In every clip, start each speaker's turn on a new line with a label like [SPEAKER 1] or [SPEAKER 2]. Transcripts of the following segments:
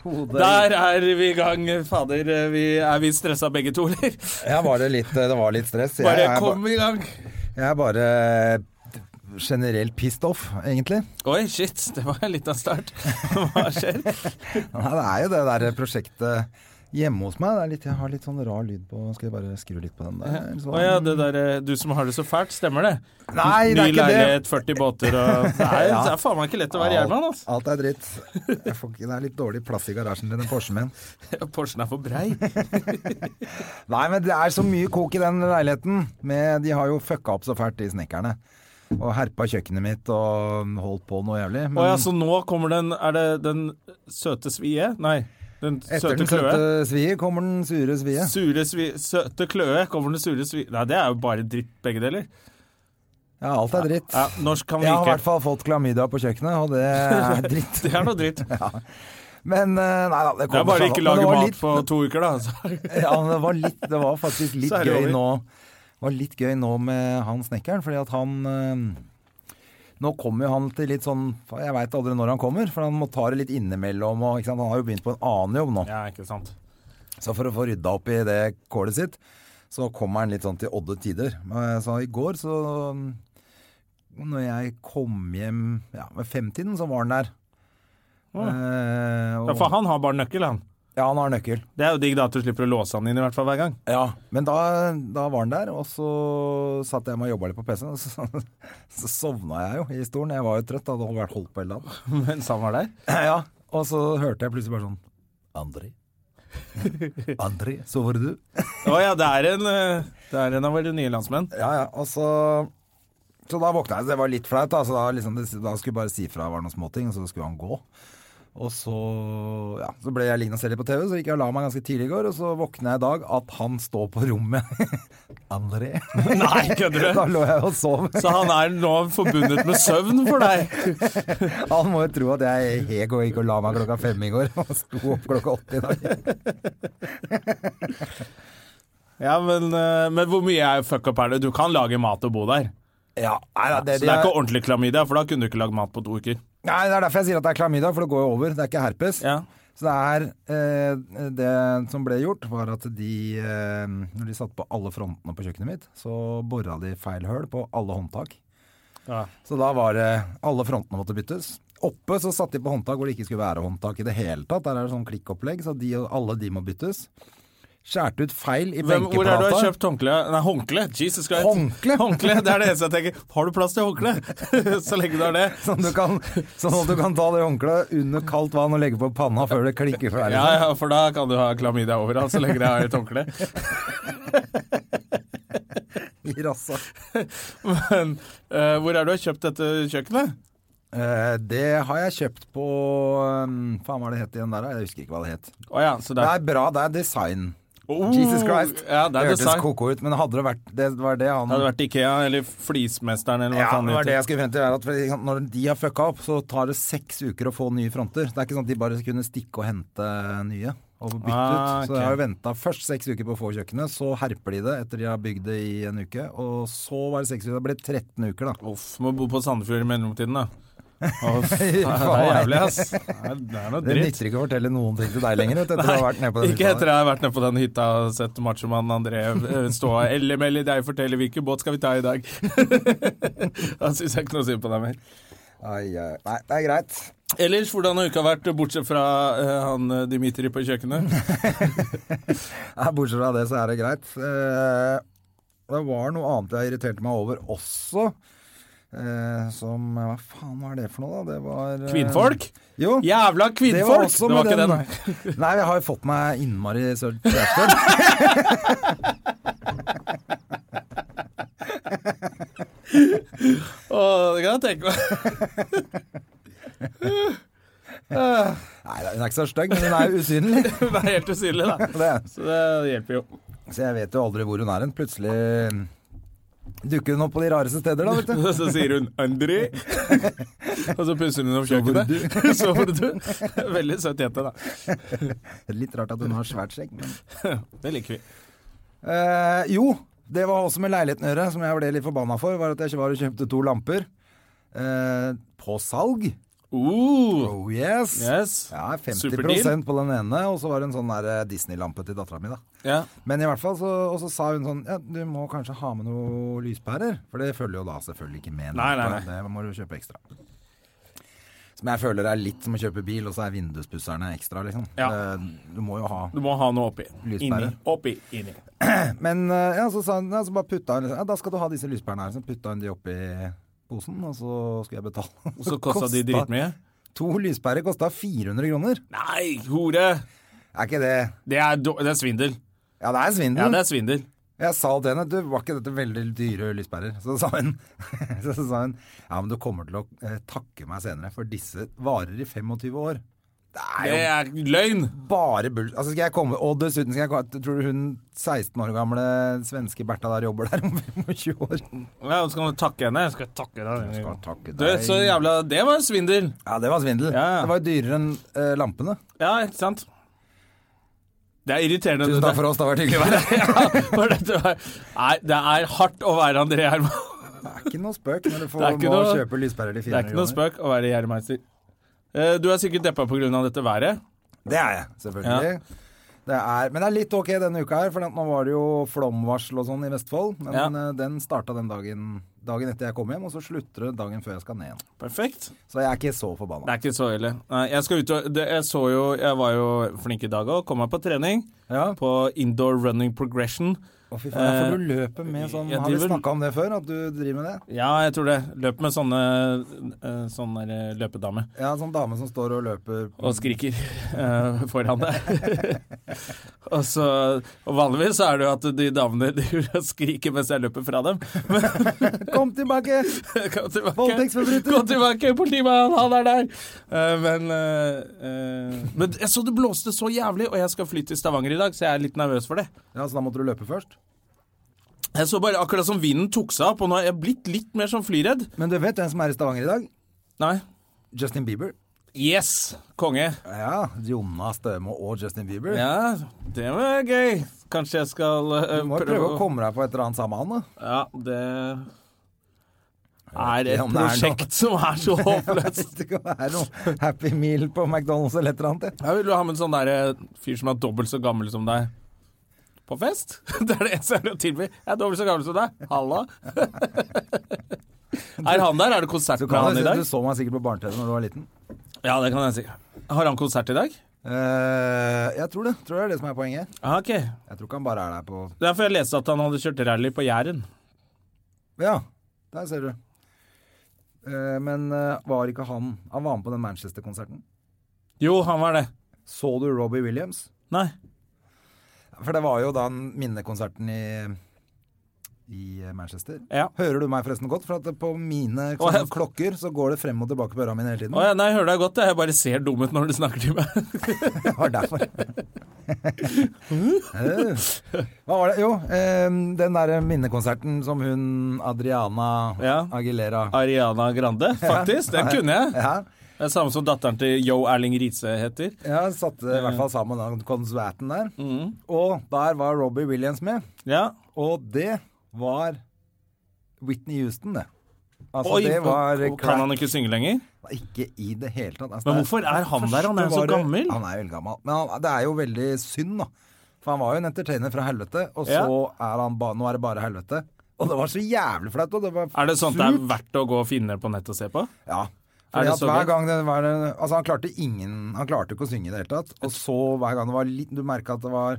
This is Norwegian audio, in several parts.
[SPEAKER 1] Der er vi i gang. Fader, vi, er vi stressa begge to, eller?
[SPEAKER 2] Ja, var det, litt, det var litt stress. Jeg,
[SPEAKER 1] Bare
[SPEAKER 2] er,
[SPEAKER 1] kom i gang.
[SPEAKER 2] ba- jeg er bare eh, generelt pissed off, egentlig.
[SPEAKER 1] Oi, shit. Det var litt av start. Hva skjer?
[SPEAKER 2] Nei, det er jo det der prosjektet hjemme hos meg. Det er litt, jeg har litt sånn rar lyd på Skal jeg bare skru litt på den der? eller
[SPEAKER 1] Å
[SPEAKER 2] sånn?
[SPEAKER 1] ja, det der, eh, du som har det så fælt, stemmer det?
[SPEAKER 2] Nei, det
[SPEAKER 1] Ny
[SPEAKER 2] er ikke det.
[SPEAKER 1] leilighet, 40 båter og Nei, det er faen meg ikke lett å være jernmann,
[SPEAKER 2] Alt,
[SPEAKER 1] altså.
[SPEAKER 2] alt er dritt. Jeg får ikke, det er litt dårlig plass i garasjen til den Porschen min.
[SPEAKER 1] Porschen er for brei.
[SPEAKER 2] Nei, men det er så mye kok i den leiligheten. Med, de har jo fucka opp så fælt, de snekkerne. Og herpa kjøkkenet mitt og holdt på noe jævlig. Men
[SPEAKER 1] Å ja, så nå kommer den Er det den søte svie? Nei. Den
[SPEAKER 2] etter
[SPEAKER 1] søte
[SPEAKER 2] den
[SPEAKER 1] kløe?
[SPEAKER 2] søte svie kommer den sure svie.
[SPEAKER 1] Sure svi, søte kløe kommer den sure svie... Nei, det er jo bare dritt, begge deler.
[SPEAKER 2] Ja, alt er dritt.
[SPEAKER 1] Ja, norsk kan vi
[SPEAKER 2] Jeg har i
[SPEAKER 1] ikke.
[SPEAKER 2] hvert fall fått klamydia på kjøkkenet, og det er dritt.
[SPEAKER 1] Det er noe dritt.
[SPEAKER 2] Men eh, nei da, det
[SPEAKER 1] Det er
[SPEAKER 2] kommer
[SPEAKER 1] bare
[SPEAKER 2] seg
[SPEAKER 1] ikke
[SPEAKER 2] nå. Men
[SPEAKER 1] lage
[SPEAKER 2] det var
[SPEAKER 1] mat
[SPEAKER 2] litt-
[SPEAKER 1] på to uker, da. altså. Så.
[SPEAKER 2] Ja, men det var, litt, det var faktisk litt
[SPEAKER 1] Så er det
[SPEAKER 2] gøy
[SPEAKER 1] over.
[SPEAKER 2] nå. Det var litt gøy nå med han snekkeren, fordi at han eh, Nå kommer jo han til litt sånn Jeg veit aldri når han kommer, for han må ta det litt innimellom. Og, ikke sant? Han har jo begynt på en annen jobb nå.
[SPEAKER 1] Ja, ikke sant.
[SPEAKER 2] Så for å få rydda opp i det kålet sitt, så kommer han litt sånn til odde tider. Eh, Så i går, så Når jeg kom hjem ja, ved femtiden, så var han der. Eh, og,
[SPEAKER 1] Ja, for han har bare nøkkel, han.
[SPEAKER 2] ja, han har nøkkel.
[SPEAKER 1] Det er jo digg da at du slipper å låse han inn i hvert fall hver gang.
[SPEAKER 2] Men da, da var han der, og så satt jeg meg og jobba litt på PC-en. Og så, så sovna jeg jo i stolen. Jeg var jo trøtt, hadde vært holdt på hele dagen.
[SPEAKER 1] Mens han var der.
[SPEAKER 2] Ja, og så hørte jeg plutselig bare sånn André? André, sover du?
[SPEAKER 1] Å ja, det er en, eh, det er en av våre nye landsmenn.
[SPEAKER 2] Ja, ja, og så Så da våkna jeg, så det var litt flaut. Da, så da, liksom, det, da skulle jeg bare si fra det var noen småting, og så skulle han gå. Og så, ja, så ble jeg liggende og se litt på TV, så gikk jeg og la meg ganske tidlig i går. Og så våkna jeg i dag at han står på rommet. André.
[SPEAKER 1] Nei, kødder
[SPEAKER 2] Da
[SPEAKER 1] du?
[SPEAKER 2] lå jeg og sov.
[SPEAKER 1] Så han er nå forbundet med søvn for deg.
[SPEAKER 2] Han må jo tro at jeg heg og gikk og la meg klokka fem i går, og sto opp klokka åtte i dag.
[SPEAKER 1] Ja, men, eh, men hvor mye er fuck up er det? Du kan lage mat og bo der.
[SPEAKER 2] Ja, nei, da, det,
[SPEAKER 1] Så det er ikke ordentlig klamydia, for da kunne du ikke lagd mat på to uker.
[SPEAKER 2] nei, det er derfor jeg sier at det er klamydia, for det går jo over. Det er ikke herpes.
[SPEAKER 1] Ja.
[SPEAKER 2] Så det er eh, Det som ble gjort, var at de eh, Når de satte på alle frontene på kjøkkenet mitt, så bora de feil høl på alle håndtak.
[SPEAKER 1] Ja.
[SPEAKER 2] Så da var det Alle frontene måtte byttes. Oppe så satte de på håndtak hvor det ikke skulle være håndtak i det hele tatt. Der er det sånn klikkopplegg, så de, alle de må byttes. Skjærte ut feil i
[SPEAKER 1] Hvem, hvor er det du har
[SPEAKER 2] benkeplata.
[SPEAKER 1] kjøpt håndkle? Nei, håndkle? Jesus Christ.
[SPEAKER 2] Håndkle?
[SPEAKER 1] håndkle? Det er det eneste jeg tenker. Har du plass til håndkle? Så lenge du har det.
[SPEAKER 2] Sånn, du kan, sånn at du kan ta det håndkleet under kaldt vann og legge på panna før det klikker ferdig.
[SPEAKER 1] Ja, ja, for da kan du ha klamydia overalt, så lenge det er et håndkle.
[SPEAKER 2] I rassa.
[SPEAKER 1] Men eh, hvor er det du har kjøpt dette kjøkkenet?
[SPEAKER 2] Eh, det har jeg kjøpt på eh, Faen, hva er det het igjen der? da? Jeg husker ikke hva det het.
[SPEAKER 1] Å ja, så
[SPEAKER 2] Det
[SPEAKER 1] der.
[SPEAKER 2] er bra, det er design.
[SPEAKER 1] Oh,
[SPEAKER 2] Jesus Christ.
[SPEAKER 1] Ja, det er
[SPEAKER 2] hørtes
[SPEAKER 1] design.
[SPEAKER 2] koko ut, men hadde det vært det var det han
[SPEAKER 1] Det hadde vært Ikea eller Flismesteren eller hva
[SPEAKER 2] ja,
[SPEAKER 1] faen
[SPEAKER 2] det var det
[SPEAKER 1] heter.
[SPEAKER 2] jeg skulle frem til. Er at for eksempel når de har fucka opp, så tar det seks uker å få nye fronter. Det er ikke sånn at de bare kunne stikke og hente nye og bytte
[SPEAKER 1] Ah,
[SPEAKER 2] ut. Så
[SPEAKER 1] ok.
[SPEAKER 2] jeg har jo venta først seks uker på å få kjøkkenet, så herper de det etter de har bygd det i en uke. Og så var det seks uker. Det ble 13 uker, da.
[SPEAKER 1] Uff, må bo på Sandefjord i mellomtiden, da. Uff, det er
[SPEAKER 2] Faen.
[SPEAKER 1] jævlig, ass. Det er- det er noe
[SPEAKER 2] Det
[SPEAKER 1] dritt.
[SPEAKER 2] nytter ikke å fortelle noen ting til deg lenger vet, du, etter å ha vært nede på den
[SPEAKER 1] Ikke
[SPEAKER 2] hytta
[SPEAKER 1] etter jeg har vært nede på den hytta og sett machomannen André eh, stå eller melde deg fortelle hvilken båt skal vi ta i dag. da syns jeg ikke noe synd på deg mer.
[SPEAKER 2] der. Ai, ai. Nei, det er greit.
[SPEAKER 1] Ellers, hvordan har uka vært, bortsett fra eh, han eh, Dimitri på kjøkkenet?
[SPEAKER 2] Ja, bortsett fra det, så er det greit. Eh, det var noe annet jeg irriterte meg over også. Eh, som Hva faen var det for noe, da? Det var eh,
[SPEAKER 1] Kvinnfolk?
[SPEAKER 2] Jo. Det
[SPEAKER 1] Jævla
[SPEAKER 2] var
[SPEAKER 1] kvinnfolk!
[SPEAKER 2] også
[SPEAKER 1] Det var
[SPEAKER 2] med
[SPEAKER 1] ikke den.
[SPEAKER 2] den. Nei, jeg har jo fått meg innmari sølt kjæreste.
[SPEAKER 1] Å, det kan jeg tenke meg.
[SPEAKER 2] Nei, det Hun er ikke så stygg, men hun er jo usynlig.
[SPEAKER 1] Hun er helt usynlig, da.
[SPEAKER 2] Det er-
[SPEAKER 1] Så det hjelper jo.
[SPEAKER 2] Så jeg vet jo aldri hvor hun er hen. Plutselig dukker hun opp på de rareste steder, da, vet du.
[SPEAKER 1] Og så sier hun 'Andri', og så pusser hun opp kjøkkenet. Sover du? Veldig søt jente, da.
[SPEAKER 2] Det er Litt rart at hun har svært skjegg, men
[SPEAKER 1] Det liker vi.
[SPEAKER 2] Eh, jo, det var også med leiligheten å gjøre, som jeg ble litt forbanna for, var at jeg ikke var og kjøpte to lamper. Eh, på salg.
[SPEAKER 1] Uh,
[SPEAKER 2] Oh yes!
[SPEAKER 1] yes.
[SPEAKER 2] Ja, 50
[SPEAKER 1] Superdeal.
[SPEAKER 2] på den ene, og så var det en sånn der, eh, Disney-lampe til dattera mi, da.
[SPEAKER 1] Ja.
[SPEAKER 2] Men i hvert fall, så, og så sa hun sånn Ja, du må kanskje ha med noen lyspærer. For det følger jo da selvfølgelig ikke med. en
[SPEAKER 1] Nei, nei,
[SPEAKER 2] lampe. Det må du kjøpe ekstra. Som jeg føler er litt som å kjøpe bil, og så er vinduspusserne ekstra, liksom.
[SPEAKER 1] Ja.
[SPEAKER 2] Eh, Du må jo ha
[SPEAKER 1] Du må ha noe oppi.
[SPEAKER 2] Lyspære.
[SPEAKER 1] Inni. Oppi. Inni.
[SPEAKER 2] Men eh, ja, så sa hun ja, så bare putta hun liksom, Ja, da skal du ha disse lyspærene her. Så putta hun de oppi posen, og så skulle jeg betale.
[SPEAKER 1] Og så kosta de dritmye.
[SPEAKER 2] To lyspærer kosta 400 kroner.
[SPEAKER 1] Nei, hore!
[SPEAKER 2] Er ikke det
[SPEAKER 1] Det er, do- det er svindel.
[SPEAKER 2] Ja, det er
[SPEAKER 1] Ja,
[SPEAKER 2] svindel.
[SPEAKER 1] det er svindel.
[SPEAKER 2] Jeg sa til henne du, var ikke dette veldig dyre lyspærer? Så sa hun, så sa hun ja, men du kommer til å eh, takke meg senere, for disse varer i 25 år. Det er jo
[SPEAKER 1] Det er løgn!
[SPEAKER 2] bare bull... Altså skal jeg komme, og dessuten skal jeg komme Tror du hun 16 år gamle svenske Bertha der jobber der om 25 år?
[SPEAKER 1] Ja, så kan du takke henne. Jeg skal takke
[SPEAKER 2] Skal
[SPEAKER 1] deg.
[SPEAKER 2] takke
[SPEAKER 1] Du,
[SPEAKER 2] deg.
[SPEAKER 1] så jævla Det var svindel.
[SPEAKER 2] Ja, det var svindel.
[SPEAKER 1] Ja, ja.
[SPEAKER 2] Det var jo dyrere enn eh, lampene.
[SPEAKER 1] Ja, ikke sant? Det er irriterende.
[SPEAKER 2] Tusen takk for oss, det har vært hyggelig å være her.
[SPEAKER 1] ja, for dette var, nei, det er hardt å være André Herman.
[SPEAKER 2] Det er ikke noe spøk når du får,
[SPEAKER 1] Det er ikke
[SPEAKER 2] må
[SPEAKER 1] noe-
[SPEAKER 2] kjøpe lyspærer til
[SPEAKER 1] Det er
[SPEAKER 2] 400
[SPEAKER 1] ikke noe spøk å være gjermeister. Eh, Du er sikkert deppa pga. dette været.
[SPEAKER 2] Det er jeg, selvfølgelig. Det er, men det er litt ok denne uka her, for at nå var det jo flomvarsel og sånn i Vestfold. Men
[SPEAKER 1] Ja.
[SPEAKER 2] eh, den starta den dagen, dagen etter jeg kom hjem, og så slutter det dagen før jeg skal ned igjen.
[SPEAKER 1] Perfekt.
[SPEAKER 2] Så jeg er ikke så
[SPEAKER 1] Det
[SPEAKER 2] forbanna.
[SPEAKER 1] er ikke så ille. Nei, jeg skal ut og det, Jeg så jo Jeg var jo flink i dag òg. Kom meg på trening.
[SPEAKER 2] Ja.
[SPEAKER 1] På indoor running progression.
[SPEAKER 2] Å, fy faen, jeg
[SPEAKER 1] Eh,
[SPEAKER 2] får du løpe med sånn
[SPEAKER 1] jeg
[SPEAKER 2] Har vi
[SPEAKER 1] driver-
[SPEAKER 2] snakka om det før, at du driver med det?
[SPEAKER 1] Ja, jeg tror det. Løp med sånne eh, Sånn der eh, løpedame.
[SPEAKER 2] Ja, sånn dame som står og løper
[SPEAKER 1] Og skriker eh, foran deg. og, så, og vanligvis så er det jo at de damene driver og skriker mens jeg løper fra dem.
[SPEAKER 2] Kom tilbake!
[SPEAKER 1] Kom tilbake.
[SPEAKER 2] Voldtektsforbryter.
[SPEAKER 1] Kom tilbake, politimann, han er der! Eh, men eh, eh, Men jeg så det blåste så jævlig, og jeg skal fly til Stavanger i dag, så jeg er litt nervøs for det.
[SPEAKER 2] Ja, Så da måtte du løpe først?
[SPEAKER 1] Jeg så bare akkurat som vinden tok seg opp, og nå er jeg blitt litt mer sånn flyredd.
[SPEAKER 2] Men du vet hvem som er i Stavanger i dag?
[SPEAKER 1] Nei.
[SPEAKER 2] Justin Bieber.
[SPEAKER 1] Yes, konge.
[SPEAKER 2] Ja, Jonna Støme og Justin Bieber.
[SPEAKER 1] Ja, det var gøy. Kanskje jeg skal eh,
[SPEAKER 2] Du må jo prøve å komme deg på et eller annet sammen med han, da.
[SPEAKER 1] Ja, det er
[SPEAKER 2] ikke
[SPEAKER 1] et
[SPEAKER 2] om det er
[SPEAKER 1] prosjekt som er så håpløst.
[SPEAKER 2] Det kan være noe Happy Meal på McDonald's eller et eller annet.
[SPEAKER 1] Jeg vil jo ha med en sånn der eh, fyr som er dobbelt så gammel som deg. På fest? Det er det eneste jeg har å tilby. Jeg er dobbelt så gammel som deg. Halla. er han der? Er det konsert
[SPEAKER 2] Du,
[SPEAKER 1] med
[SPEAKER 2] kan,
[SPEAKER 1] han
[SPEAKER 2] jo
[SPEAKER 1] i
[SPEAKER 2] si-
[SPEAKER 1] dag?
[SPEAKER 2] du så meg sikkert på barne-TV når du var liten.
[SPEAKER 1] Ja, det kan jeg si. Har han konsert i dag?
[SPEAKER 2] Eh, jeg tror det. Tror det er det som er poenget.
[SPEAKER 1] Ah, ok. Det
[SPEAKER 2] Jeg tror ikke han bare er der på
[SPEAKER 1] er fordi jeg leste at han hadde kjørt rally på Jæren.
[SPEAKER 2] Ja, der ser du. Eh, men eh, var ikke han Han var med på den Manchester-konserten.
[SPEAKER 1] Jo, han var det.
[SPEAKER 2] Så du Robbie Williams?
[SPEAKER 1] Nei.
[SPEAKER 2] For det var jo da den minnekonserten i i eh, Manchester.
[SPEAKER 1] Ja.
[SPEAKER 2] Hører du meg forresten godt? For at på mine
[SPEAKER 1] Å, jeg-
[SPEAKER 2] klokker så går det frem og tilbake på øra mine hele tiden.
[SPEAKER 1] Å ja, nei, jeg hører deg godt. jeg. Jeg bare ser dum ut når du snakker til meg.
[SPEAKER 2] Det var derfor. Eh, Hva var det? Jo, eh, den der minnekonserten som hun Adriana
[SPEAKER 1] Ja.
[SPEAKER 2] Aguilera
[SPEAKER 1] Ariana Grande, faktisk. Den kunne jeg.
[SPEAKER 2] ja,
[SPEAKER 1] Det er samme som datteren til Yo Erling Riise heter.
[SPEAKER 2] ja, satte i hvert fall sammen den konserten der.
[SPEAKER 1] Mm.
[SPEAKER 2] Og der var Robbie Williams med.
[SPEAKER 1] Ja.
[SPEAKER 2] Og det var Whitney Houston, det. Altså,
[SPEAKER 1] Oi,
[SPEAKER 2] det var
[SPEAKER 1] kan han ikke synge lenger?
[SPEAKER 2] Ikke i det hele tatt. Altså, det
[SPEAKER 1] Men hvorfor er han der? Han er jo
[SPEAKER 2] Første
[SPEAKER 1] så
[SPEAKER 2] var det-
[SPEAKER 1] gammel.
[SPEAKER 2] Han er jo veldig gammel. Men han, det er jo veldig synd, da. For han var jo en entertainer fra helvete, og
[SPEAKER 1] Ja.
[SPEAKER 2] så er han ba, nå er det bare helvete. Og det var så jævlig flaut. og Det var
[SPEAKER 1] Er det sånt det er
[SPEAKER 2] surt.
[SPEAKER 1] verdt å gå og finne på nett og se på?
[SPEAKER 2] Ja.
[SPEAKER 1] Er
[SPEAKER 2] Fordi
[SPEAKER 1] det
[SPEAKER 2] at
[SPEAKER 1] så
[SPEAKER 2] hver
[SPEAKER 1] gøy?
[SPEAKER 2] gang det var en- Altså, han klarte ingen Han klarte ikke å synge i det hele tatt. Og så hver gang det var litt Du merka at det var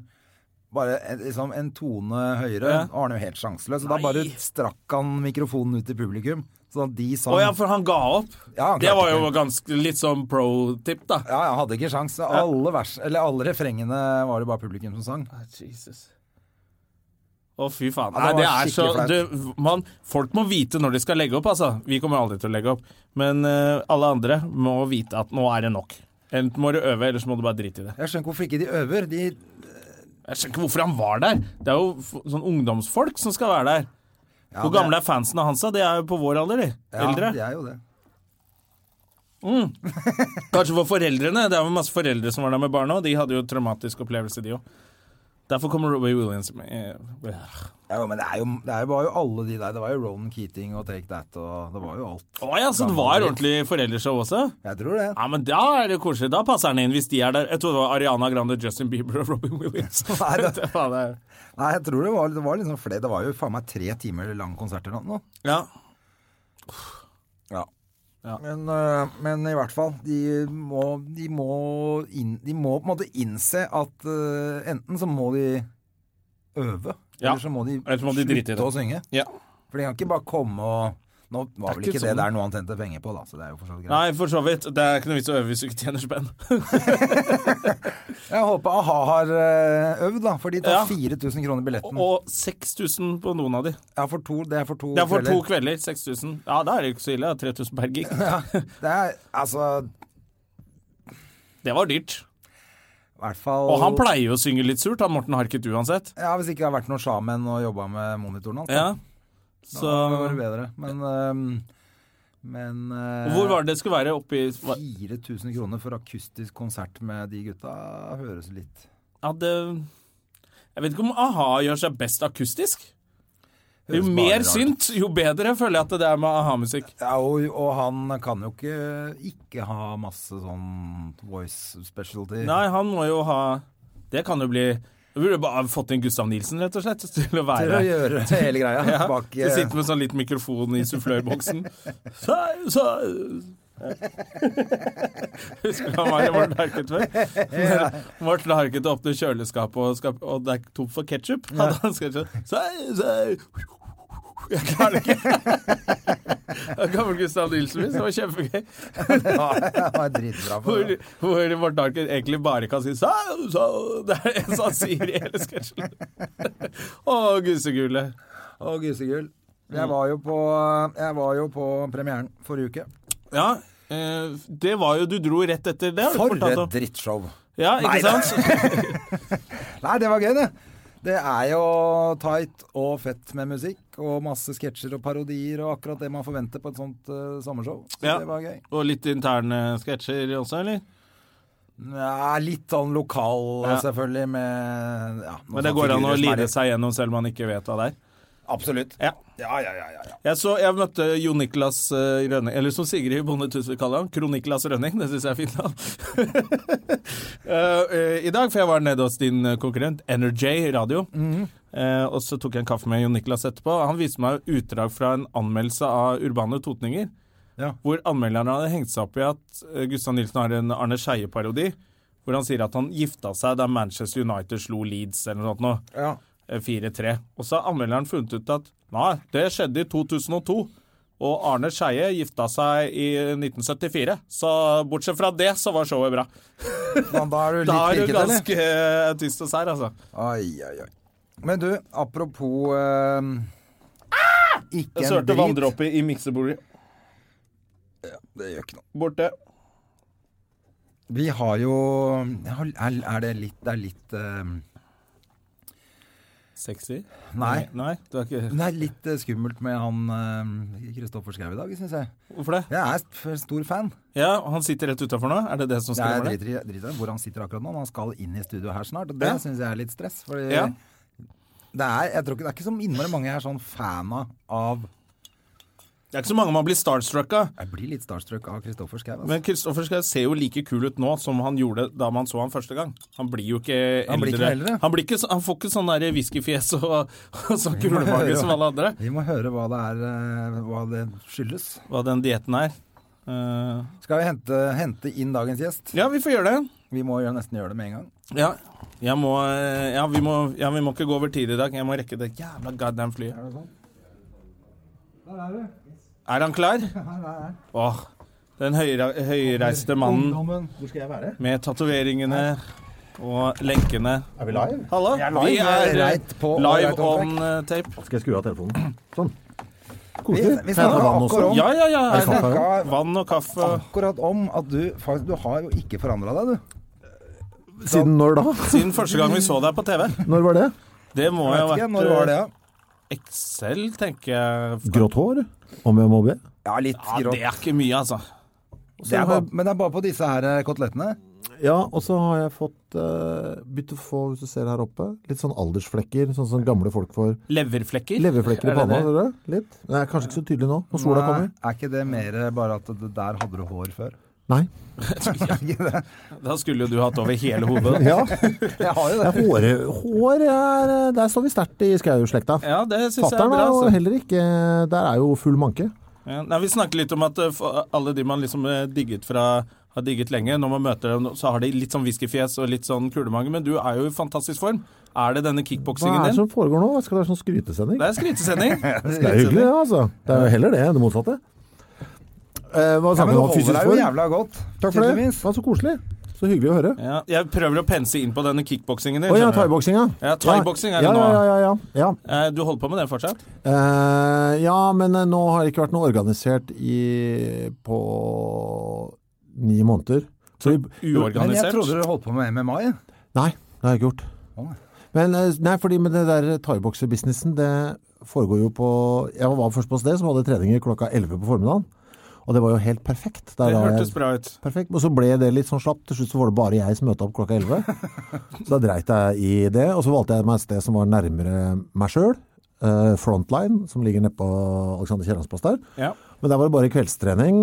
[SPEAKER 2] bare en, liksom en tone høyere.
[SPEAKER 1] Ja.
[SPEAKER 2] Og han er jo helt sjanseløs. Så da bare strakk han mikrofonen ut til publikum, sånn at de sang.
[SPEAKER 1] Å ja, for han ga opp.
[SPEAKER 2] Ja, han klarte
[SPEAKER 1] det var jo
[SPEAKER 2] ikke.
[SPEAKER 1] ganske litt sånn pro tip, da.
[SPEAKER 2] Ja, jeg hadde ikke sjans. Alle, vers, eller alle refrengene var det bare publikum som sang.
[SPEAKER 1] Jesus. Å, fy faen. Nei,
[SPEAKER 2] Ja, det
[SPEAKER 1] det
[SPEAKER 2] var
[SPEAKER 1] er så
[SPEAKER 2] skikkelig
[SPEAKER 1] du, man, Folk må vite når de skal legge opp, altså. Vi kommer aldri til å legge opp. Men eh, alle andre må vite at nå er det nok. Enten må du øve, eller så må du bare drite i det.
[SPEAKER 2] Jeg skjønner ikke hvorfor ikke de øver. De,
[SPEAKER 1] Jeg skjønner ikke hvorfor han var der. Det er jo f- sånn ungdomsfolk som skal være der.
[SPEAKER 2] ja,
[SPEAKER 1] Hvor gamle er fansen av Hansa? De er jo på vår alder, de.
[SPEAKER 2] ja,
[SPEAKER 1] Eldre.
[SPEAKER 2] De er jo det.
[SPEAKER 1] Kanskje for foreldrene. Det er jo masse foreldre som var der med barna, og de hadde jo traumatisk opplevelse, de òg. Derfor kommer Robbie Williams med eh,
[SPEAKER 2] Ja, jo, men det, er jo, det er jo, var jo alle de der. Det var jo Ronan Keating og Take That og Det var jo alt.
[SPEAKER 1] Å ja, så det var ordentlig foreldreshow også?
[SPEAKER 2] Jeg tror det.
[SPEAKER 1] Ja, men da er det koselig. Da passer han inn, hvis de er der. Jeg tror det var Ariana Grande, Justin Bieber og Robin Williams.
[SPEAKER 2] Nei, det-
[SPEAKER 1] Det er faen, det er-
[SPEAKER 2] Nei, jeg tror det var, det var liksom flere. Det var jo faen meg tre timer lang konsert eller noe.
[SPEAKER 1] ja.
[SPEAKER 2] Ja.
[SPEAKER 1] Ja.
[SPEAKER 2] Men, øh, men i hvert fall, de må, de, må inn, de må på en måte innse at øh, enten så må de øve,
[SPEAKER 1] Ja.
[SPEAKER 2] eller så må de
[SPEAKER 1] Eller så må de drite i det.
[SPEAKER 2] slutte å synge.
[SPEAKER 1] ja.
[SPEAKER 2] For de kan ikke bare komme og Nå var
[SPEAKER 1] er
[SPEAKER 2] vel
[SPEAKER 1] ikke
[SPEAKER 2] ikke det
[SPEAKER 1] sånn.
[SPEAKER 2] der noe han tjente penger på, da, så det er jo for så vidt greit.
[SPEAKER 1] Nei, for så vidt. Det er ikke noe vits å øve hvis du ikke tjener spenn.
[SPEAKER 2] Jeg håper a-ha har øh, øvd, da, for de tar
[SPEAKER 1] Ja.
[SPEAKER 2] 4000 kroner billetten.
[SPEAKER 1] Og 6000 på noen av de.
[SPEAKER 2] ja, for to, det er for to
[SPEAKER 1] Det er for to
[SPEAKER 2] kvelder.
[SPEAKER 1] kvelder. 6000. Ja, da er det ikke så ille. da. 3000 per gig.
[SPEAKER 2] Det er altså
[SPEAKER 1] Det var dyrt.
[SPEAKER 2] i hvert fall
[SPEAKER 1] Og han pleier jo å synge litt surt, han Morten Harket uansett.
[SPEAKER 2] Ja, Hvis ikke det har vært noen sjamen og jobba med monitoren hans. da.
[SPEAKER 1] Ja.
[SPEAKER 2] Da var det
[SPEAKER 1] Så
[SPEAKER 2] bedre. Men, øhm, men øh,
[SPEAKER 1] Hvor var det det skulle være? Oppi hva-
[SPEAKER 2] 4000 kroner for akustisk konsert med de gutta høres litt
[SPEAKER 1] Ja, det Jeg vet ikke om a-ha gjør seg best akustisk. Jo
[SPEAKER 2] høres bare
[SPEAKER 1] mer
[SPEAKER 2] rart.
[SPEAKER 1] synt, jo bedre føler jeg at det er med a-ha-musikk.
[SPEAKER 2] Ja, og, og han kan jo ikke ikke ha masse sånn voice specialty.
[SPEAKER 1] Nei, han må jo ha Det kan jo bli Du burde bare fått inn Gustav Nilsen, rett og slett, til å
[SPEAKER 2] Til å
[SPEAKER 1] være
[SPEAKER 2] gjøre hele greia
[SPEAKER 1] Ja,
[SPEAKER 2] bak eh,
[SPEAKER 1] Du sitter med sånn litt mikrofon i sufflørboksen. Så, så Husker du han var i Morten Harket før? Når Morten Harket åpner kjøleskapet, og, skal, og det er tomt for ketsjup. Hadde han skrevet sånn så, så. Jeg klarer det ikke. Gammel Gustav Nilsen min, som var kjempegøy.
[SPEAKER 2] Ja, det var dritbra. For
[SPEAKER 1] Hvor,
[SPEAKER 2] det.
[SPEAKER 1] hvor Morten Harket egentlig bare kan si så, så. Det er det eneste han sier i hele sketsjen. Å, gusegullet.
[SPEAKER 2] Og Gusegull. Jeg var, jo på, jeg var jo på premieren forrige uke.
[SPEAKER 1] Ja, eh, det var jo Du dro rett etter det. har du
[SPEAKER 2] For
[SPEAKER 1] fortalt
[SPEAKER 2] et
[SPEAKER 1] om.
[SPEAKER 2] drittshow!
[SPEAKER 1] Ja, ikke
[SPEAKER 2] Nei, da.
[SPEAKER 1] sant?
[SPEAKER 2] Nei, det var gøy, det. Det er jo tight og fett med musikk, og masse sketsjer og parodier og akkurat det man forventer på et sånt eh, sommershow. Så
[SPEAKER 1] Ja.
[SPEAKER 2] det var gøy.
[SPEAKER 1] Og litt interne sketsjer også, eller?
[SPEAKER 2] Ja, litt sånn lokal,
[SPEAKER 1] Ja.
[SPEAKER 2] selvfølgelig, med ja, noen
[SPEAKER 1] Men det går an å
[SPEAKER 2] figurer som er
[SPEAKER 1] lide
[SPEAKER 2] litt-
[SPEAKER 1] seg gjennom selv om man ikke vet hva det er.
[SPEAKER 2] Absolutt.
[SPEAKER 1] Ja.
[SPEAKER 2] Ja, ja, ja. ja, ja.
[SPEAKER 1] Jeg, så, jeg møtte Jo Niklas eh, Rønning, eller som Sigrid Bonde Tusvik kaller ham, Kro-Niklas Rønning. Det syns jeg er fint navn. Eh, eh, I dag, for jeg var nede hos din eh, konkurrent Energy Radio, eh, og så tok jeg en kaffe med Jo Niklas etterpå. Han viste meg utdrag fra en anmeldelse av Urbane Totninger.
[SPEAKER 2] Ja.
[SPEAKER 1] Hvor anmelderen hadde hengt seg opp i at eh, Gustav Nilsen har en Arne Skeie-parodi. Hvor han sier at han gifta seg da Manchester United slo Leeds eller noe sånt. nå.
[SPEAKER 2] Ja.
[SPEAKER 1] 4-3. Og så har anmelderen funnet ut at nei, det skjedde i 2002. Og Arne Skeie gifta seg i 1974. Så bortsett fra det, så var showet bra.
[SPEAKER 2] Men da er du litt
[SPEAKER 1] Da er du
[SPEAKER 2] pirket, eller?
[SPEAKER 1] ganske eh, tyst og sær, altså.
[SPEAKER 2] Oi, oi, oi. Men du, apropos eh, Ikke
[SPEAKER 1] Ah! Jeg
[SPEAKER 2] en
[SPEAKER 1] sørte
[SPEAKER 2] drit.
[SPEAKER 1] vanndråper i miksebordet.
[SPEAKER 2] Det gjør ikke noe.
[SPEAKER 1] Borte.
[SPEAKER 2] Vi har jo Er er det litt Det er litt eh,
[SPEAKER 1] Sexy?
[SPEAKER 2] Nei.
[SPEAKER 1] Nei, du er ikke
[SPEAKER 2] Det er litt eh, skummelt med han eh, Kristoffer Schau i dag, syns jeg.
[SPEAKER 1] Hvorfor det?
[SPEAKER 2] Jeg er st- stor fan.
[SPEAKER 1] Ja, han sitter rett utafor nå? Er det det som
[SPEAKER 2] Jeg er
[SPEAKER 1] skremmer deg?
[SPEAKER 2] driter i driter i hvor han sitter akkurat nå, men han skal inn i studio her snart. Og det
[SPEAKER 1] Ja.
[SPEAKER 2] synes syns jeg er litt stress. Fordi
[SPEAKER 1] Ja.
[SPEAKER 2] det, er, jeg tror ikke, det er ikke så innmari mange jeg er sånn fan av- av
[SPEAKER 1] Det er ikke så mange man blir starstruck av.
[SPEAKER 2] Jeg blir litt starstruck av Kristoffer Schau. Altså.
[SPEAKER 1] Men Kristoffer Schau ser jo like kul ut nå som han gjorde da man så han første gang. Han blir jo ikke eldre.
[SPEAKER 2] Han blir ikke eldre.
[SPEAKER 1] Han, blir ikke så- han får ikke sånn der whiskyfjes og, og sånn kulemage som alle andre.
[SPEAKER 2] Vi må høre hva det er eh, Hva det skyldes.
[SPEAKER 1] Hva den dietten er. Eh,
[SPEAKER 2] Skal vi hente, hente inn dagens gjest?
[SPEAKER 1] ja, vi får gjøre det.
[SPEAKER 2] Vi må jo nesten gjøre det med en gang.
[SPEAKER 1] Ja. Jeg må, eh, ja, vi må, ja, vi må ikke gå over tid i dag. Jeg må rekke det jævla goddamn flyet. Er
[SPEAKER 2] sånn?
[SPEAKER 1] han klar? Åh, den høyre, høyreiste mannen
[SPEAKER 2] hvor skal jeg være?
[SPEAKER 1] med tatoveringene og lenkene.
[SPEAKER 3] Er vi live?
[SPEAKER 1] Hallo, vi
[SPEAKER 2] Vi
[SPEAKER 1] er
[SPEAKER 2] er
[SPEAKER 1] eh,
[SPEAKER 2] rett på og
[SPEAKER 1] live
[SPEAKER 2] rett on
[SPEAKER 1] on eh, tape.
[SPEAKER 3] Skal jeg skru av telefonen? Sånn.
[SPEAKER 2] Vi,
[SPEAKER 1] Koselig.
[SPEAKER 2] vi snakka
[SPEAKER 3] vann også?
[SPEAKER 2] akkurat om,
[SPEAKER 1] Ja, ja, ja.
[SPEAKER 3] Er det
[SPEAKER 1] jeg-
[SPEAKER 3] kaffe?
[SPEAKER 2] snakket
[SPEAKER 1] Vann og kaffe.
[SPEAKER 2] akkurat om at du faktisk Du har jo ikke forandra deg, du.
[SPEAKER 3] Siden når da?
[SPEAKER 1] Siden første gang vi så deg på TV.
[SPEAKER 3] Når var det?
[SPEAKER 1] Det må
[SPEAKER 2] Jeg vet
[SPEAKER 1] jo ha
[SPEAKER 2] ikke, når var det?
[SPEAKER 1] vært
[SPEAKER 2] Ja,
[SPEAKER 1] eh, Excel, tenker jeg.
[SPEAKER 3] Grått hår? Om jeg må be?
[SPEAKER 2] ja litt
[SPEAKER 1] Ja,
[SPEAKER 2] grått.
[SPEAKER 1] det er ikke mye, altså.
[SPEAKER 2] Det er bare, men det er bare på disse her eh, kotelettene.
[SPEAKER 3] Ja, og så har jeg fått eh, begynt å få, hvis du ser her oppe, litt sånn aldersflekker, sånn som gamle folk får.
[SPEAKER 1] Leverflekker.
[SPEAKER 3] Leverflekker
[SPEAKER 1] Er
[SPEAKER 3] i
[SPEAKER 1] det
[SPEAKER 3] panna,
[SPEAKER 1] det?
[SPEAKER 3] ser du? det? Litt. Det er kanskje ikke så tydelig nå, når sola
[SPEAKER 2] Nei,
[SPEAKER 3] kommer.
[SPEAKER 2] Eh, Er ikke det mer bare at det der hadde du hår før?
[SPEAKER 3] Nei.
[SPEAKER 1] Da skulle jo du hatt over hele hodet.
[SPEAKER 3] Ja,
[SPEAKER 2] Jeg har jo det.
[SPEAKER 3] hår, hår er eh, Der står vi sterkt i skau-slekta.
[SPEAKER 1] Ja, det syns jeg er
[SPEAKER 3] Fatter'n
[SPEAKER 1] bra.
[SPEAKER 3] er jo
[SPEAKER 1] Altså.
[SPEAKER 3] heller ikke Der er jo full manke.
[SPEAKER 1] Ja, Nei, vi snakket litt om at eh, for alle de man liksom eh, digget fra har digget lenge, Når man møter dem, så har de litt sånn whiskyfjes og litt sånn kulemage, men du er jo i fantastisk form. Er det denne
[SPEAKER 3] Hva
[SPEAKER 1] kickboksingen
[SPEAKER 3] er det
[SPEAKER 1] din?
[SPEAKER 3] som foregår nå? Skal det være sånn skrytesending?
[SPEAKER 1] Det er skrytesending.
[SPEAKER 3] Det er hyggelig, det, altså. Det er jo heller det enn det motsatte. Eh, hva
[SPEAKER 2] Ja, men
[SPEAKER 3] snakker vi
[SPEAKER 2] du
[SPEAKER 3] om?
[SPEAKER 2] holder
[SPEAKER 3] Fysisk
[SPEAKER 2] deg jo
[SPEAKER 3] form?
[SPEAKER 2] jævla godt,
[SPEAKER 3] Takk for det.
[SPEAKER 2] tydeligvis.
[SPEAKER 3] Det var så koselig. Så hyggelig å høre.
[SPEAKER 1] Ja, jeg prøver å pense inn på denne kickboksingen din.
[SPEAKER 3] Å ja,
[SPEAKER 1] skjønner du.
[SPEAKER 3] thaiboksing, ja.
[SPEAKER 1] Ja, thaiboksing er
[SPEAKER 3] ja,
[SPEAKER 1] det nå.
[SPEAKER 3] Ja, ja, ja. ja. ja.
[SPEAKER 1] Eh, du holder på med det fortsatt?
[SPEAKER 3] Eh, ja, men eh, nå har det ikke vært noe organisert i, på ni måneder. Så vi,
[SPEAKER 2] Men jeg
[SPEAKER 1] Uorganisert?
[SPEAKER 2] trodde du holdt på med MMA. jeg.
[SPEAKER 3] nei, det har jeg ikke gjort.
[SPEAKER 2] Å, nei.
[SPEAKER 3] Men, eh, nei, fordi med det der thaiboksebusinessen, det foregår jo på Jeg var først på et sted som hadde treninger klokka 11 på formiddagen. Og det var jo helt perfekt. Der var
[SPEAKER 1] Det
[SPEAKER 3] jeg-
[SPEAKER 1] hørtes bra ut.
[SPEAKER 3] Perfekt. Og så ble det litt sånn slapp. Til slutt så var det bare jeg som møtte opp klokka 11. Så da dreit jeg i det. Og så valgte jeg meg et sted som var nærmere meg sjøl. eh, Frontline, som ligger nede på Alexander Kiellands plass der.
[SPEAKER 1] Ja.
[SPEAKER 3] Men der var det bare kveldstrening,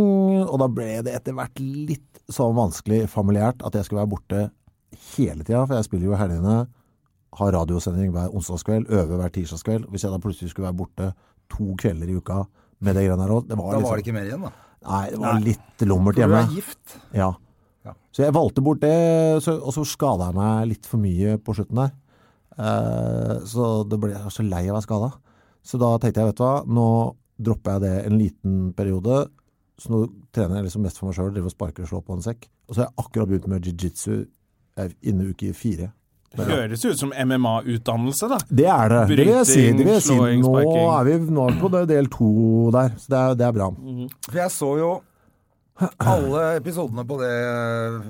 [SPEAKER 3] og da ble det etter hvert litt så vanskelig familiært at jeg skulle være borte hele tida, for jeg spiller jo i helgene, har radiosending hver onsdagskveld, øver hver tirsdagskveld. Hvis jeg da plutselig skulle være borte to kvelder i uka med det greiene her òg, det
[SPEAKER 2] Da var
[SPEAKER 3] var
[SPEAKER 2] det
[SPEAKER 3] liksom
[SPEAKER 2] ikke mer igjen, da.
[SPEAKER 3] Nei, det var litt lummert
[SPEAKER 2] For du
[SPEAKER 3] hjemme.
[SPEAKER 2] er gift.
[SPEAKER 3] Ja.
[SPEAKER 2] Ja.
[SPEAKER 3] Så jeg valgte bort det, så, og så skada jeg meg litt for mye på slutten der. Eh, så det ble, jeg var så lei av å være skada. Så da tenkte jeg, vet du hva, nå dropper jeg det en liten periode. Så nå trener jeg liksom mest for meg sjøl, driver og sparker og slår på en sekk. Og så har jeg akkurat begynt med jiu-jitsu jeg er inne i uke fire.
[SPEAKER 1] Høres ut som MMA-utdannelse, da.
[SPEAKER 3] Det er det. det vil jeg si. Det vil jeg si.
[SPEAKER 1] Bryting, slåing,
[SPEAKER 3] Nå,
[SPEAKER 1] sparking.
[SPEAKER 3] er vi, nå er vi på det del to der, så det er, det er bra.
[SPEAKER 2] For jeg så jo alle episodene på det eh,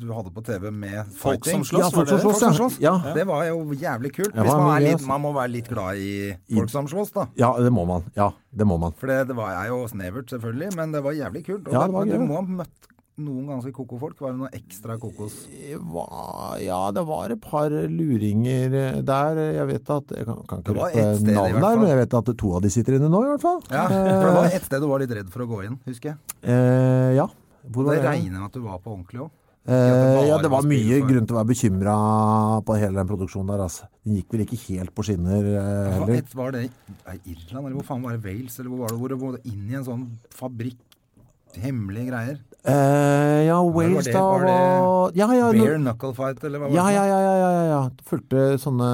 [SPEAKER 2] du hadde på TV med
[SPEAKER 1] Folk
[SPEAKER 2] fighting.
[SPEAKER 1] som slåss, Ja, folk var det som det?
[SPEAKER 3] slåss, ja. Ja.
[SPEAKER 2] Det var jo jævlig kult.
[SPEAKER 3] Ja,
[SPEAKER 2] Hvis man,
[SPEAKER 3] men
[SPEAKER 2] er
[SPEAKER 3] jeg-
[SPEAKER 2] litt, man må være litt glad i folk som slåss, da.
[SPEAKER 3] Ja, det må man. Ja, det må man.
[SPEAKER 2] For det, det var jeg jo snevert, selvfølgelig, men det var jævlig kult. Og
[SPEAKER 3] Ja,
[SPEAKER 2] da-
[SPEAKER 3] det var
[SPEAKER 2] men du
[SPEAKER 3] gøy.
[SPEAKER 2] må ha møtt noen ganske koko folk. Var det noe ekstra kokos?
[SPEAKER 3] Det var, ja, det var et par luringer eh, der. Jeg vet at Jeg kan, kan ikke
[SPEAKER 2] Det var
[SPEAKER 3] rette
[SPEAKER 2] ett sted i hvert
[SPEAKER 3] navn der,
[SPEAKER 2] fall.
[SPEAKER 3] men jeg vet at to av de sitter inne nå, i hvert fall.
[SPEAKER 2] Ja, for det var et sted du var litt redd for å gå inn, husker jeg.
[SPEAKER 3] Eh, ja. Hvor
[SPEAKER 2] Det
[SPEAKER 3] var jeg?
[SPEAKER 2] regner med at du var på ordentlig òg.
[SPEAKER 3] Eh, ja, det var mye
[SPEAKER 2] for-
[SPEAKER 3] grunn til å være bekymra på hele den produksjonen der, altså. Den gikk vel ikke helt på skinner eh,
[SPEAKER 2] Hva-
[SPEAKER 3] heller.
[SPEAKER 2] et- Var det i Irland, eller hvor faen var det? Wales, eller hvor var det? Hvor det var inn i en sånn fabrikk, hemmelige greier.
[SPEAKER 3] Eh, ja, Wales,
[SPEAKER 2] det-
[SPEAKER 3] da
[SPEAKER 2] var det
[SPEAKER 3] var Ja, ja, no-
[SPEAKER 2] Bare knuckle fight, eller hva var det?
[SPEAKER 3] Ja,
[SPEAKER 2] for
[SPEAKER 3] ja,
[SPEAKER 1] sånn.
[SPEAKER 2] noe?
[SPEAKER 3] ja, ja, ja, ja, ja. Det fulgte sånne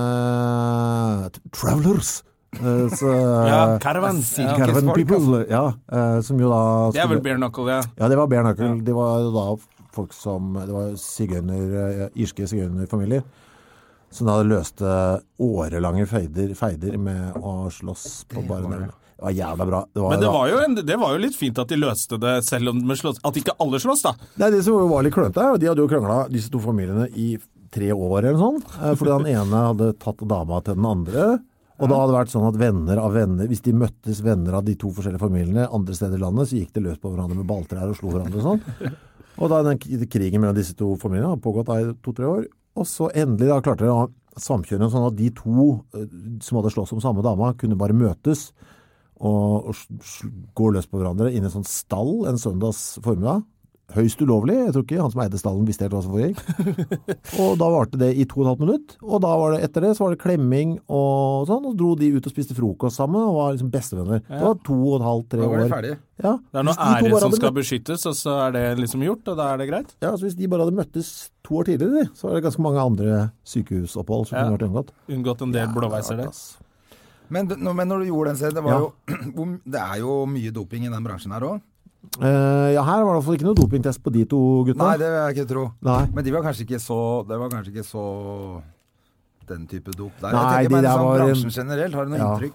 [SPEAKER 3] travelers. Eh, så,
[SPEAKER 1] Ja, caravan.
[SPEAKER 3] Ja,
[SPEAKER 1] Ja. altså.
[SPEAKER 3] caravan
[SPEAKER 2] folk,
[SPEAKER 3] people, ja. eh, som jo da
[SPEAKER 1] Det er vel
[SPEAKER 3] skulle-
[SPEAKER 1] bare knuckle, ja.
[SPEAKER 3] Ja, det var bare knuckle. Det var jo da folk som Det var sigøyner, eh, irske sigøynerfamilier. Som da løste årelange feider, feider med å slåss på bare nervene. Det var jævla bra. Det var,
[SPEAKER 1] Men det
[SPEAKER 3] da-
[SPEAKER 1] var, jo en, det var jo litt fint at de løste det, selv om de slåss. At ikke alle slåss, da.
[SPEAKER 3] Nei, det som var litt klønete, er jo de hadde jo krangla, disse to familiene, i tre år eller sånn. eh, Fordi han ene hadde tatt dama til den andre. Og da hadde det vært sånn at venner av venner, hvis de møttes venner av de to forskjellige familiene andre steder i landet, så gikk de løs på hverandre med balltrær og slo hverandre og sånn. Og da den k- krigen mellom disse to familiene har pågått da i to-tre år. Og så endelig da klarte de å samkjøre en sånn at de to eh, som hadde slåss om samme dama, kunne bare møtes og, og sl- sl- gå løs på hverandre inne i en sånn stall en søndags formiddag. Høyst ulovlig. Jeg tror ikke han som eide stallen visste helt hva som foregikk. Og da varte det i to og et halvt minutt. Og da var det etter det så var det klemming og sånn. Og dro de ut og spiste frokost sammen og var liksom bestevenner. Det var to og et halvt, tre
[SPEAKER 2] Da
[SPEAKER 3] år.
[SPEAKER 2] var de ferdige.
[SPEAKER 3] Ja.
[SPEAKER 1] Det er
[SPEAKER 3] Hvis de
[SPEAKER 1] noe
[SPEAKER 3] to bare
[SPEAKER 1] ære som
[SPEAKER 3] hadde
[SPEAKER 1] skal beskyttes, og så er det liksom gjort, og da er det greit.
[SPEAKER 3] ja, altså Hvis de bare hadde møttes to år tidligere, de, så var det ganske mange andre sykehusopphold som
[SPEAKER 1] Ja.
[SPEAKER 3] kunne vært unngått.
[SPEAKER 1] Unngått en del blåveiser der.
[SPEAKER 3] ass.
[SPEAKER 2] Men, du- nå- men når du gjorde den serien, det, var
[SPEAKER 3] Ja.
[SPEAKER 2] jo, hvor- det er jo mye doping i den bransjen her òg.
[SPEAKER 3] Eh, ja, her var det i hvert fall ikke noe dopingtest på de to gutta.
[SPEAKER 2] Nei, det vil jeg ikke tro.
[SPEAKER 3] Nei.
[SPEAKER 2] Men de var kanskje ikke så Det var kanskje ikke så den type dop der.
[SPEAKER 3] Nei,
[SPEAKER 2] jeg
[SPEAKER 3] de
[SPEAKER 2] tenker bare
[SPEAKER 3] der
[SPEAKER 2] sånn
[SPEAKER 3] var-
[SPEAKER 2] bransjen generelt. Har du noe
[SPEAKER 3] Ja.
[SPEAKER 2] inntrykk?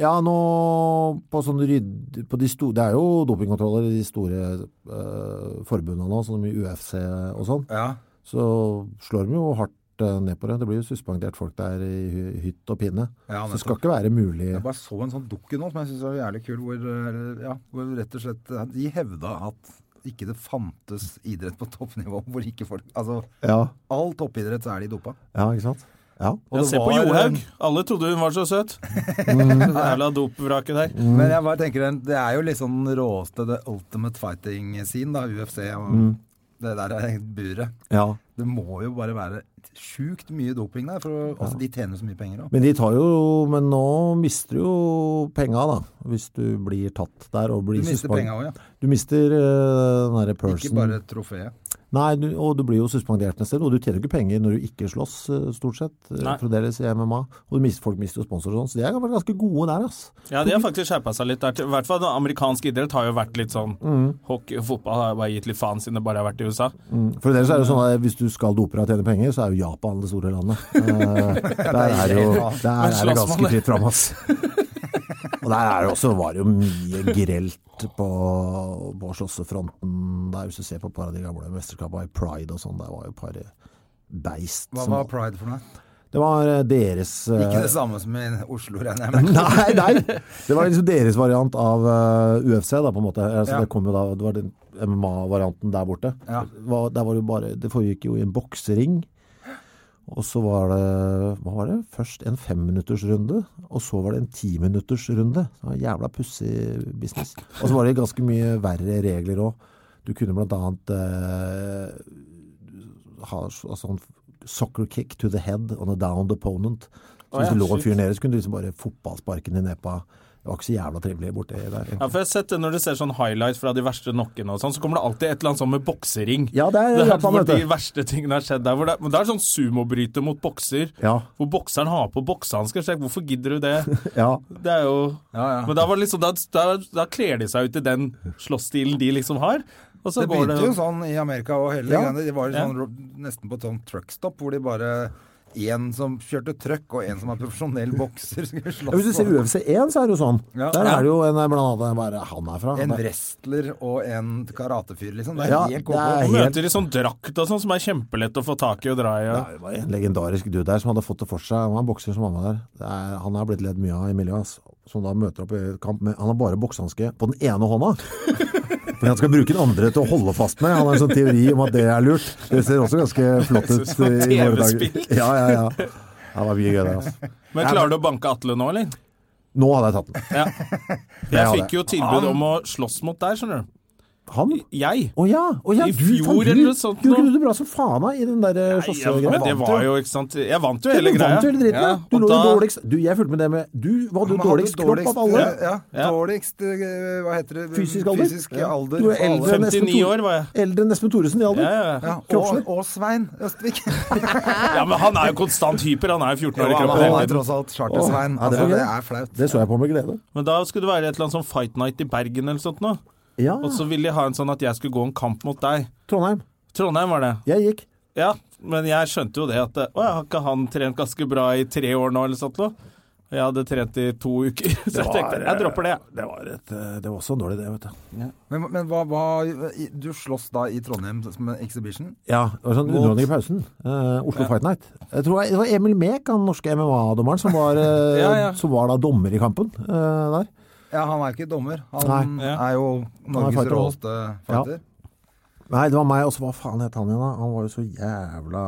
[SPEAKER 3] Ja, nå på sånn rydd... På de store, det er jo dopingkontroller i de store eh, forbundene nå, sånn som i UFC og sånn.
[SPEAKER 2] Ja.
[SPEAKER 3] Så slår de jo hardt eh, ned på det. Det blir jo suspendert folk der i hy- hytt og pinne.
[SPEAKER 2] Ja,
[SPEAKER 3] så det skal ikke være mulig.
[SPEAKER 2] Jeg bare så en sånn dukke nå som jeg syns var jævlig kul, hvor, eh, ja, hvor rett og slett eh, de hevda at ikke det fantes idrett på toppnivå hvor ikke folk Altså,
[SPEAKER 3] Ja,
[SPEAKER 2] all toppidrett så er de dopa.
[SPEAKER 3] ja ikke sant? Ja.
[SPEAKER 2] Og det
[SPEAKER 1] Se på
[SPEAKER 2] var,
[SPEAKER 1] Johaug.
[SPEAKER 2] eh,
[SPEAKER 1] Alle trodde hun var så søt. Jævla dopvraket der.
[SPEAKER 2] Men jeg bare tenker, det er jo liksom den råeste the ultimate fighting scene, da, UFC. Og
[SPEAKER 3] Mm.
[SPEAKER 2] Det der er buret.
[SPEAKER 3] ja.
[SPEAKER 2] Det må jo bare være sjukt mye doping der, for altså, de tjener så mye penger òg.
[SPEAKER 3] Men de tar jo Men nå mister du jo penga, da. Hvis du blir tatt der og blir
[SPEAKER 2] Du mister
[SPEAKER 3] suspendert.
[SPEAKER 2] penga òg, ja.
[SPEAKER 3] Du mister eh, den derre
[SPEAKER 2] Ikke
[SPEAKER 3] person
[SPEAKER 2] bare trofeet.
[SPEAKER 3] Nei, du, og du blir jo suspendert neste sted, og du tjener jo ikke penger når du ikke slåss, eh, stort sett, eh,
[SPEAKER 1] Nei.
[SPEAKER 3] fremdeles i MMA. Og du mister, folk mister jo sponsorer og sånn, så de er vært ganske gode der, ass.
[SPEAKER 1] Ja, de har faktisk skjerpa seg litt der. til- I hvert fall amerikansk idrett har jo vært litt sånn Hockey og fotball har bare gitt litt faen siden det bare har vært i USA.
[SPEAKER 3] Fremdeles er det jo sånn at hvis du skal dope deg og tjene penger, så er jo Japan det store landet. Eh, der er det jo der er det ganske fritt fram, ass. Og der er det også, var det jo mye grelt på, på slåssefronten der, hvis du ser på et par av de gamle mesterskapene i Pride og sånn, der var jo et par eh, beist.
[SPEAKER 2] Hva
[SPEAKER 3] som-
[SPEAKER 2] var pride for noe?
[SPEAKER 3] det var eh, deres eh,
[SPEAKER 2] Ikke det samme som i Oslo, regner jeg med.
[SPEAKER 3] Nei, nei. Det var liksom deres variant av eh, UFC, da, på en måte. Altså,
[SPEAKER 2] Ja.
[SPEAKER 3] Det kom jo da, det var den MMA-varianten der borte.
[SPEAKER 2] Ja.
[SPEAKER 3] Det var- der var det, jo bare, det foregikk jo i en boksering. Og så var det hva var det? først en femminuttersrunde, og så var det en timinuttersrunde. Det var en Jævla pussig business. Og så var det ganske mye verre regler òg. Du kunne blant annet eh, ha så- sånn soccer kick to the head on a downed opponent. Så
[SPEAKER 1] Å
[SPEAKER 3] hvis
[SPEAKER 1] ja,
[SPEAKER 3] du lå og
[SPEAKER 1] shit.
[SPEAKER 3] fyr nede, så kunne du liksom bare fotballsparken i nepa. Det var ikke så jævla trivelig borti der.
[SPEAKER 1] Ja, for jeg har sett det Når du ser sånn highlights fra de verste knockene, og sånn, så kommer det alltid et eller annet sånn med boksering.
[SPEAKER 3] Ja, det er
[SPEAKER 1] Det er
[SPEAKER 3] Japan,
[SPEAKER 1] hvor
[SPEAKER 3] vet du.
[SPEAKER 1] de verste tingene har skjedd der. Hvor det, men det er sånn sumobryter mot bokser.
[SPEAKER 3] Ja,
[SPEAKER 1] Hvor bokseren har på boksehansker. så jeg- Hvorfor gidder du det?
[SPEAKER 3] ja.
[SPEAKER 1] Det er jo
[SPEAKER 2] Ja, ja.
[SPEAKER 1] Men da var det liksom Da, da, da kler de seg ut i den slåssstilen de liksom har. Og så
[SPEAKER 2] Det
[SPEAKER 1] går
[SPEAKER 2] begynte jo sånn i Amerika og hele
[SPEAKER 3] Ja.
[SPEAKER 2] greiene. Det var jo
[SPEAKER 1] Ja.
[SPEAKER 2] sånn, ro- nesten på et sånt truckstop, hvor de bare en som kjørte trøkk, og en som er profesjonell bokser, skulle
[SPEAKER 3] Ja, Hvis du
[SPEAKER 2] slåss.
[SPEAKER 3] ser
[SPEAKER 2] på.
[SPEAKER 3] UFC1, så er det jo sånn.
[SPEAKER 2] Ja.
[SPEAKER 3] Der er det jo en blant annet bare han er fra.
[SPEAKER 2] En
[SPEAKER 3] Det-
[SPEAKER 2] wrestler og en karatefyr, liksom. Det er
[SPEAKER 3] Ja,
[SPEAKER 2] helt
[SPEAKER 3] det er
[SPEAKER 1] Og
[SPEAKER 2] koko.
[SPEAKER 3] helt-
[SPEAKER 1] møter i sånn drakt og sånn, som er kjempelett å få tak i og dra i.
[SPEAKER 3] det
[SPEAKER 1] Ja.
[SPEAKER 3] er jo bare en legendarisk dude der som hadde fått det for seg. Han var en bokser som mamma der. Det er, han har blitt ledd mye av i miljøet, ass. Som da møter opp i kamp med Han har bare boksehanske på den ene hånda. Fordi han skal bruke den andre til å holde fast med. Han har en sånn teori om at det er lurt. Det ser også ganske flott ut.
[SPEAKER 1] Som et
[SPEAKER 3] i våre dager.
[SPEAKER 1] TV-spill.
[SPEAKER 3] Ja, ja, ja. Det var mye gøy der, altså.
[SPEAKER 1] Men klarer du å banke Atle nå, eller?
[SPEAKER 3] Nå hadde jeg tatt den.
[SPEAKER 1] Ja.
[SPEAKER 3] Det
[SPEAKER 1] Jeg
[SPEAKER 3] hadde
[SPEAKER 1] fikk jo tilbud om å slåss mot deg, skjønner du.
[SPEAKER 3] Han?
[SPEAKER 1] Jeg.
[SPEAKER 3] Å ja! Å ja
[SPEAKER 1] I
[SPEAKER 3] du,
[SPEAKER 1] fjor
[SPEAKER 3] faen, du,
[SPEAKER 1] eller noe sånt
[SPEAKER 3] Du
[SPEAKER 1] nå.
[SPEAKER 3] gjorde det bra som faen meg i den der eh,
[SPEAKER 1] Ja, men det
[SPEAKER 3] slåssegreia.
[SPEAKER 1] var jo, ikke sant Jeg vant jo hele
[SPEAKER 3] Du
[SPEAKER 1] greia.
[SPEAKER 3] vant jo hele dritten,
[SPEAKER 1] Ja,
[SPEAKER 3] ja. Du
[SPEAKER 1] og
[SPEAKER 3] lå jo
[SPEAKER 1] da-
[SPEAKER 3] dårligst. Du, jeg fulgte med det med Du var jo
[SPEAKER 2] Men hadde eh,
[SPEAKER 3] dårligst kropp av alle.
[SPEAKER 2] Ja, ja,
[SPEAKER 1] Ja.
[SPEAKER 2] dårligst eh, Hva heter det?
[SPEAKER 3] Fysisk alder.
[SPEAKER 2] Fysisk alder
[SPEAKER 3] Du er
[SPEAKER 2] for alle.
[SPEAKER 3] eldre enn Espen
[SPEAKER 1] 59
[SPEAKER 3] Thor-
[SPEAKER 1] år var jeg.
[SPEAKER 3] Eldre enn Espen Thoresen i alder.
[SPEAKER 1] Ja, ja, ja.
[SPEAKER 2] Ja,
[SPEAKER 3] Kroppslig.
[SPEAKER 2] og, og Svein Østvik.
[SPEAKER 1] ja, men han er jo konstant hyper. Han er jo 14 år i
[SPEAKER 2] Ja,
[SPEAKER 1] kroppen
[SPEAKER 2] han er
[SPEAKER 1] hele tiden.
[SPEAKER 2] tross alt Charter-Svein.
[SPEAKER 3] Å, ja, det
[SPEAKER 2] Altså,
[SPEAKER 3] var
[SPEAKER 2] det
[SPEAKER 3] gøy.
[SPEAKER 2] er flaut.
[SPEAKER 3] Det så jeg på med glede.
[SPEAKER 1] Men da skulle det være et eller annet sånn Fight Night i Bergen eller sånt noe.
[SPEAKER 3] Ja,
[SPEAKER 1] Og så ville de ha en sånn at jeg skulle gå en kamp mot deg.
[SPEAKER 3] Trondheim.
[SPEAKER 1] Trondheim var det.
[SPEAKER 3] Jeg gikk.
[SPEAKER 1] Ja, men jeg skjønte jo det at Å ja, har ikke han trent ganske bra i tre år nå, eller sånt noe? Og Jeg hadde trent i to uker, så jeg tenkte jeg dropper det, jeg.
[SPEAKER 3] Det var, et, eh, det var også en dårlig idé, vet du.
[SPEAKER 2] Men, men hva, hva Du slåss da i Trondheim som en exhibition?
[SPEAKER 3] Ja, det var sånn
[SPEAKER 2] Mot-
[SPEAKER 3] underholdning i pausen. Eh, Oslo Fight Night. Jeg tror jeg, det var Emil Mek, han norske MMA-dommeren, som, var, eh,
[SPEAKER 1] Ja, ja.
[SPEAKER 3] som var da dommer i kampen eh, der.
[SPEAKER 2] Ja, han er jo ikke dommer. Han
[SPEAKER 1] Nei.
[SPEAKER 2] er jo Norges
[SPEAKER 3] fighter også.
[SPEAKER 2] råeste fighter.
[SPEAKER 3] Nei, det var meg, og så hva faen het han igjen da? Han var jo så jævla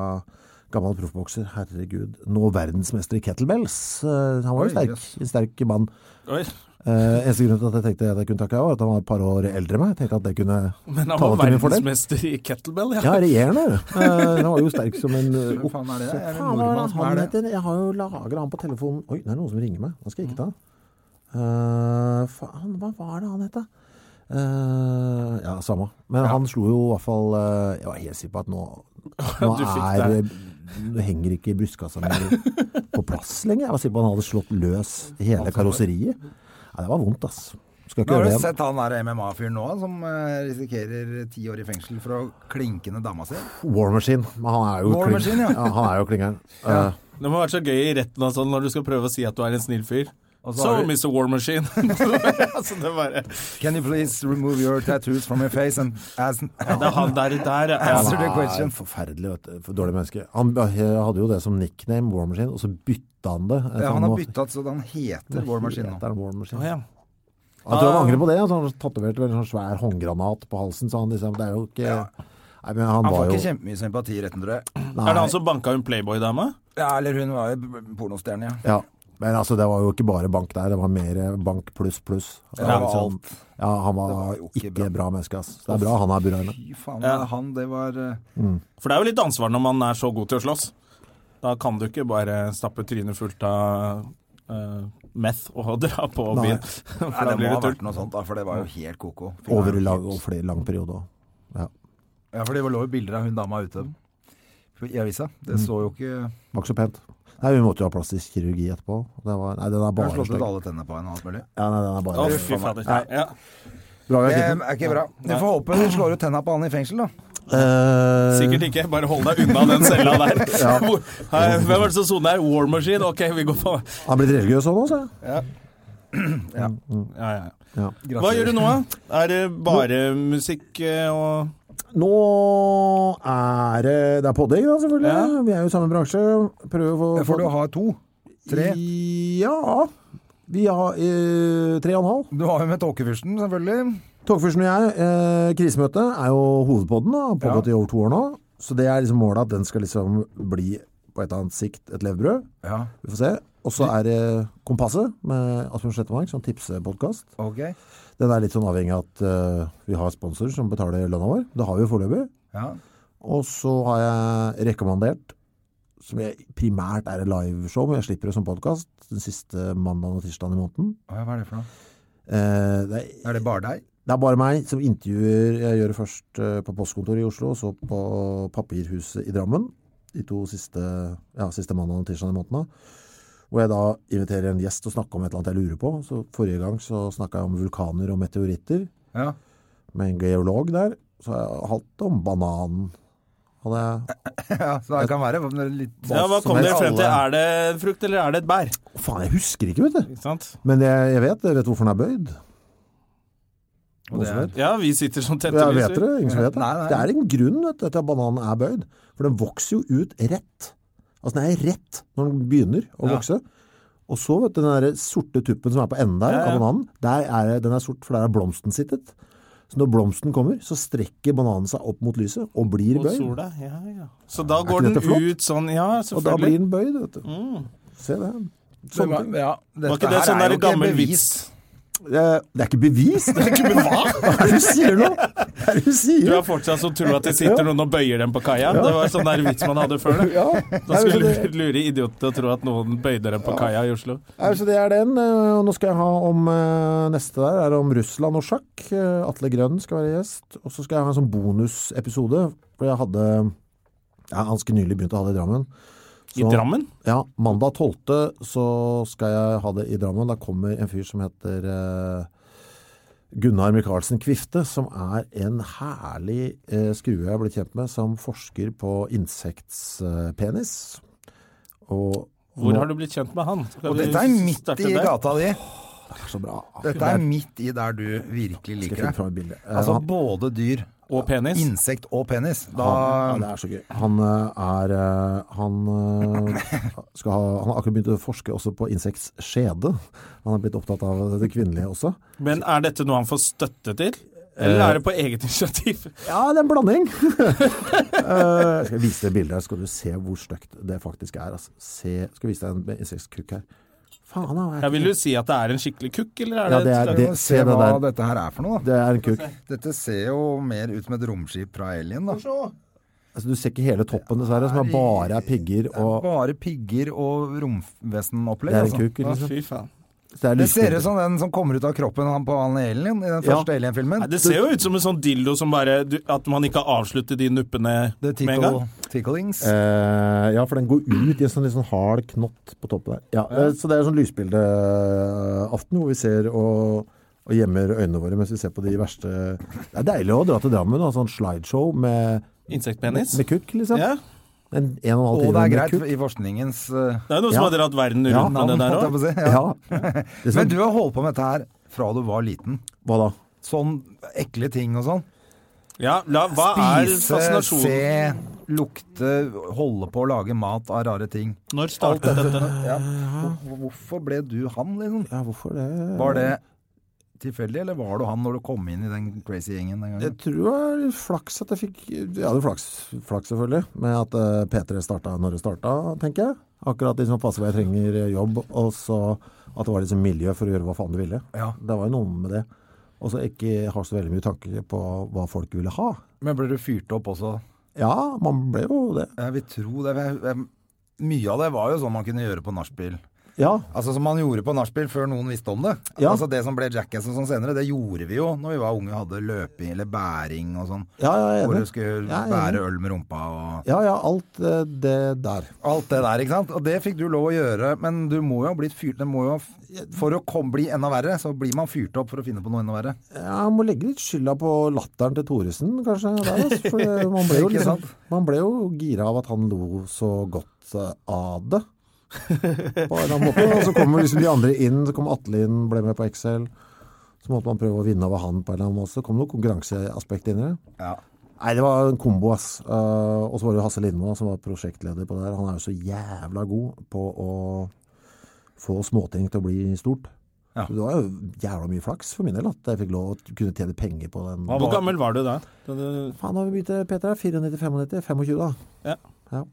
[SPEAKER 3] gammel proffbokser, herregud. Nå verdensmester i kettlebells. Eh, Han var jo
[SPEAKER 2] Oi,
[SPEAKER 3] sterk, en sterk mann.
[SPEAKER 1] Oi.
[SPEAKER 3] Eh, eneste grunn til at jeg tenkte at jeg kunne takke av, var at han var et par år eldre enn meg. Jeg tenkte at det kunne
[SPEAKER 1] Men han
[SPEAKER 3] tale
[SPEAKER 1] var
[SPEAKER 3] til min fordel.
[SPEAKER 1] verdensmester i kettlebell, ja.
[SPEAKER 3] Ja, regjerende. Eh, han var jo sterk som en eh,
[SPEAKER 2] Hvem faen er det? Er det en
[SPEAKER 3] Faen, hva er det
[SPEAKER 2] nordmann som
[SPEAKER 3] han
[SPEAKER 2] er det?
[SPEAKER 3] heter? Jeg har jo lagra han på telefonen Oi, det er noen som ringer meg. Han skal jeg ikke ta.
[SPEAKER 2] Mm.
[SPEAKER 3] Eh, faen, hva var det han het, da? Eh, ja, samme. Men han slo jo i hvert fall eh, Jeg var helt sikker på at nå, nå
[SPEAKER 1] Du fikk
[SPEAKER 3] er Nå henger ikke brystkassa mi på plass lenger. Jeg var sikker på at han hadde slått løs hele karosseriet. Nei, det var vondt, ass. Skal
[SPEAKER 2] Men
[SPEAKER 3] ikke
[SPEAKER 2] har
[SPEAKER 3] gjøre det
[SPEAKER 2] du
[SPEAKER 3] igjen.
[SPEAKER 2] sett han der MMA-fyren nå, som eh, risikerer ti år i fengsel for å klinke ned dama si?
[SPEAKER 3] War Machine. Men han er jo
[SPEAKER 2] War
[SPEAKER 3] kling-
[SPEAKER 2] Machine, ja.
[SPEAKER 3] Han er jo klingeren. Eh,
[SPEAKER 1] Det må være så gøy i retten og sånn når du skal prøve å si at du er en snill fyr.
[SPEAKER 2] Og så
[SPEAKER 1] So,
[SPEAKER 2] har du-
[SPEAKER 1] Mr. War Machine. altså, det, er bare,
[SPEAKER 2] Can you please remove your tattoos from your face and as
[SPEAKER 1] det er han der, der ja.
[SPEAKER 2] Answer the question.
[SPEAKER 3] er forferdelig, vet du. For dårlig menneske. Han eh, hadde jo det som nickname, War Machine, og så bytta han det.
[SPEAKER 2] ja, Han har bytta så han heter War Machine nå. Ah.
[SPEAKER 3] nå. War Machine.
[SPEAKER 1] Å, ja.
[SPEAKER 3] Jeg tror han angrer på det. Altså, han tatoverte vel en sånn svær håndgranat på halsen, så han liksom Det er jo ikke Nei, men han,
[SPEAKER 2] Han
[SPEAKER 3] var
[SPEAKER 2] får
[SPEAKER 3] jo
[SPEAKER 2] ikke kjempemye sympati i retten, tror jeg.
[SPEAKER 3] nei,
[SPEAKER 1] Er det han som banka hun Playboy-dame?
[SPEAKER 2] Ja, eller hun var jo pornostjerne, ja.
[SPEAKER 3] Ja. Men altså, det var jo ikke bare bank der, det var mer eh, bank pluss pluss.
[SPEAKER 2] Ja, det var
[SPEAKER 3] Liksom- ja, han var,
[SPEAKER 2] Det var jo
[SPEAKER 3] ikke,
[SPEAKER 2] ikke bra.
[SPEAKER 3] bra menneske, ass. Det er bra han er burøyne.
[SPEAKER 2] Fy faen,
[SPEAKER 1] Ja.
[SPEAKER 2] han, det var eh,
[SPEAKER 1] For det er jo litt ansvar når man er så god til å slåss. Da kan du ikke bare stappe trynet fullt av eh, meth og dra på
[SPEAKER 3] Nei.
[SPEAKER 1] byen.
[SPEAKER 2] Nei,
[SPEAKER 1] For
[SPEAKER 2] det
[SPEAKER 1] da
[SPEAKER 2] må
[SPEAKER 1] blir
[SPEAKER 2] ha
[SPEAKER 1] det tull.
[SPEAKER 2] vært noe sånt, da, for det var jo helt koko. Fy
[SPEAKER 3] Over i
[SPEAKER 2] faen.
[SPEAKER 3] lang, over flere lang periode òg. Ja.
[SPEAKER 2] Ja, for det lå jo bilder av hun dama ute i avisa.
[SPEAKER 3] Mm.
[SPEAKER 2] Det så jo ikke
[SPEAKER 3] Var ikke så pent. Nei, vi måtte jo ha plastisk kirurgi etterpå. Det var, nei, den er
[SPEAKER 2] Hun
[SPEAKER 3] bare
[SPEAKER 2] slått ut
[SPEAKER 3] slem.
[SPEAKER 2] alle tennene på henne og alt mulig.
[SPEAKER 3] Ja, nei, den er
[SPEAKER 1] Å,
[SPEAKER 3] bare
[SPEAKER 1] fy fader.
[SPEAKER 3] Nei.
[SPEAKER 1] Ja.
[SPEAKER 3] Bra vi
[SPEAKER 2] Det Eh,
[SPEAKER 3] er
[SPEAKER 2] er
[SPEAKER 3] kvitt den.
[SPEAKER 2] ikke bra. Vi får håpe hun slår ut tenna på han i fengsel, da.
[SPEAKER 3] Eh,
[SPEAKER 1] Sikkert ikke. Bare hold deg unna den cella der. Hvor, hei, hvem er det som soner her? War Machine? Ok, vi går på
[SPEAKER 3] Han er blitt religiøs altså. òg nå, ser jeg.
[SPEAKER 1] ja, ja.
[SPEAKER 3] Ja.
[SPEAKER 1] Hva gjør du nå, da? Er det bare musikk eh, og
[SPEAKER 3] Nå er det Det er podding, da, selvfølgelig. Vi er jo i samme bransje. Prøver å få
[SPEAKER 2] For du har to. Tre.
[SPEAKER 3] Ja. Vi har eh, tre og en halv.
[SPEAKER 2] Du har jo med Tåkefyrsten, selvfølgelig.
[SPEAKER 3] Togførsten og jeg, eh, krisemøte, er jo hovedpodden. da, Har pågått i over to år nå. Så det er liksom målet at den skal liksom bli på et eller annet sikt et levebrød.
[SPEAKER 2] Ja,
[SPEAKER 3] Vi får se. Og så er det Kompasset med Asbjørn Slettemark, sånn tipsepodkast.
[SPEAKER 2] ok.
[SPEAKER 3] Den er litt sånn avhengig av at eh, vi har sponsor som betaler lønna vår. Det har vi jo foreløpig.
[SPEAKER 2] Ja.
[SPEAKER 3] Og så har jeg rekommandert, som jeg primært er et liveshow, men jeg slipper det som podkast, den siste mandagen og tirsdagen i måneden.
[SPEAKER 2] Å ja, Hva er det for noe?
[SPEAKER 3] Eh, det, er,
[SPEAKER 2] Er det bare deg?
[SPEAKER 3] det er bare meg som intervjuer. Jeg gjør det først eh, på postkontoret i Oslo, og så på Papirhuset i Drammen. De to siste, ja, siste mandagen og tirsdagen i måneden. da. Hvor jeg da inviterer en gjest til å snakke om et eller annet jeg lurer på. Så Forrige gang så snakka jeg om vulkaner og meteoritter
[SPEAKER 2] Ja.
[SPEAKER 3] med en geolog der. Så har jeg hatt om bananen. Hadde jeg
[SPEAKER 2] ja så det kan være litt
[SPEAKER 1] ja, Hva
[SPEAKER 3] som
[SPEAKER 1] kom dere
[SPEAKER 3] helst,
[SPEAKER 1] frem til?
[SPEAKER 3] alle-
[SPEAKER 1] Er det en frukt, eller er det et bær?
[SPEAKER 3] Å, Faen, jeg husker ikke, vet du.
[SPEAKER 1] Ikke sant?
[SPEAKER 3] Men jeg, jeg vet, jeg vet hvorfor den er bøyd.
[SPEAKER 2] Og det
[SPEAKER 3] Noen som
[SPEAKER 2] er-
[SPEAKER 3] vet?
[SPEAKER 1] Ja, vi sitter som tette
[SPEAKER 3] Jeg vet det, ingen som vet det.
[SPEAKER 2] Nei, nei.
[SPEAKER 3] Det er en grunn vet du, til at bananen er bøyd. For den vokser jo ut rett. Altså den er rett når den begynner å
[SPEAKER 1] Ja.
[SPEAKER 3] vokse. Og så, vet du, den der sorte tuppen som er på enden der
[SPEAKER 1] Ja, ja.
[SPEAKER 3] av bananen, der er, den er sort, for der er blomsten sittet. Så når blomsten kommer, så strekker bananen seg opp mot lyset og blir
[SPEAKER 1] Mot
[SPEAKER 3] bøyd.
[SPEAKER 1] sola, ja, ja. Så da går
[SPEAKER 3] ikke
[SPEAKER 1] den
[SPEAKER 3] dette flott?
[SPEAKER 1] ut sånn, ja,
[SPEAKER 3] Og da
[SPEAKER 1] selvfølgelig. Mm.
[SPEAKER 3] blir den bøyd, vet du. Se det. Sånne ting.
[SPEAKER 2] Ja,
[SPEAKER 1] Var
[SPEAKER 2] sånn- dette
[SPEAKER 1] ikke det
[SPEAKER 2] her
[SPEAKER 1] sånn
[SPEAKER 2] er
[SPEAKER 1] der
[SPEAKER 2] jo ikke
[SPEAKER 1] gammel
[SPEAKER 2] bevis.
[SPEAKER 1] vits?
[SPEAKER 3] Eh, Det er ikke bevis! Det er ikke bevis. Hva er det du sier nå? Hva er det du sier?
[SPEAKER 1] Du er fortsatt som tror at det sitter noen og bøyer dem på kaia. Det var sånn der vits man hadde før. Det. Da
[SPEAKER 3] Nei, men
[SPEAKER 1] skulle
[SPEAKER 3] det-
[SPEAKER 1] du lure idioten til å tro at noen bøyde dem på kaia i Oslo.
[SPEAKER 3] Nei, så det er den. eh, Og nå skal jeg ha om eh, neste der, er om Russland og sjakk. Eh, Atle Grønn skal være gjest. Og så skal jeg ha en sånn bonusepisode, for jeg hadde ja, ganske nylig begynt å ha det i Drammen.
[SPEAKER 1] I
[SPEAKER 3] Så-
[SPEAKER 1] Drammen?
[SPEAKER 3] Ja, mandag 12. så skal jeg ha det i Drammen. Da kommer en fyr som heter eh, Gunnar Michaelsen Kvifte, som er en herlig eh, skrue jeg har blitt kjent med, som forsker på insektspenis. Og
[SPEAKER 1] Hvor har du blitt kjent med han? Skal
[SPEAKER 2] Og
[SPEAKER 1] vi
[SPEAKER 2] dette er midt
[SPEAKER 1] starte
[SPEAKER 2] i
[SPEAKER 1] der?
[SPEAKER 2] gata di.
[SPEAKER 3] Det er så bra.
[SPEAKER 2] Dette er midt i der du virkelig
[SPEAKER 3] Skal
[SPEAKER 2] liker
[SPEAKER 3] jeg finne
[SPEAKER 2] deg.
[SPEAKER 3] fram et bilde. Eh,
[SPEAKER 2] Altså
[SPEAKER 3] han-
[SPEAKER 2] både dyr,
[SPEAKER 1] Og penis?
[SPEAKER 2] insekt og penis.
[SPEAKER 3] han,
[SPEAKER 2] Da
[SPEAKER 3] ja, det er så gøy. Han eh, er eh, Han, eh, skal ha, han har akkurat begynt å forske også på insekts skjede. Han er blitt opptatt av det kvinnelige også.
[SPEAKER 1] Men er dette noe han får støtte til? Eller er det på eget initiativ?
[SPEAKER 3] Ja, det er en blanding. Eh, skal jeg vise deg bildet her, skal du se hvor stygt det faktisk er. Altså. Se, skal jeg vise deg en insektkrukk her. Faen, da.
[SPEAKER 1] Jeg vil jo si at det er en skikkelig kukk, eller er
[SPEAKER 3] Ja,
[SPEAKER 1] det,
[SPEAKER 3] det er-
[SPEAKER 1] et
[SPEAKER 3] det-
[SPEAKER 1] slags-
[SPEAKER 3] se
[SPEAKER 2] Se hva
[SPEAKER 3] det der.
[SPEAKER 2] dette her er for noe, da.
[SPEAKER 3] Det er en kuk.
[SPEAKER 2] Dette ser jo mer ut som et romskip fra Alien, da.
[SPEAKER 3] Altså, du ser ikke hele toppen, dessverre, som er bare er pigger og
[SPEAKER 2] Bare pigger og
[SPEAKER 3] Det
[SPEAKER 2] romvesenopplegg,
[SPEAKER 3] er en
[SPEAKER 2] altså.
[SPEAKER 3] kuk, liksom.
[SPEAKER 1] Fy faen.
[SPEAKER 3] Så det er
[SPEAKER 2] Det ser
[SPEAKER 3] lysbilder.
[SPEAKER 2] ut som den som kommer ut av kroppen han på han Alien i den
[SPEAKER 3] Ja.
[SPEAKER 2] første Alien-filmen.
[SPEAKER 1] Nei, det ser jo ut som en sånn dildo som bare du, At man ikke har avsluttet de nuppene
[SPEAKER 2] The
[SPEAKER 1] med en gang.
[SPEAKER 2] tickle, Ticklings.
[SPEAKER 3] Eh, ja, for den går ut i en sånn litt sånn hard knott på toppen der. Ja, eh, Så det er sånn lysbildeaften hvor vi ser og, og gjemmer øynene våre mens vi ser på de verste Det er deilig å dra til Drammen og ha sånn slideshow med,
[SPEAKER 1] Insektpenis.
[SPEAKER 3] med kukk, liksom.
[SPEAKER 1] Ja.
[SPEAKER 3] En, en og en halv
[SPEAKER 2] Og
[SPEAKER 3] time
[SPEAKER 2] det er greit
[SPEAKER 3] med kupp.
[SPEAKER 2] i forskningens eh,
[SPEAKER 1] Det er noen som
[SPEAKER 3] Ja.
[SPEAKER 1] har dratt verden rundt
[SPEAKER 3] Ja,
[SPEAKER 1] med
[SPEAKER 2] navn,
[SPEAKER 1] det der
[SPEAKER 2] holdt jeg
[SPEAKER 1] òg.
[SPEAKER 2] på å si. Ja.
[SPEAKER 3] Ja. Det sånn- som,
[SPEAKER 2] Men du har holdt på med dette her fra du var liten.
[SPEAKER 3] Hva da?
[SPEAKER 2] Sånn ekle ting og sånn.
[SPEAKER 1] Ja, la, hva er
[SPEAKER 2] Spise, se,
[SPEAKER 1] fascinasjonen?
[SPEAKER 2] lukte, holde på å lage mat av rare ting.
[SPEAKER 1] Når startet dette?
[SPEAKER 2] Ja. Hvor- Hvorfor ble du han, liksom?
[SPEAKER 3] Ja, hvorfor det?
[SPEAKER 2] Var det tilfeldig, eller var du han når du kom inn i den crazy gjengen den
[SPEAKER 3] Jeg
[SPEAKER 2] gangen?
[SPEAKER 3] tror det var litt flaks at jeg fikk Jeg hadde flaks, flaks selvfølgelig, med at eh, P3 starta når det starta, tenker jeg. Akkurat liksom passe hvor jeg trenger eh, jobb, og så at det var liksom miljø for å gjøre hva faen du ville.
[SPEAKER 2] Ja.
[SPEAKER 3] Det var jo noe med det. Og så ikke har så veldig mye tanke på hva folk ville ha.
[SPEAKER 2] Men ble du fyrt opp også?
[SPEAKER 3] Ja, man ble jo det.
[SPEAKER 2] Jeg vil tro det. Jeg, jeg, mye av det var jo sånn man kunne gjøre på nachspiel.
[SPEAKER 3] Ja,
[SPEAKER 2] Altså Som man gjorde på nachspiel før noen visste om det.
[SPEAKER 3] Ja.
[SPEAKER 2] Altså Det som ble jackass og sånn senere, det gjorde vi jo når vi var unge og hadde løping eller bæring og sånn.
[SPEAKER 3] ja, jeg er
[SPEAKER 2] Hvor du
[SPEAKER 3] enig.
[SPEAKER 2] skulle
[SPEAKER 3] Ja, jeg er
[SPEAKER 2] bære øl med rumpa og
[SPEAKER 3] Ja, ja, alt eh, det der.
[SPEAKER 2] alt det der, ikke sant. Og det fikk du lov å gjøre, men du må jo ha blitt fyrt det må jo, For å kom, bli enda verre, så blir man fyrt opp for å finne på noe enda verre.
[SPEAKER 3] Jeg må legge litt skylda på latteren til Thoresen, kanskje. Der, altså, for eh, man, ble jo
[SPEAKER 2] Ikke
[SPEAKER 3] liksom,
[SPEAKER 2] sant?
[SPEAKER 3] man ble jo gira av at han lo så godt eh, av det. På en eller annen måte. Og så kommer liksom de andre inn. Så kom Atle inn, ble med på Excel. Så måtte man prøve å vinne over han på en eller annen måte. Så kom det noe konkurranseaspekt inn i det.
[SPEAKER 2] Ja.
[SPEAKER 3] Nei, det var en kombo, ass. Eh, og så var det jo Hasse Lindmo som var prosjektleder på det her. Han er jo så jævla god på å få småting til å bli stort.
[SPEAKER 2] Ja.
[SPEAKER 3] Så Det var jo jævla mye flaks for min del at jeg fikk lov å kunne tjene penger på den.
[SPEAKER 1] Hvor gammel var du da? Da du-
[SPEAKER 3] Faen, da vi begynte, Peter, 94-95-25 da.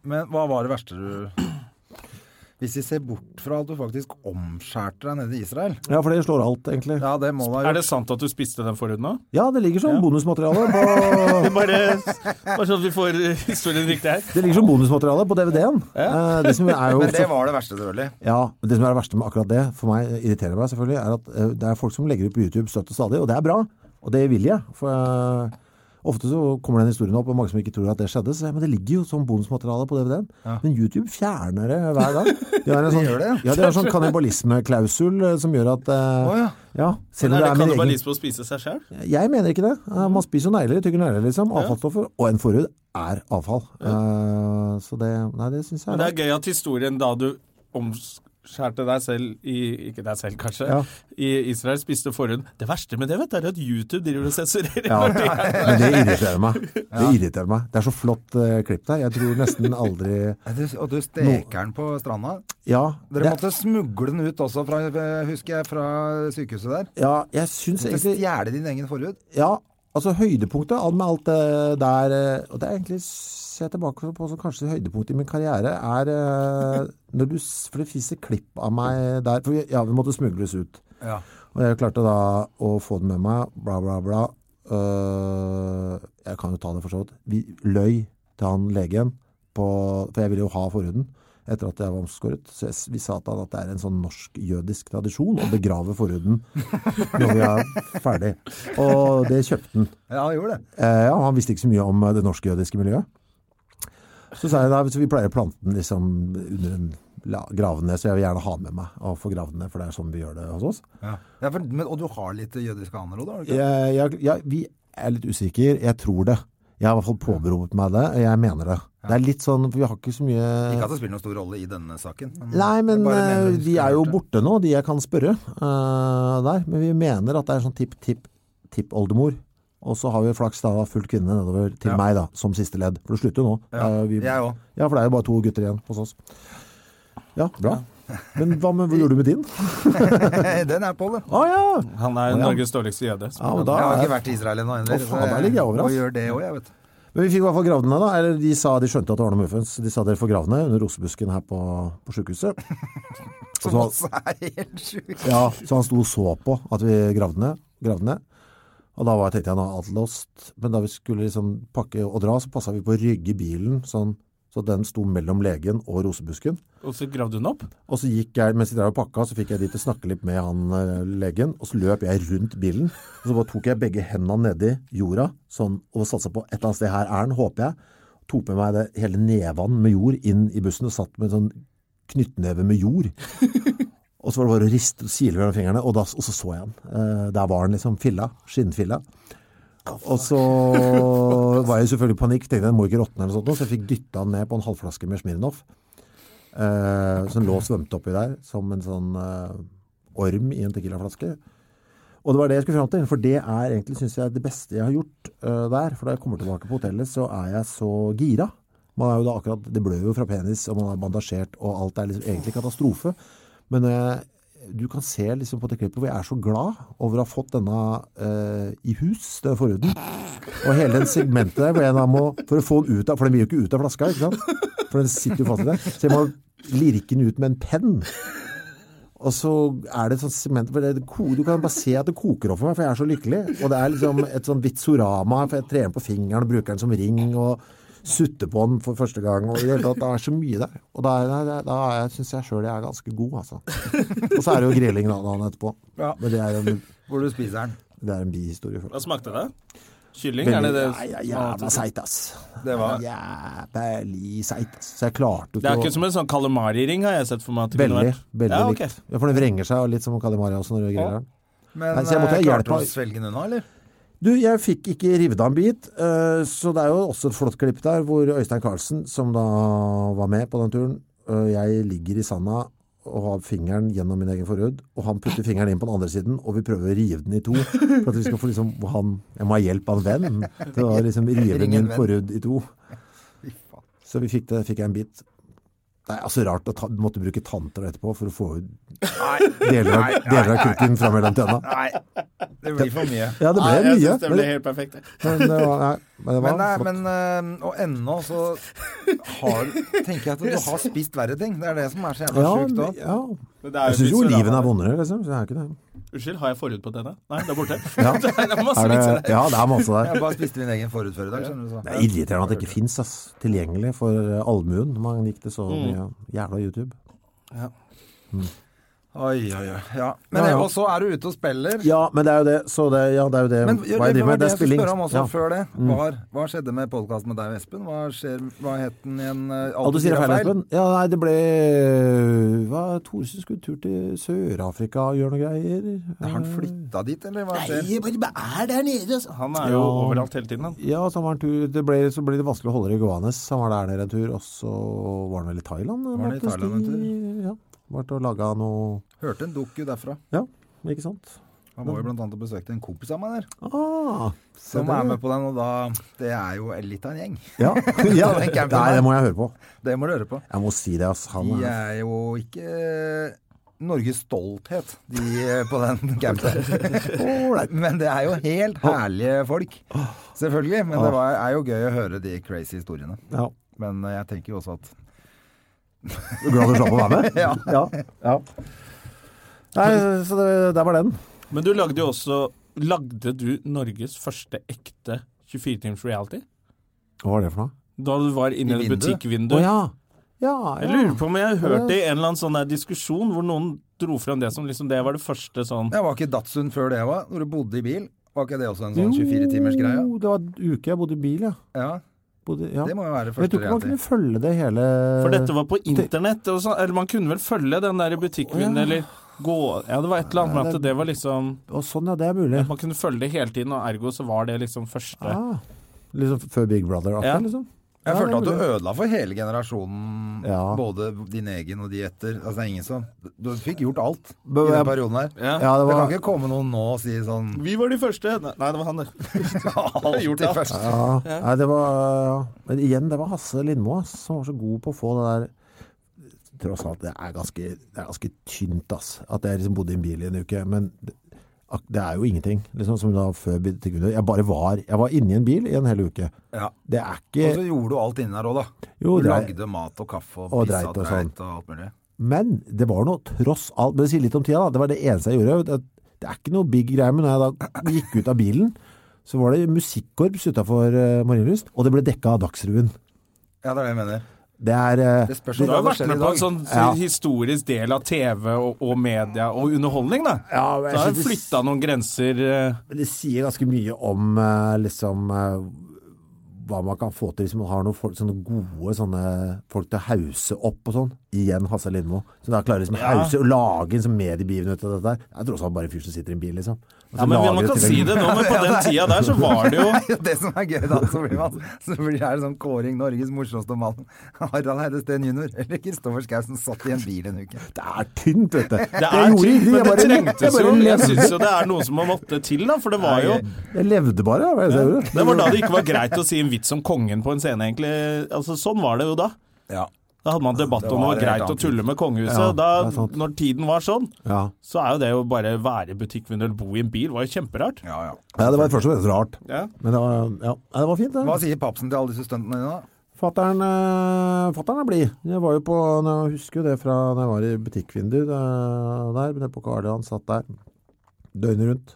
[SPEAKER 2] Men hva var det verste du Hvis vi ser bort fra at du faktisk omskjærte deg nede i Israel
[SPEAKER 3] Ja, for det slår alt, egentlig. Ja,
[SPEAKER 2] Ja, det må du ha
[SPEAKER 1] Er
[SPEAKER 2] gjort.
[SPEAKER 1] det sant at du spiste den forhuden nå?
[SPEAKER 3] det ligger som bonusmateriale på
[SPEAKER 1] Bare, bare sånn at vi får eh, historien riktig her.
[SPEAKER 3] Det ligger som bonusmateriale på DVD-en. Eh, det som er jo
[SPEAKER 2] Men det var det verste, selvfølgelig.
[SPEAKER 3] Ja, men det som er det verste med akkurat det, for meg irriterer meg selvfølgelig, er at eh, det er folk som legger ut på YouTube støtt og stadig, og det er bra, og det vil jeg. For eh, ofte så kommer den historien opp, og mange som ikke tror at det skjedde, så sier jeg, men det ligger jo sånn bonusmateriale på DVD-en. Men YouTube fjerner det hver gang. De har en sånn,
[SPEAKER 2] gjør det,
[SPEAKER 3] ja. de har en sånn kannibalismeklausul eh, som gjør at eh,
[SPEAKER 2] Å, ja.
[SPEAKER 3] ja, selv om det er min
[SPEAKER 1] Er det
[SPEAKER 3] egen
[SPEAKER 1] kannibalisme å spise seg sjøl?
[SPEAKER 3] jeg mener ikke det. Eh, Man spiser jo negler, tygger negler, liksom. Avfallsstoffer. Og en forhud er avfall. Eh, så det Nei, det syns jeg
[SPEAKER 1] Men det er gøy at historien da du omskjærte deg selv i Ikke deg selv, kanskje.
[SPEAKER 3] Ja.
[SPEAKER 1] I Israel spiste forhuden. Det verste med det vet du, er at YouTube driver og sensurerer.
[SPEAKER 3] Ja,
[SPEAKER 1] når de er-
[SPEAKER 3] men det irriterer meg. Det irriterer meg. Det er så flott eh, klipp der. Jeg tror nesten aldri
[SPEAKER 2] Ja, du- Og du steker den på stranda.
[SPEAKER 3] Ja,
[SPEAKER 2] Dere
[SPEAKER 3] det,
[SPEAKER 2] måtte smugle den ut også, fra, eh, husker jeg, fra sykehuset der.
[SPEAKER 3] ja jeg syns
[SPEAKER 2] Til å
[SPEAKER 3] egentlig
[SPEAKER 2] stjele din egen forhud.
[SPEAKER 3] Ja, altså høydepunktet av- med alt det der eh, Og det er egentlig ser jeg tilbake på som kanskje høydepunktet i min karriere, er eh, når du s- For det fins et klipp av meg der For vi- ja, vi måtte smugles ut.
[SPEAKER 2] Ja.
[SPEAKER 3] Og jeg klarte da å få den med meg, bla, bla, bla. Øh, jeg kan jo ta det for så vidt. Vi løy til han legen, på, for jeg ville jo ha forhuden etter at jeg var omskåret. Så jeg, s- vi sa til han at det er en sånn norsk-jødisk tradisjon å begrave forhuden når vi er ferdig. Og det kjøpte han.
[SPEAKER 2] Ja, han gjorde det.
[SPEAKER 3] Eh, ja, han visste ikke så mye om eh, det norsk-jødiske miljøet. Så sa jeg da, så vi pleier å plante den liksom under en la- gravene, så jeg vil gjerne ha med meg og få gravene, for det er sånn vi gjør det hos oss.
[SPEAKER 2] Ja. for, men, og du har litt jødiske aner òg, da? har du ikke?
[SPEAKER 3] Jeg, jeg, jeg, vi er litt usikre. Jeg tror det. Jeg har i hvert fall påberopt meg det. og Jeg mener det. Det er litt sånn, for vi har ikke så mye
[SPEAKER 2] Ikke at det spiller noen stor rolle i denne saken.
[SPEAKER 3] Nei, men
[SPEAKER 2] jeg bare mener
[SPEAKER 3] eh,
[SPEAKER 2] du
[SPEAKER 3] de
[SPEAKER 2] skulle
[SPEAKER 3] er jo
[SPEAKER 2] gjort det.
[SPEAKER 3] borte nå, de jeg kan spørre eh, der. Men vi mener at det er sånn tipp-tipp-tippoldemor. Og så har vi flaks da fulgt kvinne nedover til meg, da, som siste ledd. For det slutter jo nå.
[SPEAKER 2] Ja,
[SPEAKER 3] Eh, vi-
[SPEAKER 2] jeg òg.
[SPEAKER 3] ja, for det er jo bare to gutter igjen hos oss. Ja, bra. Men hva, med, hva gjorde du med din?
[SPEAKER 2] Den er på, det.
[SPEAKER 3] Å ja!
[SPEAKER 1] Han er
[SPEAKER 3] Å, ja.
[SPEAKER 1] Norges dårligste jøde.
[SPEAKER 3] ja men da
[SPEAKER 2] Jeg har
[SPEAKER 3] er
[SPEAKER 2] ikke vært i Israel ennå heller.
[SPEAKER 3] Å, faen, der ligger jeg over,
[SPEAKER 2] og
[SPEAKER 3] ass.
[SPEAKER 2] gjør det òg, jeg, vet du.
[SPEAKER 3] Men vi fikk i hvert fall gravd den her da, eller de sa, de skjønte at det var noe muffens, de sa dere får gravd den her under rosebusken her på, på sykehuset. Og så,
[SPEAKER 2] Som også er helt sjukt.
[SPEAKER 3] ja, så han sto og så på at vi gravde den ned, gravde den ned. Og da var, tenkte jeg, nå er alt lost, men da vi skulle liksom pakke og dra, så passet vi på å rygge bilen, sånn, så den sto mellom legen og rosebusken.
[SPEAKER 1] Og så gravde hun opp.
[SPEAKER 3] Og så gikk jeg, mens jeg drev og pakka, så fikk jeg de til å snakke litt med han eh, legen, og så løp jeg rundt bilen, og så bare tok jeg begge hendene nedi jorda, sånn, og satsa på et eller annet sted her er den, håper jeg, tok med meg det hele nevan med jord inn i bussen og satt med en sånn knyttneve med jord. Og så var det bare å riste og sile mellom fingrene, og, da, og så så jeg han. Eh, der var han liksom, filla, skinnfilla. Og så var jeg selvfølgelig i panikk, tenkte jeg den må ikke råtne eller noe sånt, nå, så jeg fikk dytta den ned på en halvflaske med Smirnov, eh, som lå og svømte oppi der, som en sånn eh, orm i en tequilaflaske. Og det var det jeg skulle fram til, for det er egentlig, synes jeg, det beste jeg har gjort eh, der, for da jeg kommer tilbake på hotellet, så er jeg så gira. Man er jo da akkurat, det blør jo fra penis, og man er bandasjert, og alt er liksom egentlig katastrofe. Men når jeg, du kan se liksom på det klippet hvor jeg er så glad over å ha fått denne eh, i hus, den forhuden. Og hele den segmentet der, hvor jeg da må, for å få den ut av, for den blir jo ikke ut av flaska, ikke sant? For den sitter jo fast i der. Så jeg må lirke den ut med en penn. Og så er det sånn sement for det, ko- Du kan bare se at det koker opp for meg, for jeg er så lykkelig. Og det er liksom et sånn vitsorama, for jeg trer den på fingeren og bruker den som ring. og Sutter på den for første gang. og i Det hele tatt, det er så mye der. Og da, er jeg- da er jeg- syns jeg sjøl jeg er ganske god, altså. Og så er det jo grilling da, dagen etterpå.
[SPEAKER 2] Ja.
[SPEAKER 3] Men det er en,
[SPEAKER 2] Hvor du spiser den.
[SPEAKER 3] det er en bihistorie. for meg.
[SPEAKER 1] Hva smakte det? Kylling? Altså, Er det det?
[SPEAKER 3] Nei, ja, jævla seigt, ass.
[SPEAKER 2] Det var-
[SPEAKER 3] Jævlig seigt, ass. Så jeg klarte
[SPEAKER 1] Det
[SPEAKER 3] ikke
[SPEAKER 1] er ikke som en sånn kalamari-ring, har jeg sett for meg. at det kunne
[SPEAKER 3] Veldig,
[SPEAKER 1] vært.
[SPEAKER 3] veldig
[SPEAKER 1] ja, ok.
[SPEAKER 3] likt. Ja, for den vrenger seg og litt som Kalimari også når du griller den.
[SPEAKER 2] Men
[SPEAKER 3] Nei, så jeg måtte
[SPEAKER 2] eh,
[SPEAKER 3] ha
[SPEAKER 2] klarte
[SPEAKER 3] hjelp
[SPEAKER 2] du
[SPEAKER 3] av-
[SPEAKER 2] å svelge den unna, eller?
[SPEAKER 3] Du, jeg fikk ikke rivet av en bit, eh, så det er jo også et flott klipp der hvor Øystein Carlsen, som da var med på den turen, eh, jeg ligger i sanda og har fingeren gjennom min egen forhud, og han putter fingeren inn på den andre siden, og vi prøver å rive den i to, for at vi skal få liksom, han, jeg må ha hjelp av en venn til å liksom rive
[SPEAKER 2] Ring en
[SPEAKER 3] min
[SPEAKER 2] venn.
[SPEAKER 3] forhud i to. Så vi fikk det, fikk jeg en bit. Det er altså rart å ta, måtte bruke tanter etterpå for å få ut deler av, deler av kukken fra mellom tenna.
[SPEAKER 2] Nei, det blir for mye.
[SPEAKER 3] Ja, det ble
[SPEAKER 1] Nei, jeg
[SPEAKER 3] mye.
[SPEAKER 1] synes det
[SPEAKER 3] men
[SPEAKER 1] ble
[SPEAKER 3] det-
[SPEAKER 1] helt perfekt.
[SPEAKER 3] men det var, nei, men det var
[SPEAKER 2] Men, nei,
[SPEAKER 3] flott.
[SPEAKER 2] men eh, og ennå så har, tenker jeg at du har spist verre ting. Det er det som er så jævla
[SPEAKER 3] ja,
[SPEAKER 2] sjukt
[SPEAKER 3] men-
[SPEAKER 2] òg.
[SPEAKER 3] ja.
[SPEAKER 1] Men det er
[SPEAKER 3] Jeg syns jo
[SPEAKER 1] litt sånn-
[SPEAKER 3] oliven
[SPEAKER 1] surama.
[SPEAKER 3] er vondere, liksom. Så det er ikke det.
[SPEAKER 1] Unnskyld, har jeg forhud på denne? Nei, det er borte.
[SPEAKER 3] Ja.
[SPEAKER 1] det er masse sånn-
[SPEAKER 3] Er det,
[SPEAKER 1] vitser der.
[SPEAKER 3] ja, det er masse der.
[SPEAKER 2] Jeg bare spiste min egen forut før i dag, skjønner du. Så.
[SPEAKER 3] Det er irriterende at det ikke fins tilgjengelig for eh, allmuen. Man
[SPEAKER 2] Mm.
[SPEAKER 3] likte så mye jævla YouTube.
[SPEAKER 2] Oi, oi, oi. Ja. Men,
[SPEAKER 3] Mm. Ja, ja.
[SPEAKER 2] Og så er du ute og spiller.
[SPEAKER 3] Ja, men det er jo det. Så det, ja, det er jo det
[SPEAKER 2] Men
[SPEAKER 3] hva jeg driver
[SPEAKER 2] jeg
[SPEAKER 3] med. Det er
[SPEAKER 2] skulle
[SPEAKER 3] spilling.
[SPEAKER 2] spørre om også
[SPEAKER 3] Ja. Mm.
[SPEAKER 2] før det. Var, hva skjedde med podkasten med deg og Espen? Hva, skjer, hva het den igjen? eh,
[SPEAKER 3] Og du
[SPEAKER 2] Alt
[SPEAKER 3] sier det
[SPEAKER 2] er
[SPEAKER 3] feil, Espen? Ja, nei, det ble Hva, Thoresen skulle tur til Sør-Afrika og gjøre noe greier.
[SPEAKER 2] Har han flytta dit, eller hva skjer?
[SPEAKER 3] jeg bare er der nede, altså.
[SPEAKER 1] Han er jo
[SPEAKER 3] Ja.
[SPEAKER 1] overalt hele tiden, han.
[SPEAKER 3] Ja, så, han var en tur, det ble, så ble det vanskelig å holde det i gående. Så han var der nede en tur, og så var han vel i Thailand?
[SPEAKER 2] han i
[SPEAKER 3] Martin Stig?
[SPEAKER 2] Thailand
[SPEAKER 3] Ja, var til å lage noe
[SPEAKER 2] Hørte en doku derfra.
[SPEAKER 3] Ja, ikke sant?
[SPEAKER 2] Han var jo blant annet og besøkte en kompis av meg der,
[SPEAKER 3] Ah, se
[SPEAKER 2] som
[SPEAKER 3] det.
[SPEAKER 2] er med på den, og da Det er jo litt av en gjeng.
[SPEAKER 3] Ja, ja.
[SPEAKER 2] Da tenker jeg på
[SPEAKER 3] Nei,
[SPEAKER 2] meg.
[SPEAKER 3] det må jeg høre på.
[SPEAKER 2] Det må du høre på.
[SPEAKER 3] Jeg må si det, ass. Han
[SPEAKER 2] De
[SPEAKER 3] er
[SPEAKER 2] er jo ikke eh, Norges stolthet, de eh, på den campen.
[SPEAKER 3] ålreit.
[SPEAKER 2] Men det er jo helt herlige folk. Selvfølgelig. Men det var, er jo gøy å høre de crazy historiene.
[SPEAKER 3] Ja.
[SPEAKER 2] Men eh, jeg tenker jo også at
[SPEAKER 3] Du er Glad du slapp å være med?
[SPEAKER 2] Ja.
[SPEAKER 3] ja. ja. Nei, så det, der var den.
[SPEAKER 1] Men du lagde jo også Lagde du Norges første ekte 24-timers reality?
[SPEAKER 3] Hva var det for noe?
[SPEAKER 1] Da du var inne i,
[SPEAKER 2] I
[SPEAKER 1] et
[SPEAKER 2] vinduet?
[SPEAKER 1] butikkvindu?
[SPEAKER 3] Å ja. Ja,
[SPEAKER 1] Jeg
[SPEAKER 3] ja.
[SPEAKER 1] lurer på om jeg har hørt det i en eller annen sånn der diskusjon hvor noen dro frem det som liksom det var det første sånn
[SPEAKER 2] Jeg var ikke Datsun før det òg, når du bodde i bil. Var ikke det også en sånn 24-timersgreie?
[SPEAKER 3] Jo, det var en uke jeg bodde i bil, ja.
[SPEAKER 2] Ja,
[SPEAKER 3] Bodde, ja.
[SPEAKER 2] det må jo være
[SPEAKER 3] Men jeg
[SPEAKER 2] første
[SPEAKER 3] tror ikke man kunne
[SPEAKER 2] reality.
[SPEAKER 3] følge det hele
[SPEAKER 1] For dette var på internett, og så, eller man kunne vel følge den der i butikkvinduet, eller gå Ja, det var et eller annet med at det var liksom
[SPEAKER 3] Å, sånn, ja. Det er mulig.
[SPEAKER 1] Man kunne følge det hele tiden, og ergo så var det liksom første
[SPEAKER 3] Ah, liksom før Big Brother, akkurat,
[SPEAKER 1] Ja.
[SPEAKER 3] liksom.
[SPEAKER 2] Jeg
[SPEAKER 3] Ja, det
[SPEAKER 2] følte
[SPEAKER 3] er
[SPEAKER 2] at du
[SPEAKER 3] mulig.
[SPEAKER 2] ødela for hele generasjonen,
[SPEAKER 3] Ja.
[SPEAKER 2] både din egen og de etter. Altså, det er ingen som Du fikk gjort alt i
[SPEAKER 3] Men
[SPEAKER 2] den
[SPEAKER 3] jeg-
[SPEAKER 2] perioden her.
[SPEAKER 1] Ja.
[SPEAKER 3] Ja, det
[SPEAKER 2] Det kan
[SPEAKER 3] var
[SPEAKER 2] ikke komme noen nå og si sånn
[SPEAKER 1] Vi var de første! Nei, det var han, det. Gjort
[SPEAKER 2] Alltid
[SPEAKER 1] alt.
[SPEAKER 2] først.
[SPEAKER 3] Ja, nei, det var Men igjen, det var Hasse Lindmo ass, som var så god på å få det der Tross alt, det er ganske, det er ganske tynt, ass. At jeg liksom bodde i en bil i en uke. Men det, ak- det er jo ingenting. Liksom som da før Bittegunner. Jeg bare var Jeg var inni en bil i en hel uke.
[SPEAKER 2] Ja.
[SPEAKER 3] Det er
[SPEAKER 2] Og så
[SPEAKER 3] ikke
[SPEAKER 2] gjorde du alt inni der òg, da.
[SPEAKER 3] Jo,
[SPEAKER 2] du
[SPEAKER 3] det er-
[SPEAKER 2] lagde mat og kaffe og,
[SPEAKER 3] Og
[SPEAKER 2] pissa
[SPEAKER 3] dreit og sånn.
[SPEAKER 2] og alt mulig.
[SPEAKER 3] Men det var noe tross alt Men det sier litt om tida, da. Det var det eneste jeg gjorde. Det, det er ikke noe big greie, men når jeg da gikk ut av bilen, så var det musikkorps utafor uh, Marienlyst, og det ble dekka av Dagsrevyen.
[SPEAKER 2] Ja, det er det jeg mener.
[SPEAKER 3] Det er eh,
[SPEAKER 2] Det spørs
[SPEAKER 1] Du
[SPEAKER 2] om
[SPEAKER 1] har
[SPEAKER 2] hva
[SPEAKER 1] jo
[SPEAKER 2] som skjer i
[SPEAKER 1] vært med på
[SPEAKER 2] dag.
[SPEAKER 1] en sånn
[SPEAKER 3] Ja.
[SPEAKER 1] historisk del av TV og, og media og underholdning, da.
[SPEAKER 3] Ja, men jeg
[SPEAKER 1] så
[SPEAKER 3] synes
[SPEAKER 1] har du
[SPEAKER 3] det-
[SPEAKER 1] flytta noen grenser eh,
[SPEAKER 3] Men det sier ganske mye om eh, liksom eh, hva man kan få til hvis man har noen folk, sånne gode sånne folk til å hause opp og sånn. Igjen Hasse Lindmo. Som da klarer liksom å hause og lage en sånn mediebegivenhet av dette. der. Det er tross alt bare en fyr som sitter i en bil, liksom. Og så
[SPEAKER 1] Ja, men
[SPEAKER 3] lager
[SPEAKER 1] Man
[SPEAKER 3] et
[SPEAKER 1] kan
[SPEAKER 3] til-
[SPEAKER 1] si det nå, men på den tida der så var det jo
[SPEAKER 2] Det er jo det som er gøy, da. Så blir, man, så blir det sånn kåring Norges morsomste mann. Harald Eide Steen jr. eller Kristoffer Schau som satt i en bil en uke.
[SPEAKER 3] Det er tynt, vet du.
[SPEAKER 1] Det er
[SPEAKER 3] gjorde
[SPEAKER 1] ting,
[SPEAKER 3] ingenting,
[SPEAKER 1] men
[SPEAKER 3] jeg
[SPEAKER 1] det
[SPEAKER 3] bare- jeg
[SPEAKER 1] trengtes
[SPEAKER 3] bare
[SPEAKER 1] jo. Jeg
[SPEAKER 3] levde.
[SPEAKER 1] syns jo det er noe som har måttet til, da. For det var jo
[SPEAKER 3] Jeg levde bare, ja, hva er det jeg gjorde.
[SPEAKER 1] Det var da det ikke var greit å si en vits om kongen på en scene, egentlig. Altså, sånn var det jo da.
[SPEAKER 2] Ja.
[SPEAKER 1] Da hadde man debatt
[SPEAKER 2] Det
[SPEAKER 1] om det
[SPEAKER 2] var
[SPEAKER 1] var
[SPEAKER 2] helt
[SPEAKER 1] greit å
[SPEAKER 2] annet.
[SPEAKER 1] tulle med kongehuset.
[SPEAKER 3] Ja, det er
[SPEAKER 1] da,
[SPEAKER 3] sant.
[SPEAKER 1] når tiden var sånn,
[SPEAKER 3] Ja.
[SPEAKER 1] så er jo det å bare være butikkvinner eller bo i en bil, var jo kjemperart.
[SPEAKER 2] ja, ja.
[SPEAKER 3] ja, det var først og fremst rart.
[SPEAKER 1] Ja.
[SPEAKER 3] Men det var, ja. Nei, det var fint,
[SPEAKER 2] Hva
[SPEAKER 3] det.
[SPEAKER 2] sier papsen til alle disse stuntene dine, da?
[SPEAKER 3] Fatteren, eh, fatteren er blid. Jeg var jo på, jeg husker jo det fra da jeg var i butikkvindu eh, der, nede på Karl Johan, satt der døgnet rundt.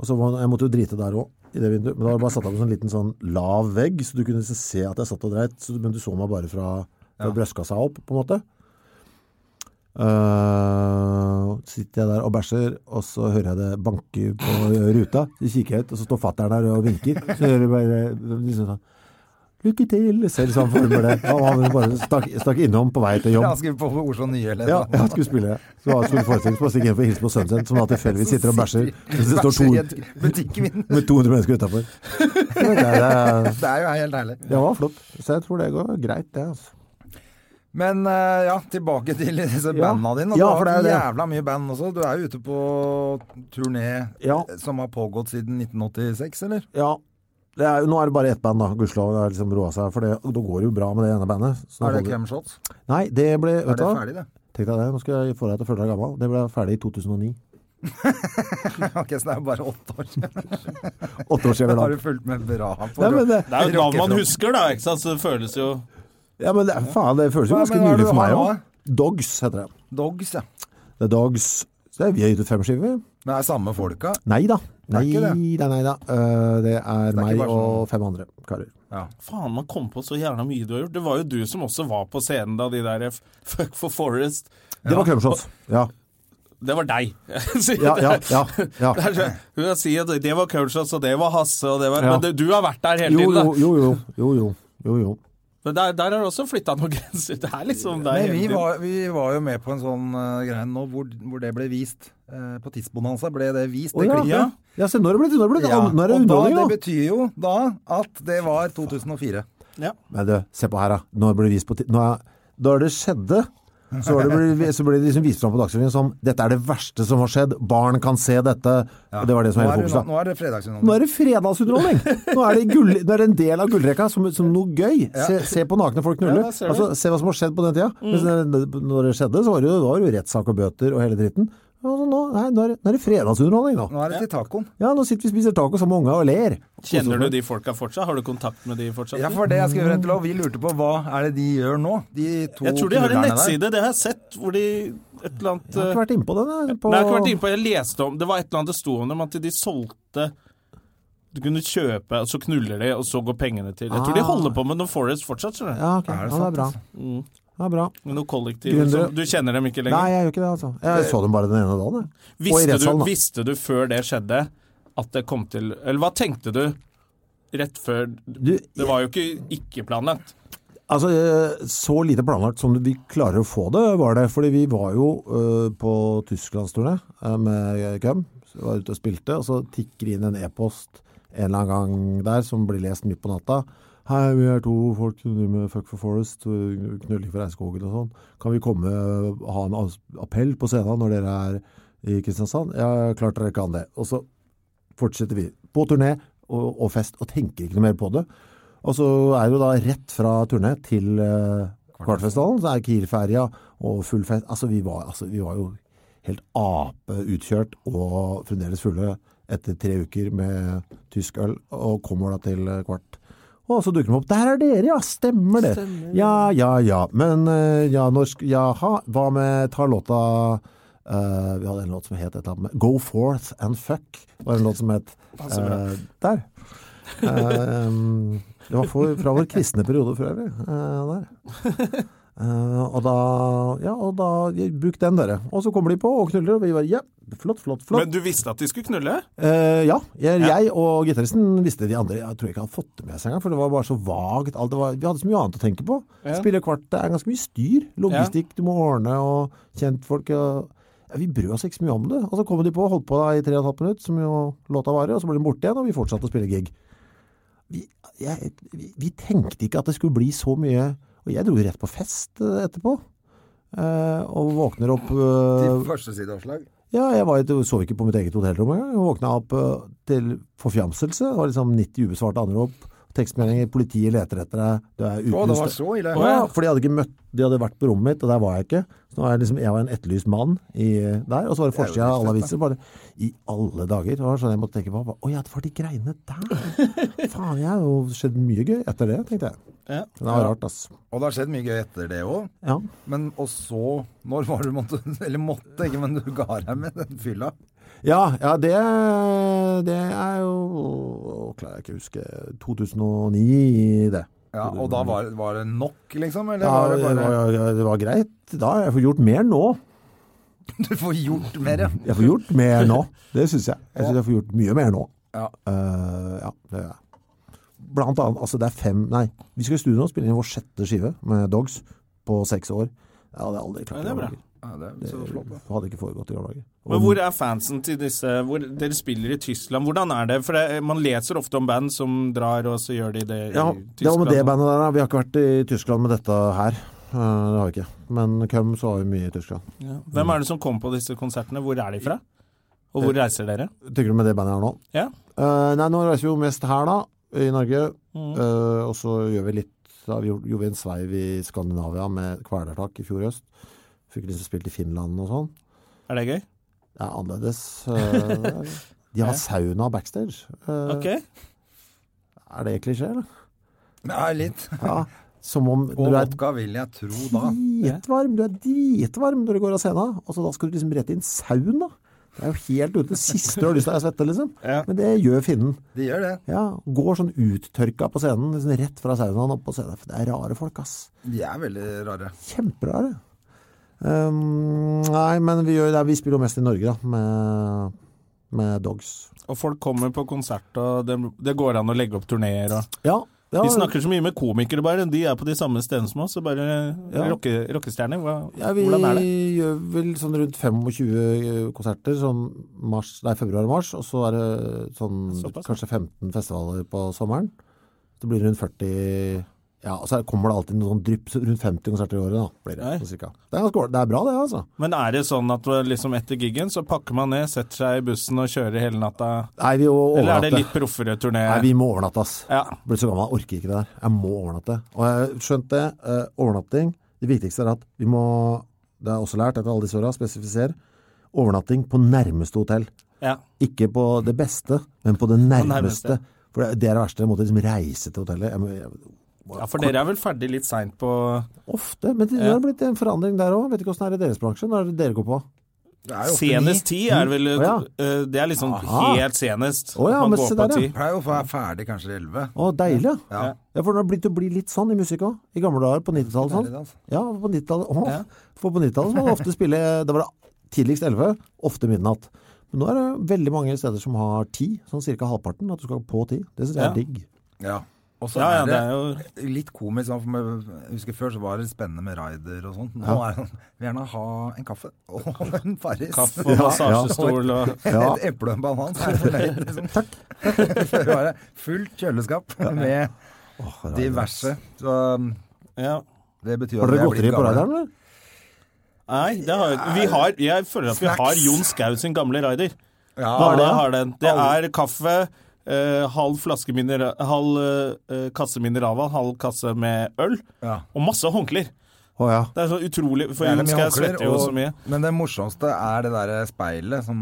[SPEAKER 3] Og så var, jeg måtte jo drite der òg, i det vinduet. Men da var det bare satt opp en sånn liten sånn lav vegg, så du kunne liksom se at jeg satt og dreit, så, men du så meg bare fra, fra brystkassa opp, på en måte. Eh, så sitter jeg der og bæsjer, og så hører jeg det banke på ruta. Så kikker jeg ut, og så står fatter'n der og vinker. Så hører jeg bare liksom sånn Lykke til! Selv sånn former det. Og han bare stakk, stakk innom på vei til jobb.
[SPEAKER 2] Ja, han skulle på Oslo Nye, eller
[SPEAKER 3] Ja,
[SPEAKER 2] noe.
[SPEAKER 3] jeg skulle spille det. Så jeg skulle forestilling, så bare stikke inn for å hilse på sønnen sin, som da tilfeldigvis sitter og bæsjer. Mens det står
[SPEAKER 2] Bæsjer i et
[SPEAKER 3] to,
[SPEAKER 2] butikkvindu.
[SPEAKER 3] med 200 mennesker utafor. Det,
[SPEAKER 2] Det er jo helt herlig.
[SPEAKER 3] det var flott. Så jeg tror det går greit, det. altså.
[SPEAKER 2] Men eh, ja, tilbake til disse
[SPEAKER 3] Ja.
[SPEAKER 2] bandene dine.
[SPEAKER 3] Ja,
[SPEAKER 2] du
[SPEAKER 3] for
[SPEAKER 2] har
[SPEAKER 3] det er
[SPEAKER 2] hatt
[SPEAKER 3] det.
[SPEAKER 2] jævla mye band også. Du er jo ute på turné
[SPEAKER 3] Ja.
[SPEAKER 2] som har pågått siden 1986, eller?
[SPEAKER 3] Ja. Det er, jo- nå er det bare ett band, da. Gudskjelov. Det har liksom roa seg. For det, det går jo bra med det ene bandet. Så
[SPEAKER 2] Er det
[SPEAKER 3] holder-
[SPEAKER 2] Cremshots?
[SPEAKER 3] Nei, det ble
[SPEAKER 2] Er
[SPEAKER 3] Vet du
[SPEAKER 2] det
[SPEAKER 3] hva?
[SPEAKER 2] ferdig, det?
[SPEAKER 3] Tenk deg det. Nå skal jeg få deg til å føle deg gammel. Det ble ferdig i 2009.
[SPEAKER 2] Ok, så det er jo bare åtte år siden.
[SPEAKER 3] Åtte år
[SPEAKER 2] Har
[SPEAKER 3] siden. vel
[SPEAKER 2] du
[SPEAKER 3] da.
[SPEAKER 2] fulgt med bra på
[SPEAKER 3] Nei, men det,
[SPEAKER 1] Det er jo et navn man
[SPEAKER 2] Rockefront.
[SPEAKER 1] husker, da, ikke sant. Så det føles jo
[SPEAKER 3] ja, men det, faen, det føles jo
[SPEAKER 2] Hva-
[SPEAKER 3] ganske
[SPEAKER 2] men hva er det
[SPEAKER 3] nylig for
[SPEAKER 2] du har
[SPEAKER 3] meg
[SPEAKER 2] nå,
[SPEAKER 3] òg. Dogs heter det.
[SPEAKER 2] Dogs, ja.
[SPEAKER 3] The Dogs. Så vi har gitt ut fem skiver.
[SPEAKER 2] Men det er samme folka.
[SPEAKER 3] Nei da.
[SPEAKER 2] er
[SPEAKER 3] Nei
[SPEAKER 2] ikke
[SPEAKER 3] da,
[SPEAKER 2] det.
[SPEAKER 3] nei da. Eh, Det er
[SPEAKER 2] ikke
[SPEAKER 3] meg
[SPEAKER 2] bare sånn-
[SPEAKER 3] og fem andre karer.
[SPEAKER 1] Faen, man kom på så gjerne mye du har gjort. Det var jo du som også var på scenen da de der F- Fuck for Forest
[SPEAKER 3] Det var Crumshots. Ja.
[SPEAKER 1] Det var deg. Så
[SPEAKER 3] Ja, ja, ja, ja.
[SPEAKER 1] det er så- Hun kan si at det var Couchas, og det var Hasse, og det var
[SPEAKER 3] Ja.
[SPEAKER 1] Men det, du har vært der hele
[SPEAKER 3] Jo,
[SPEAKER 1] tiden, da.
[SPEAKER 3] jo, jo. jo, jo, jo, jo, jo.
[SPEAKER 1] Men der, der har du også flytta noen grenser. Det er liksom der
[SPEAKER 2] Men
[SPEAKER 1] hele
[SPEAKER 2] vi
[SPEAKER 1] tiden.
[SPEAKER 2] var, vi var jo med på en sånn eh, greie nå hvor, hvor det ble vist. Eh, på Tidsbonanza ble det vist,
[SPEAKER 3] Å,
[SPEAKER 2] det
[SPEAKER 3] ja.
[SPEAKER 2] klippet.
[SPEAKER 3] Ja, se, nå er det blitt, nå er det blitt,
[SPEAKER 2] Ja,
[SPEAKER 3] nå er
[SPEAKER 2] og
[SPEAKER 3] det
[SPEAKER 2] da, det
[SPEAKER 3] underholdning, da.
[SPEAKER 2] betyr jo da at det var 2004.
[SPEAKER 3] Men du, se på her, da. Nå blir det vist på ti- nå er, Da det skjedde, så ble det, blitt- så ble det liksom vist fram på Dagsrevyen som dette er det verste som har skjedd, barn kan se dette. Og det var det som
[SPEAKER 2] Nå
[SPEAKER 3] var
[SPEAKER 2] er
[SPEAKER 3] hele
[SPEAKER 2] det,
[SPEAKER 3] fokuset.
[SPEAKER 2] nå er det
[SPEAKER 3] Nå
[SPEAKER 2] fredagsunderholdning.
[SPEAKER 3] er det fredagsunderholdning! Nå er det, gull, nå er det en del av gullrekka som, som noe gøy. Se, se på nakne folk knulle.
[SPEAKER 1] Ja, der ser du. Mm.
[SPEAKER 3] altså, se hva som har skjedd på den tida. Mens det- Når det skjedde, så var det jo, da var det jo rettssak og bøter og hele dritten. Altså, nå, nei, nå, er det, nå er det fredagsunderholdning, nå.
[SPEAKER 2] Nå er det til tacoen.
[SPEAKER 3] Ja, nå sitter vi og spiser taco sammen med unga og ler.
[SPEAKER 1] Kjenner du de folka fortsatt? Har du kontakt med de fortsatt?
[SPEAKER 2] Ja, for det jeg skal gjøre til Vi lurte på hva er det de gjør nå, de to
[SPEAKER 1] jeg tror de har en
[SPEAKER 2] kulerne der.
[SPEAKER 1] nettside, det har jeg sett, hvor de et eller annet eh,
[SPEAKER 3] Jeg har ikke vært innpå den, jeg. På...
[SPEAKER 1] Nei, jeg har ikke vært inne på, jeg leste om Det var et eller annet det sto om dem, at de solgte Du kunne kjøpe, og så knuller de, og så går pengene til Jeg tror de
[SPEAKER 3] Ah.
[SPEAKER 1] holder på med noe Forest fortsatt, skjønner du.
[SPEAKER 3] Ja, ok.
[SPEAKER 2] Er det
[SPEAKER 3] ja, det
[SPEAKER 2] sant,
[SPEAKER 3] er
[SPEAKER 1] altså?
[SPEAKER 3] bra.
[SPEAKER 1] Mm.
[SPEAKER 3] Det er bra.
[SPEAKER 1] Med noe kollektiv.
[SPEAKER 3] Gründere.
[SPEAKER 1] som- Du kjenner dem ikke
[SPEAKER 3] Nei,
[SPEAKER 1] lenger.
[SPEAKER 3] jeg gjør ikke det, altså. Jeg så dem bare den ene dagen, jeg. Og i
[SPEAKER 1] Visste du,
[SPEAKER 3] rettssalen, da.
[SPEAKER 1] visste du før det skjedde at det kom til Eller hva tenkte du rett før
[SPEAKER 3] Du,
[SPEAKER 1] Det var jo ikke ikke planlagt.
[SPEAKER 3] Altså, eh, Så lite planlagt som vi klarer å få det, var det. Fordi vi var jo eh, på tysklandsturné eh, med Køm. Så vi var ute og spilte, og så tikker det inn en e-post en eller annen gang der som blir lest midt på natta. Hei, vi er to folk som driver med Fuck for Forest, eh, knulling for regnskogen og sånn. Kan vi komme og ha en as- appell på scenen når dere er i Kristiansand? Ja, klart dere kan det. Og så fortsetter vi på turné og, og fest, og tenker ikke noe mer på det. Og så er det jo da rett fra turné til eh, Kvartfestivalen, så er Kiel-ferja og full fest. Altså vi, var, altså, vi var jo helt apeutkjørt og fremdeles fulle etter tre uker med tysk øl, og kommer da til eh, Kvart. Og så dukker de opp. Der er dere, ja! Stemmer det. Ja, ja, ja. Men eh, ja, norsk Jaha, hva med ta låta eh, Vi hadde en låt som het et eller annet med Go forth and fuck. Det var en låt som het eh, Der. Eh, det var for, fra vår kristne periode for øvrig. eh, der. Eh, og da Ja, og da ja, Bruk den, dere. Og så kommer de på og knuller, og vi bare Ja, flott, flott, flott.
[SPEAKER 1] Men du visste at de skulle knulle?
[SPEAKER 3] Eh, ja, jeg, jeg og gitaristen visste de andre. Jeg tror ikke han hadde fått det med seg engang, for det var bare så vagt. Alt det var, vi hadde så mye annet å tenke på. Spille kvart det er ganske mye styr. Logistikk du må ordne, og kjentfolk og Ja, vi brød oss ikke så mye om det. Og så kom de på, holdt på da i tre og et halvt minutt, som jo låta varer, og så ble de borte igjen, og vi fortsatte å spille gig. Vi, jeg, vi, vi tenkte ikke at det skulle bli så mye, og jeg dro jo rett på fest eh, etterpå. Eh, og våkner opp eh,
[SPEAKER 2] Til første sideoppslag.
[SPEAKER 3] Ja, jeg var, i- sov ikke på mitt eget hotellrom engang. Jeg Våkna opp eh, til forfjamselse. Det var liksom 90 ubesvarte anrop. Tekstmeldinger, politiet leter etter deg. Du er
[SPEAKER 2] Å, det
[SPEAKER 3] utlyst.
[SPEAKER 2] var så ille.
[SPEAKER 3] ja, for de hadde ikke møtt De hadde vært på rommet mitt, og der var jeg ikke. Så nå er jeg, liksom, jeg var en etterlyst mann i, der. Og så
[SPEAKER 2] Det er
[SPEAKER 3] var det
[SPEAKER 2] jo
[SPEAKER 3] forsida av alle
[SPEAKER 2] trist,
[SPEAKER 3] aviser. Bare i alle dager. Det var sånn jeg måtte tenke på. bare, Å ja, det var de greiene der. Faen, jeg har jo skjedd mye gøy etter det, tenkte jeg.
[SPEAKER 1] Ja.
[SPEAKER 3] Men det var rart, ass.
[SPEAKER 2] Og det har skjedd mye gøy etter det òg.
[SPEAKER 3] Ja.
[SPEAKER 2] Men og så Når var det du måtte Eller måtte ikke, men du ga deg med den fylla.
[SPEAKER 3] Ja, ja det, det er jo å, Klarer jeg ikke å huske 2009, det.
[SPEAKER 2] Ja, og da var, var det nok, liksom? Eller
[SPEAKER 3] Ja,
[SPEAKER 2] var
[SPEAKER 3] det,
[SPEAKER 2] det bare
[SPEAKER 3] var, det var greit. Da har jeg fått gjort mer nå.
[SPEAKER 2] Du får gjort mer, ja.
[SPEAKER 3] Jeg får gjort mer nå, det syns jeg. Jeg syns jeg får gjort mye mer nå.
[SPEAKER 2] Ja.
[SPEAKER 3] Eh, ja, det gjør jeg. Blant annet, altså det er fem Nei, vi skal i studio nå og spille inn vår sjette skive med Dogs på seks år. Jeg hadde aldri klart
[SPEAKER 1] Ja, det er bra.
[SPEAKER 2] ja det er så flott, da.
[SPEAKER 3] Det hadde ikke foregått i gamle dager.
[SPEAKER 1] Men hvor er fansen til disse hvor, Dere spiller i Tyskland. Hvordan er det? For det, man leser ofte om band som drar, og så gjør de det i
[SPEAKER 3] Ja,
[SPEAKER 1] Tyskland.
[SPEAKER 3] det var med det bandet der, da. Vi har ikke vært i Tyskland med dette her. Eh, det har vi ikke. Men Cum så har vi mye i Tyskland.
[SPEAKER 1] Ja. Hvem er det som kommer på disse konsertene? Hvor er de fra? Og hvor reiser dere?
[SPEAKER 3] Tenker du med det bandet her nå?
[SPEAKER 1] Ja.
[SPEAKER 3] Eh, nei, nå reiser vi jo mest her da, i Norge.
[SPEAKER 1] Mm.
[SPEAKER 3] Eh, og så gjør vi litt da vi gjorde, gjorde vi en sveiv i Skandinavia med kvelertak i fjor høst. Fikk liksom spilt i Finland og sånn.
[SPEAKER 1] Er det gøy?
[SPEAKER 3] Det er annerledes. eh, de har sauna backstage. Eh,
[SPEAKER 1] Ok.
[SPEAKER 3] Er det klisjé, eller?
[SPEAKER 2] Ja, litt.
[SPEAKER 3] Ja. Som om
[SPEAKER 2] Og
[SPEAKER 3] du er
[SPEAKER 2] vodka vil jeg tro da.
[SPEAKER 3] dritvarm, du er dritvarm når du går av scenen, og så da skal du liksom rett inn sauna. Det er jo helt ute. Det siste du har lyst til er å svette, liksom.
[SPEAKER 1] Ja.
[SPEAKER 3] Men det gjør finnen.
[SPEAKER 2] De gjør det.
[SPEAKER 3] Ja, går sånn uttørka på scenen, liksom rett fra saunaen opp på scenen. For det er rare folk, ass.
[SPEAKER 2] De er veldig rare.
[SPEAKER 3] Kjemperare. Um, nei, men vi, gjør det, vi spiller jo mest i Norge, da, med, med Dogs.
[SPEAKER 1] Og folk kommer på konsert, og det, det går an å legge opp turneer og
[SPEAKER 3] Ja, ja,
[SPEAKER 1] De snakker så mye med komikere, bare. De er på de samme stedene som oss. Og bare eh,
[SPEAKER 3] Ja.
[SPEAKER 1] rocke, rockestjerner. Hva,
[SPEAKER 3] ja, vi
[SPEAKER 1] Hvordan er det?
[SPEAKER 3] gjør vel sånn rundt 25 konserter, sånn mars, nei, februar og mars, og så er det sånn
[SPEAKER 1] Såpass, ja.
[SPEAKER 3] kanskje 15 festivaler på sommeren. Det blir rundt 40 Ja, og så kommer det alltid noen sånn drypp, så rundt 50 konserter i året, da. Blir det,
[SPEAKER 1] Nei.
[SPEAKER 3] sånn cirka. det, er ganske, ål- det er bra, det, altså.
[SPEAKER 1] Men er det sånn at man liksom etter giggen så pakker man ned, setter seg i bussen og kjører hele natta?
[SPEAKER 3] Nei, vi
[SPEAKER 1] Eller er det
[SPEAKER 3] overnatter.
[SPEAKER 1] litt proffere turné?
[SPEAKER 3] Nei, vi må overnatte, ass.
[SPEAKER 1] Ja.
[SPEAKER 3] Blitt så gammel, jeg orker ikke det der. Jeg må overnatte. Og jeg har skjønt det. eh, overnatting Det viktigste er at vi må Det har jeg også lært etter alle disse åra, spesifisere. Overnatting på nærmeste hotell.
[SPEAKER 1] Ja.
[SPEAKER 3] Ikke på det beste, men på det nærmeste.
[SPEAKER 1] nærmeste.
[SPEAKER 3] For det, det er det verste. Jeg måtte liksom reise til hotellet. Jeg, må- jeg,
[SPEAKER 1] ja, for dere er vel ferdig litt seint på
[SPEAKER 3] ofte. Men det, det har blitt en forandring der òg. Vet ikke åssen det er i deres bransje. Når er det dere går på?
[SPEAKER 2] Det er jo ofte ni.
[SPEAKER 1] Senest ti er det vel
[SPEAKER 3] Å, ja.
[SPEAKER 1] eh, Det er liksom
[SPEAKER 3] Aha.
[SPEAKER 1] helt senest.
[SPEAKER 3] Å, ja,
[SPEAKER 1] at
[SPEAKER 3] men
[SPEAKER 1] man
[SPEAKER 3] se
[SPEAKER 1] går på
[SPEAKER 3] der, ja.
[SPEAKER 1] ti.
[SPEAKER 2] Pleier jo å være ferdig kanskje elleve.
[SPEAKER 3] Å, deilig. Ja.
[SPEAKER 2] Ja.
[SPEAKER 3] for det har blitt å bli litt sånn i musikk òg. I gamle dager, på 90-tallet sånn.
[SPEAKER 2] Deilig, altså.
[SPEAKER 3] Ja, på 90-tallet. Åh, For på 90-tallet så var det ofte spille Da var det tidligst 11, ofte midnatt. Men nå er det veldig mange steder som har 10, sånn ca. halvparten. At du skal på 10. Det syns jeg
[SPEAKER 1] Ja.
[SPEAKER 3] er digg.
[SPEAKER 2] Ja. Og så er
[SPEAKER 1] Ja, ja, det
[SPEAKER 2] det
[SPEAKER 1] er jo
[SPEAKER 2] litt komisk. sånn, for meg- Jeg husker Før så var det spennende med raider og sånn. Nå
[SPEAKER 3] Ja.
[SPEAKER 2] er det sånn Vil gjerne ha en kaffe og en Farris.
[SPEAKER 1] kaffe
[SPEAKER 3] Ja,
[SPEAKER 1] og massasjestol og
[SPEAKER 3] Ja.
[SPEAKER 2] Et eple og en banan, så er jeg fornøyd. Liksom.
[SPEAKER 3] Takk.
[SPEAKER 2] Før var det fullt kjøleskap med diverse. Så um,
[SPEAKER 1] ja.
[SPEAKER 2] det betyr
[SPEAKER 3] Har
[SPEAKER 2] at jeg
[SPEAKER 3] dere
[SPEAKER 2] er blitt
[SPEAKER 3] godteri på
[SPEAKER 2] gammel.
[SPEAKER 3] radaren, eller?
[SPEAKER 1] Nei, det har, vi har, jeg føler at vi har Jon Skau sin gamle rider.
[SPEAKER 2] Ja,
[SPEAKER 1] Hva er det?
[SPEAKER 2] ja.
[SPEAKER 1] Har den? Det er kaffe, eh, halv, flaske minera, halv eh, kasse mineralvann, halv kasse med øl,
[SPEAKER 2] Ja.
[SPEAKER 1] og masse håndklær.
[SPEAKER 3] Å ja.
[SPEAKER 1] Det er så utrolig, for
[SPEAKER 2] Gjerne
[SPEAKER 1] Jon
[SPEAKER 2] mye
[SPEAKER 1] Skau
[SPEAKER 2] håndklær,
[SPEAKER 1] svetter jo
[SPEAKER 2] og-
[SPEAKER 1] så mye.
[SPEAKER 2] Men det morsomste er det der speilet som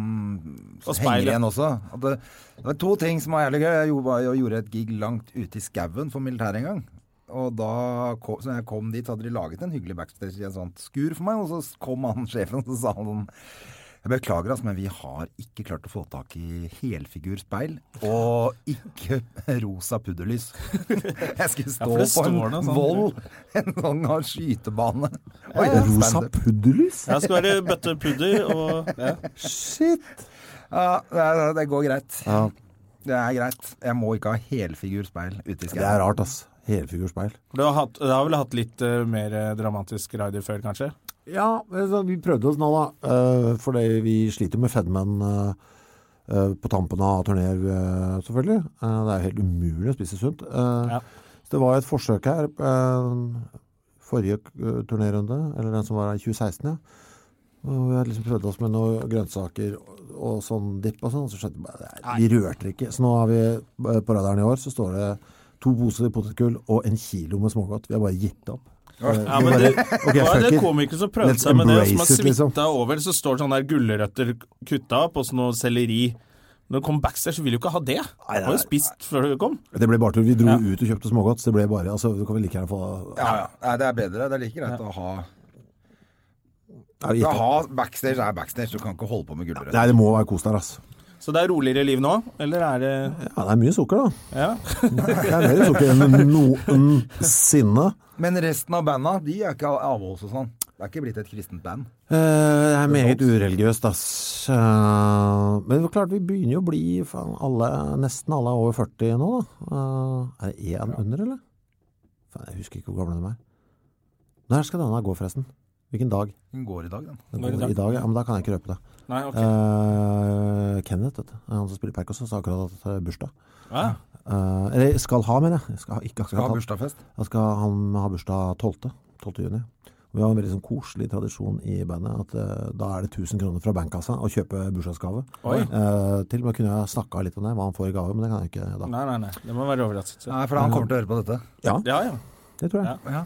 [SPEAKER 1] Og
[SPEAKER 2] henger
[SPEAKER 1] speilet.
[SPEAKER 2] igjen også. At det, det var to ting som var jævlig gøy. Jeg gjorde, var- jeg gjorde et gig langt ute i skauen for militæret en gang. Og da kom, så jeg kom dit, så hadde de laget en hyggelig backstage i et sånt skur for meg. Og så kom han sjefen og så sa han sånn jeg beklager, altså, men vi har ikke klart å få tak i helfigurspeil og ikke rosa pudderlys. Jeg skulle stå
[SPEAKER 1] for det
[SPEAKER 2] på
[SPEAKER 1] står
[SPEAKER 2] en
[SPEAKER 1] noe sånn.
[SPEAKER 2] voll, en sånn skytebane. Og gjøre
[SPEAKER 3] Rosa
[SPEAKER 2] standup.
[SPEAKER 3] pudderlys?
[SPEAKER 1] Jeg skal være bøtte pudder og ja.
[SPEAKER 3] Shit!
[SPEAKER 2] Ja, det, er- det går greit.
[SPEAKER 3] Ja,
[SPEAKER 2] Det er greit. Jeg må ikke ha helfigurspeil ute i
[SPEAKER 3] det er
[SPEAKER 2] skauen.
[SPEAKER 3] rart, ass. Helfigurspeil.
[SPEAKER 1] Du har, hatt, du har vel hatt litt eh, mer eh, dramatisk radio før, kanskje?
[SPEAKER 3] Ja, altså, vi prøvde oss nå da, eh, fordi vi sliter med Fedman eh, eh, på tampen av turnéer, eh, selvfølgelig. Eh, Det er jo helt umulig å spise sunt. Eh,
[SPEAKER 1] Ja.
[SPEAKER 3] Så det var et forsøk her, eh, forrige eh, turnérunde, eller den som var i 2016, ja. Og vi hadde liksom prøvd oss med noen grønnsaker og- og sånn dipp og sånn, så skjønte vi bare, nei, vi rørte det ikke. Så nå har vi eh, på radaren i år, så står det to poser potetgull og en kilo med smågodt. Vi har bare gitt opp.
[SPEAKER 1] Ja, men det,
[SPEAKER 3] Ok,
[SPEAKER 1] var
[SPEAKER 3] fuck
[SPEAKER 1] det
[SPEAKER 3] it.
[SPEAKER 1] komikere som prøvde
[SPEAKER 3] Let's
[SPEAKER 1] seg med det, og som har
[SPEAKER 3] embrace it,
[SPEAKER 1] svitta
[SPEAKER 3] liksom.
[SPEAKER 1] over. Så står det sånne der gulrøtter kutta opp, og så noe selleri. Når du kom backstage, så vil du ikke ha det. Du har jo spist før du kom.
[SPEAKER 3] Det ble bare til Vi dro ut og kjøpte smågodt, så det ble bare altså, Du kan vel like gjerne få
[SPEAKER 2] Ja, ja. Nei, det er bedre. Det er like greit å ha
[SPEAKER 3] Nei, vi
[SPEAKER 2] Ja,
[SPEAKER 3] gikk-
[SPEAKER 2] ha backstage er backstage, du kan ikke holde på med gulrøtter.
[SPEAKER 3] Nei, det må være kos der, altså.
[SPEAKER 1] Så det er roligere liv nå? Eller er det
[SPEAKER 3] Ja, det er mye sukker, da.
[SPEAKER 1] Ja.
[SPEAKER 3] Det er mer sukker enn noensinne.
[SPEAKER 2] Men resten av banda, de er ikke avholds og sånn. Det er ikke blitt et kristent band.
[SPEAKER 3] Eh, Det er meget ureligiøst, ass. Eh, Men det er klart, vi begynner jo å bli faen, alle, Nesten alle er over 40 nå, da. Eh, Er det én under, eller? Faen, jeg husker ikke hvor gamle de er. Når skal denne gå, forresten? Hvilken dag?
[SPEAKER 2] Den går i dag, den.
[SPEAKER 3] Den
[SPEAKER 1] Når i
[SPEAKER 3] går
[SPEAKER 1] dag?
[SPEAKER 3] I dag, ja, men da kan jeg ikke røpe det.
[SPEAKER 1] Nei, ok.
[SPEAKER 3] Eh, Kenneth, vet du, han som spiller Perkos, sa akkurat at det er bursdag.
[SPEAKER 1] Ja.
[SPEAKER 3] Eh, eller skal ha, mener jeg. Jeg Skal ha,
[SPEAKER 2] Skal
[SPEAKER 3] ikke akkurat
[SPEAKER 2] ha
[SPEAKER 3] ha.
[SPEAKER 2] bursdagsfest.
[SPEAKER 3] Jeg skal, han har bursdag 12. 12. juni. Og Vi har en veldig sånn koselig tradisjon i bandet at eh, da er det 1000 kroner fra bankkassa å kjøpe bursdagsgave.
[SPEAKER 1] Oi.
[SPEAKER 3] Eh, til og med kunne jeg snakka litt om det, hva han får i gave, men det kan jeg ikke da.
[SPEAKER 1] Nei, nei, nei. Det må være overraskelse.
[SPEAKER 2] Nei, for han kommer til å høre på dette.
[SPEAKER 3] Ja,
[SPEAKER 1] Ja, ja.
[SPEAKER 3] det tror jeg.
[SPEAKER 1] Ja.
[SPEAKER 2] Ja.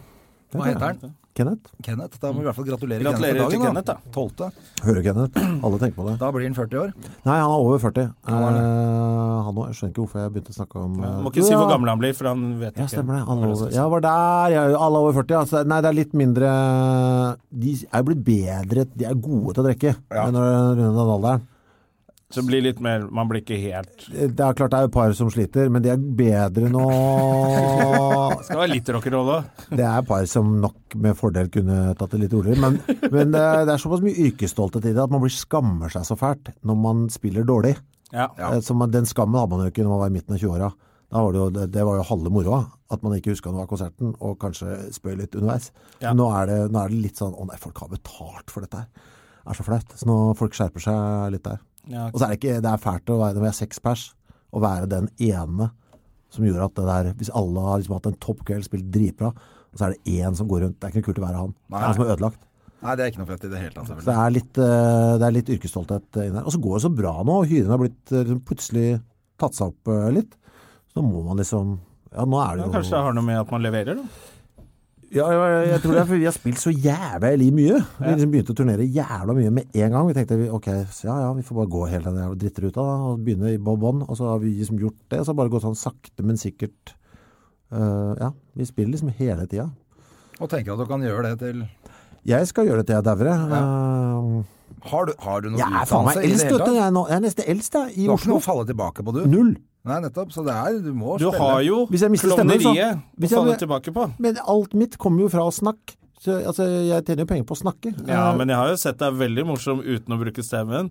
[SPEAKER 3] Det
[SPEAKER 2] Hva
[SPEAKER 3] tror
[SPEAKER 2] heter
[SPEAKER 3] jeg.
[SPEAKER 2] han?
[SPEAKER 3] Kenneth.
[SPEAKER 2] Kenneth. Da må vi i hvert fall gratulere
[SPEAKER 1] Gratulerer til Kenneth, da.
[SPEAKER 2] 12.
[SPEAKER 3] Hører du, Kenneth? Alle tenker på det.
[SPEAKER 2] Da blir han 40 år.
[SPEAKER 3] Nei, han er over 40.
[SPEAKER 2] Ja, han er det.
[SPEAKER 3] Eh, han òg. Jeg skjønner ikke hvorfor jeg begynte å snakke om eh,
[SPEAKER 1] Må ikke si hvor
[SPEAKER 3] ja.
[SPEAKER 1] gammel han blir, for han vet
[SPEAKER 3] Ja,
[SPEAKER 1] ikke.
[SPEAKER 3] stemmer det. Alle over, ja, var der. Ja, alle over 40. Altså, nei, det er litt mindre De er jo blitt bedre De er gode til å drikke
[SPEAKER 2] Ja.
[SPEAKER 3] når de runder den alderen.
[SPEAKER 1] Så det blir litt mer Man blir ikke helt
[SPEAKER 3] Det er klart det er et par som sliter, men de er bedre nå
[SPEAKER 1] Skal være litt rock'n'roll òg.
[SPEAKER 3] Det er et par som nok med fordel kunne tatt det litt roligere. Men, men det det er såpass mye yrkesstolthet i det at man blir skammer seg så fælt når man spiller dårlig.
[SPEAKER 1] Ja.
[SPEAKER 3] Eh, Så man, den skammen hadde man jo ikke når man var i midten av 20-åra. Da var det, jo, det, det var jo halve moroa, at man ikke huska noe av konserten, og kanskje spøy litt underveis.
[SPEAKER 1] Ja.
[SPEAKER 3] Men Nå, er det, nå er det litt sånn Å nei, folk har betalt for dette her. Det er så flaut. Så nå folk skjerper seg litt der.
[SPEAKER 1] Ja,
[SPEAKER 3] Og
[SPEAKER 1] ok.
[SPEAKER 3] så er det ikke Det er fælt å være når vi er seks pers, å være den ene som gjorde at det der Hvis alle har liksom hatt en toppkveld, spilt dritbra, og så er det én som går rundt Det er ikke noe kult å være han. Det er han som er ødelagt.
[SPEAKER 2] Nei, det er ikke noe fett i det hele tatt,
[SPEAKER 3] Så det
[SPEAKER 2] selvfølgelig.
[SPEAKER 3] er litt, eh, det er litt yrkesstolthet inni der. Og så går det så bra nå, og hyrene har blitt eh, liksom plutselig tatt seg opp eh, litt. Så nå må man liksom Ja, nå er det
[SPEAKER 1] Ja,
[SPEAKER 3] jo
[SPEAKER 1] kanskje det har noe med at man leverer, da.
[SPEAKER 3] Ja, jeg, jeg tror det er fordi vi har spilt så jævlig mye. Vi liksom begynte å turnere jævla mye med en gang. Vi tenkte vi, ok, så ja ja, vi får bare gå hele den jævla drittruta da, og begynne i bob on. Og så har vi liksom gjort det. Så har det bare gått sånn sakte, men sikkert. Eh, ja, vi spiller liksom hele tida.
[SPEAKER 2] Og tenker at du kan gjøre det til
[SPEAKER 3] Jeg skal gjøre det til jeg dauer. jeg. Eh,
[SPEAKER 2] Har du, har du noe
[SPEAKER 3] jeg er faen meg
[SPEAKER 2] i det
[SPEAKER 3] eldst,
[SPEAKER 2] hele
[SPEAKER 3] vet du.
[SPEAKER 2] tatt?
[SPEAKER 3] Jeg er, nå, jeg er nesten eldst jeg, i
[SPEAKER 2] Du har ikke noe
[SPEAKER 3] Oslo.
[SPEAKER 2] å falle tilbake på, du.
[SPEAKER 3] Null.
[SPEAKER 2] Nei, nettopp. Så det er Du må
[SPEAKER 1] Du har jo
[SPEAKER 3] Hvis jeg mister stemmen, så-
[SPEAKER 1] klovneriet å
[SPEAKER 3] Hvis jeg-
[SPEAKER 1] falle tilbake på.
[SPEAKER 3] Men alt mitt kommer jo fra å snakke. Så, altså, jeg tjener jo penger på å snakke.
[SPEAKER 1] Ja,
[SPEAKER 3] Eh,
[SPEAKER 1] men jeg har jo sett deg veldig morsom uten å bruke stemmen.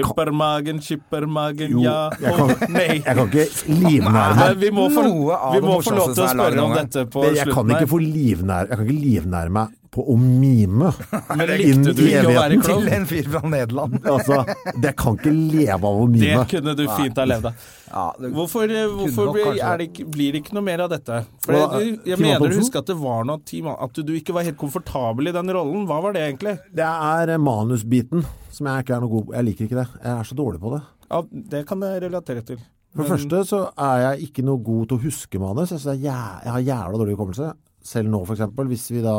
[SPEAKER 1] Skippermagen, skippermagen,
[SPEAKER 3] Jo,
[SPEAKER 1] ja
[SPEAKER 3] jeg
[SPEAKER 1] og
[SPEAKER 3] kan-
[SPEAKER 1] nei.
[SPEAKER 3] Jeg kan ikke livnære
[SPEAKER 1] Nei,
[SPEAKER 3] meg.
[SPEAKER 1] vi må få,
[SPEAKER 2] Noe av
[SPEAKER 1] vi
[SPEAKER 2] det
[SPEAKER 1] må få lov
[SPEAKER 2] morsomste
[SPEAKER 1] til
[SPEAKER 2] som
[SPEAKER 1] å
[SPEAKER 2] er laget
[SPEAKER 1] spørre om
[SPEAKER 2] noen gang.
[SPEAKER 1] dette på
[SPEAKER 3] Det- Jeg kan
[SPEAKER 1] slutten
[SPEAKER 3] ikke
[SPEAKER 1] her.
[SPEAKER 3] få livnære, jeg kan ikke livnære meg på å mime.
[SPEAKER 1] Men
[SPEAKER 3] inn
[SPEAKER 1] likte du
[SPEAKER 3] i
[SPEAKER 1] ikke å være
[SPEAKER 3] evigheten.
[SPEAKER 2] Til
[SPEAKER 1] klovn?
[SPEAKER 2] en fyr fra Nederland.
[SPEAKER 3] Altså, jeg kan ikke leve av å
[SPEAKER 1] Det
[SPEAKER 3] mime.
[SPEAKER 1] kunne du fint ha levd av.
[SPEAKER 2] Ja, det,
[SPEAKER 1] Hvorfor, eh, hvorfor
[SPEAKER 2] nok
[SPEAKER 1] blir,
[SPEAKER 2] kanskje
[SPEAKER 1] er det ikke, blir det ikke noe mer av dette? For
[SPEAKER 3] Hva,
[SPEAKER 1] jeg, jeg
[SPEAKER 3] Tim
[SPEAKER 1] mener du
[SPEAKER 3] Antonsen?
[SPEAKER 1] husker at det var noe Tim- at du ikke var helt komfortabel i den rollen. Hva var det egentlig?
[SPEAKER 3] Det er eh, manusbiten som jeg ikke er noe god på. Jeg liker ikke det. Jeg er så dårlig på det.
[SPEAKER 1] Ja, det kan jeg relatere til.
[SPEAKER 3] For det første så er jeg ikke noe god til å huske manus. Jeg, synes det er jæ- jeg har jævla dårlig hukommelse. Selv nå, for eksempel, hvis vi da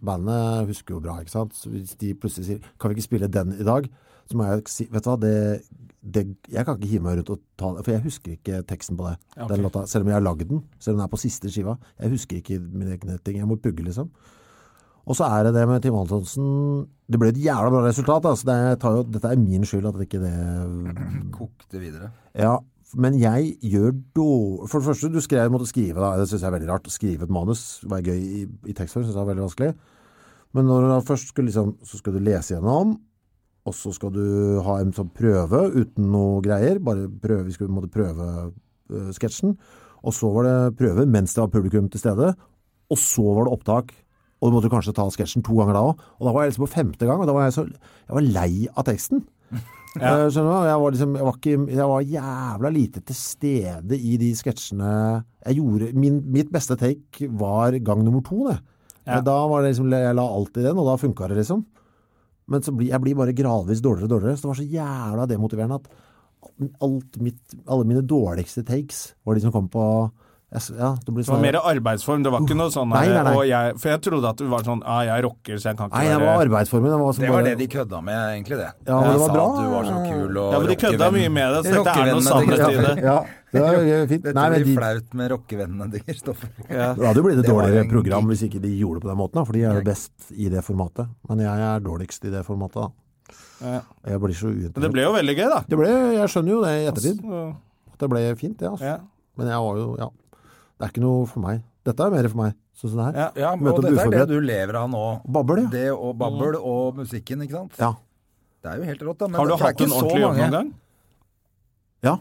[SPEAKER 3] Bandet husker jo bra, ikke sant? Så hvis de plutselig sier 'Kan vi ikke spille den i dag?' Så må jeg si Vet du hva, det, det Jeg kan ikke hive meg rundt og ta det, for jeg husker ikke teksten på det.
[SPEAKER 1] Ja, ok.
[SPEAKER 3] Den låta. Selv om jeg har lagd den. Selv om den er på siste skiva. Jeg husker ikke mine egne ting. Jeg må pugge, liksom. Og så er det det med Tim Antonsen Det ble et jævla bra resultat. Altså, det, jeg tar jo, dette er min skyld at ikke det
[SPEAKER 2] kokte videre.
[SPEAKER 3] ja, men jeg gjør dårlig For det første, du skrev, måtte skrive, da. det synes jeg er veldig rart. Å skrive et manus var gøy i, i tekstform, synes jeg er veldig vanskelig. Men når du da først skal liksom, så skal du lese gjennom, og så skal du ha en sånn prøve uten noe greier, bare prøve, vi skal måtte prøve øh, sketsjen, Og så var det prøve mens det var publikum til stede. Og så var det opptak. Og du måtte kanskje ta sketsjen to ganger da òg. Og da var jeg liksom på femte gang, og da var jeg så Jeg var lei av teksten. Eh, Skjønner du? Jeg var, liksom, jeg, var ikke, jeg var jævla lite til stede i de sketsjene jeg gjorde. Min, mitt beste take var gang nummer to, det. Eh, Da var det liksom, jeg la alt i den, og da funka det, liksom. Men så blir, jeg blir bare gradvis dårligere og dårligere, så det var så jævla demotiverende at alt mitt, alle mine dårligste takes var de som kom på jeg s- Ja, det blir
[SPEAKER 1] Det var
[SPEAKER 3] sånn
[SPEAKER 1] mer arbeidsform, det var ikke noe sånn
[SPEAKER 3] Nei, Uh, nei, nei.
[SPEAKER 1] Og jeg, For jeg trodde at du var sånn ah, jeg rocker, så jeg kan ikke
[SPEAKER 3] Nei, jeg var arbeidsformen. Jeg var som
[SPEAKER 2] Det var
[SPEAKER 3] bare-
[SPEAKER 2] det de kødda med, egentlig, det.
[SPEAKER 3] Ja, men
[SPEAKER 2] Jeg
[SPEAKER 3] det var
[SPEAKER 2] sa
[SPEAKER 3] bra.
[SPEAKER 2] at du var så kul og
[SPEAKER 1] Ja, men de kødda
[SPEAKER 2] rockevenn.
[SPEAKER 1] mye med det, så dette er noe
[SPEAKER 2] Rockevennene til
[SPEAKER 1] sannhet i
[SPEAKER 2] Kristoffer.
[SPEAKER 1] det.
[SPEAKER 3] Ja, det var eh, fint.
[SPEAKER 2] Dette
[SPEAKER 3] Nei, men
[SPEAKER 2] blir
[SPEAKER 3] de,
[SPEAKER 2] flaut med rockevennene til Kristoffer.
[SPEAKER 3] det hadde jo blitt et
[SPEAKER 2] Det var
[SPEAKER 3] dårligere
[SPEAKER 2] en
[SPEAKER 3] program
[SPEAKER 2] gig.
[SPEAKER 3] hvis ikke de gjorde det på den måten, da, for de er jo best i det formatet. Men jeg er dårligst i det formatet, da.
[SPEAKER 1] Ja.
[SPEAKER 3] Jeg blir så
[SPEAKER 1] Men det
[SPEAKER 3] uinteressert.
[SPEAKER 1] ble jo veldig gøy, da.
[SPEAKER 3] Det ble, jeg skjønner jo det i ettertid,
[SPEAKER 1] Så,
[SPEAKER 3] at det ble fint, det. Altså.
[SPEAKER 1] Ja.
[SPEAKER 3] Men jeg var jo Ja. Det er ikke noe for meg. Dette er mer for meg, sånn som det her.
[SPEAKER 1] Ja.
[SPEAKER 2] Ja,
[SPEAKER 3] Møte
[SPEAKER 2] og
[SPEAKER 3] opp
[SPEAKER 2] dette er det
[SPEAKER 3] uforberedt.
[SPEAKER 2] du lever av nå.
[SPEAKER 3] Babbel, ja.
[SPEAKER 2] Det og babbel og musikken, ikke sant?
[SPEAKER 3] Ja.
[SPEAKER 2] Det er jo helt rått, da. Men
[SPEAKER 1] Mm. Har du
[SPEAKER 2] det er
[SPEAKER 1] hatt
[SPEAKER 2] ikke
[SPEAKER 1] en
[SPEAKER 2] så
[SPEAKER 1] ordentlig jobb
[SPEAKER 2] mange.
[SPEAKER 1] noen gang?
[SPEAKER 3] ja.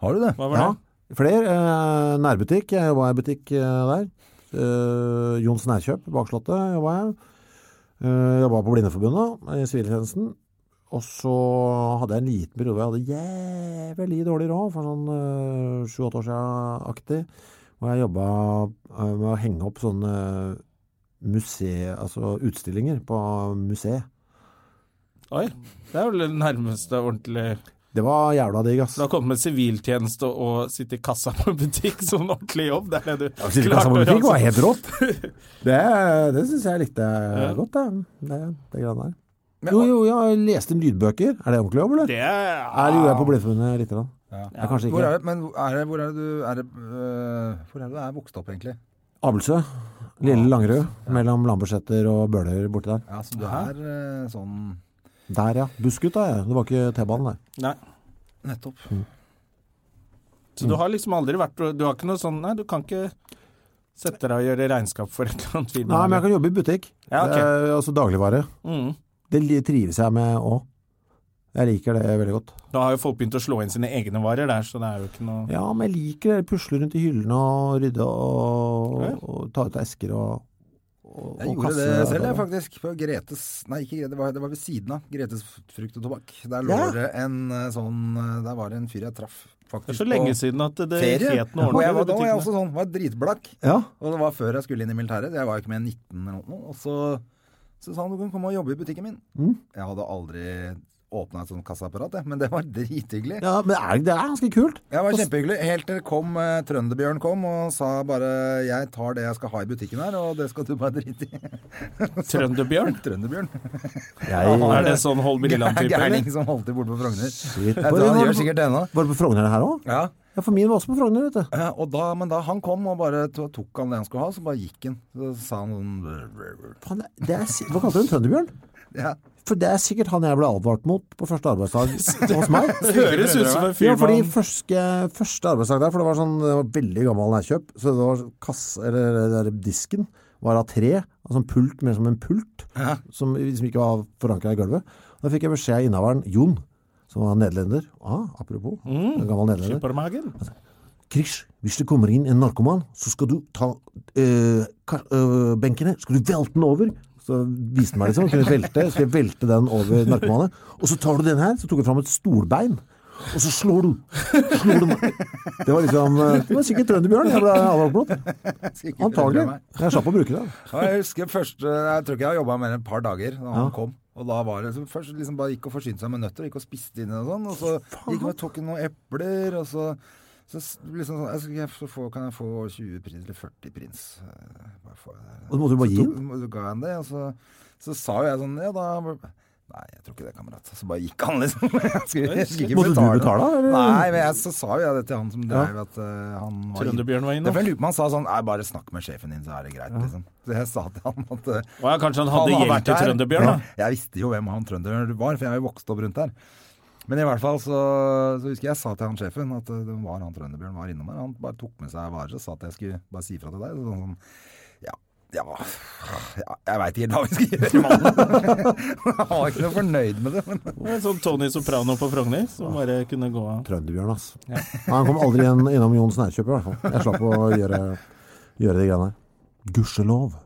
[SPEAKER 2] Har du det?
[SPEAKER 1] Hva var
[SPEAKER 3] ja.
[SPEAKER 1] det?
[SPEAKER 3] Flere. Eh, nærbutikk. Jeg jobba i butikk eh, der. Eh, Jons Nærkjøp, bak Slottet, jobba jeg. Eh, jobba på Blindeforbundet, i siviltjenesten. Og så hadde jeg en liten periode hvor jeg hadde jævlig dårlig råd, for sånn sju-åtte år siden-aktig. Og jeg jobba eh, med å henge opp sånne muse... Altså utstillinger på museet.
[SPEAKER 1] Oi, det er vel det nærmeste ordentlig
[SPEAKER 3] Det var jævla digg, ass.
[SPEAKER 1] Du har kommet med siviltjeneste og sitte i kassa på en butikk som en ordentlig jobb. Det er det du
[SPEAKER 3] Sitte i kassa på butikk var helt rått. Det, det syns jeg likte godt, det. Det, det greiene der. Jo, jo, jeg leste lydbøker. Er det ordentlig jobb, eller?
[SPEAKER 1] Det
[SPEAKER 3] Her
[SPEAKER 1] er
[SPEAKER 3] gjorde jeg på Blindeforbundet lite grann. Jeg kanskje
[SPEAKER 2] Hvor
[SPEAKER 3] ikke.
[SPEAKER 2] er det, men er det, hvor er det du er, det, øh, Hvor er det du er vokst opp, egentlig?
[SPEAKER 3] Abelsø. Lille Langerud. Mellom Lambertseter og Bøler borti der.
[SPEAKER 2] Ja, så du er øh, sånn
[SPEAKER 3] Der, ja. Bussgutt, da. jeg. Det var ikke T-banen, nei.
[SPEAKER 1] Nei.
[SPEAKER 2] Nettopp.
[SPEAKER 3] Hm,
[SPEAKER 1] Så du har liksom aldri vært Du har ikke noe sånn Nei, du kan ikke sette deg og gjøre regnskap for et eller annet firma.
[SPEAKER 3] Nei, men jeg kan jobbe i butikk.
[SPEAKER 1] Ja, ok.
[SPEAKER 3] Det er Altså dagligvare.
[SPEAKER 1] Mm.
[SPEAKER 3] Det li- trives jeg med òg. Jeg liker det veldig godt.
[SPEAKER 1] Da har jo folk begynt å slå inn sine egne varer der, så det er jo ikke noe
[SPEAKER 3] Ja, men jeg liker det. Pusle rundt i hyllene og rydde og, og ta ut esker og, og,
[SPEAKER 2] Jeg
[SPEAKER 3] og
[SPEAKER 2] gjorde
[SPEAKER 3] kasse.
[SPEAKER 2] det selv,
[SPEAKER 3] sånn.
[SPEAKER 2] jeg, faktisk. På Gretes Nei, ikke Grete, det var, det var ved siden av Gretes frukt og tobakk. Der lå
[SPEAKER 3] Ja.
[SPEAKER 2] det en øh, sånn øh, Der var det en fyr jeg traff, faktisk.
[SPEAKER 1] Det er så
[SPEAKER 2] på
[SPEAKER 1] lenge siden at det
[SPEAKER 2] Ferie.
[SPEAKER 1] het noe
[SPEAKER 2] og jeg
[SPEAKER 1] ordentlig.
[SPEAKER 2] var, da var
[SPEAKER 1] i
[SPEAKER 2] jeg
[SPEAKER 1] butikkene.
[SPEAKER 2] også sånn, var dritblakk.
[SPEAKER 3] Ja.
[SPEAKER 2] Og det var før jeg skulle inn i militæret. Jeg var jo ikke med 19 eller noe. Og så, så sa han du kan komme og jobbe i butikken min.
[SPEAKER 3] Mm.
[SPEAKER 2] Jeg hadde aldri åpna et sånt kassaapparat, jeg, men det var drithyggelig.
[SPEAKER 3] ja, men er, det er ganske kult.
[SPEAKER 2] Jeg var kjempehyggelig. Helt til kom eh, Trønderbjørn kom og sa bare 'Jeg tar det jeg skal ha i butikken her, og det skal du bare drite i'.
[SPEAKER 1] Trønderbjørn?
[SPEAKER 2] Trønderbjørn.
[SPEAKER 3] Jeg
[SPEAKER 1] Er det sånn Hold Brilland-type, eller?
[SPEAKER 2] Gærning som holdt til borte på Frogner. Jeg
[SPEAKER 3] Shit.
[SPEAKER 2] tror han gjør sikkert det ennå.
[SPEAKER 3] Var det på Frogner det her òg?
[SPEAKER 2] Ja.
[SPEAKER 3] Ja, for min var også på Frogner, vet du.
[SPEAKER 2] Ja, og da, men da han kom og bare to- tok han det han skulle ha, så bare gikk han. Så sa han sånn
[SPEAKER 3] Faen, det- det er, si- hva kalte du den? Trønderbjørn?
[SPEAKER 2] ja.
[SPEAKER 3] For det er sikkert han jeg ble advart mot på første arbeidsdag hos meg.
[SPEAKER 1] Høres ut som en
[SPEAKER 3] Ja,
[SPEAKER 1] fyr
[SPEAKER 3] fordi
[SPEAKER 1] man
[SPEAKER 3] første, første arbeidsdag der, for det var sånn det var veldig gammel nærkjøp, så det var kasse, eller, eller disken var av tre, altså en pult, mer som en pult, som liksom ikke var forankret i gulvet. Da fikk jeg beskjed av innehaveren, Jon, som var nederlender, ah, apropos, en gammel nederlender,
[SPEAKER 1] På magen.
[SPEAKER 3] Krish, hvis det kommer inn en narkoman, så skal du ta øh, kar- øh, benken her, skal du velte den over. Så viste han meg liksom, kunne velte, skal jeg velte den over narkomanen. Og så tar du den her, så tok jeg fram et stolbein. Og så slår du. Slår du meg. Det var liksom øh, Det var sikkert Trønderbjørn. Jeg ble advart mot. Antagelig. Jeg slapp å bruke det.
[SPEAKER 2] Ja, jeg husker først, jeg tror ikke jeg har jobba mer enn et par dager da han kom. Og da var det så Først liksom bare gikk og forsynte seg med nøtter, gikk og spiste inn og sånn. Og så gikk han og tok noen epler, og så, så s- liksom sånn jeg skal, jeg få- få, Kan jeg få 20 prins, eller 40 prins? Eh, Bare få det der.
[SPEAKER 3] Og så måtte du bare gi den.
[SPEAKER 2] Så, tok- ga han det, og så, så sa jo jeg sånn Ja, da Nei, jeg tror ikke det, kamerat. Så bare gikk han, liksom. Jeg skulle, jeg skulle ikke
[SPEAKER 3] Måtte du
[SPEAKER 2] betale.
[SPEAKER 3] betale, eller?
[SPEAKER 2] Nei, men jeg, så sa jo jeg det til han som drev, at eh, han var
[SPEAKER 1] Trønderbjørn var innom.
[SPEAKER 2] Derfor jeg lurer på om han sa sånn Nei, bare snakk med sjefen din, så er det greit, liksom. Så jeg sa til han at eh,
[SPEAKER 1] Å ja, kanskje han hadde
[SPEAKER 2] har
[SPEAKER 1] hjelp
[SPEAKER 2] vært
[SPEAKER 1] til
[SPEAKER 2] der.
[SPEAKER 1] Trønderbjørn, da.
[SPEAKER 2] Ja, Jeg visste jo hvem han Trønderbjørn var, for jeg har jo vokst opp rundt der. Men i hvert fall så, så husker jeg jeg sa til han sjefen at eh, det var han Trønderbjørn var innom her. Han bare tok med seg varer og sa at jeg skulle bare si ifra til deg. Så sa han Sånn, ja, Ja, ja Jeg veit ikke helt hva vi skal gjøre, mannen. Jeg var ikke noe fornøyd med det. Men
[SPEAKER 1] Det var en Sånn Tony Soprano på Frogner, som bare kunne gå av.
[SPEAKER 3] Trønderbjørn, ass. Han kom aldri inn, innom Jon Snærkjøp, i hvert fall. Jeg slapp å gjøre, gjøre de greiene der. Gudskjelov.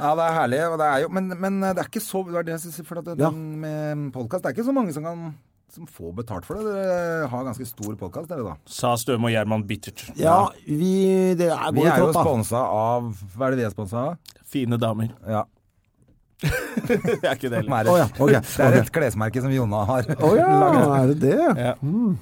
[SPEAKER 2] ja, det er herlig. Og det er jo, men, men eh, det er ikke så det var det jeg synes, for at den
[SPEAKER 3] Ja.
[SPEAKER 2] med podcast, Det er ikke så mange som kan som får betalt for det. Dere har ganske stor podkast, dere da.
[SPEAKER 1] Sa Støme og Gjerman bittert.
[SPEAKER 3] Ja, vi Det er,
[SPEAKER 2] Vi
[SPEAKER 3] går
[SPEAKER 2] er jo
[SPEAKER 3] jo trått, da.
[SPEAKER 2] sponsa av Hva er det vi er sponsa av?
[SPEAKER 1] Fine damer.
[SPEAKER 2] Ja.
[SPEAKER 1] Det er ikke det heller.
[SPEAKER 2] Mære.
[SPEAKER 3] Å ja, ok,
[SPEAKER 2] Det er
[SPEAKER 3] ok.
[SPEAKER 2] et klesmerke som Jonna har.
[SPEAKER 3] Å ja, er det det?
[SPEAKER 1] Ja.
[SPEAKER 3] Mm.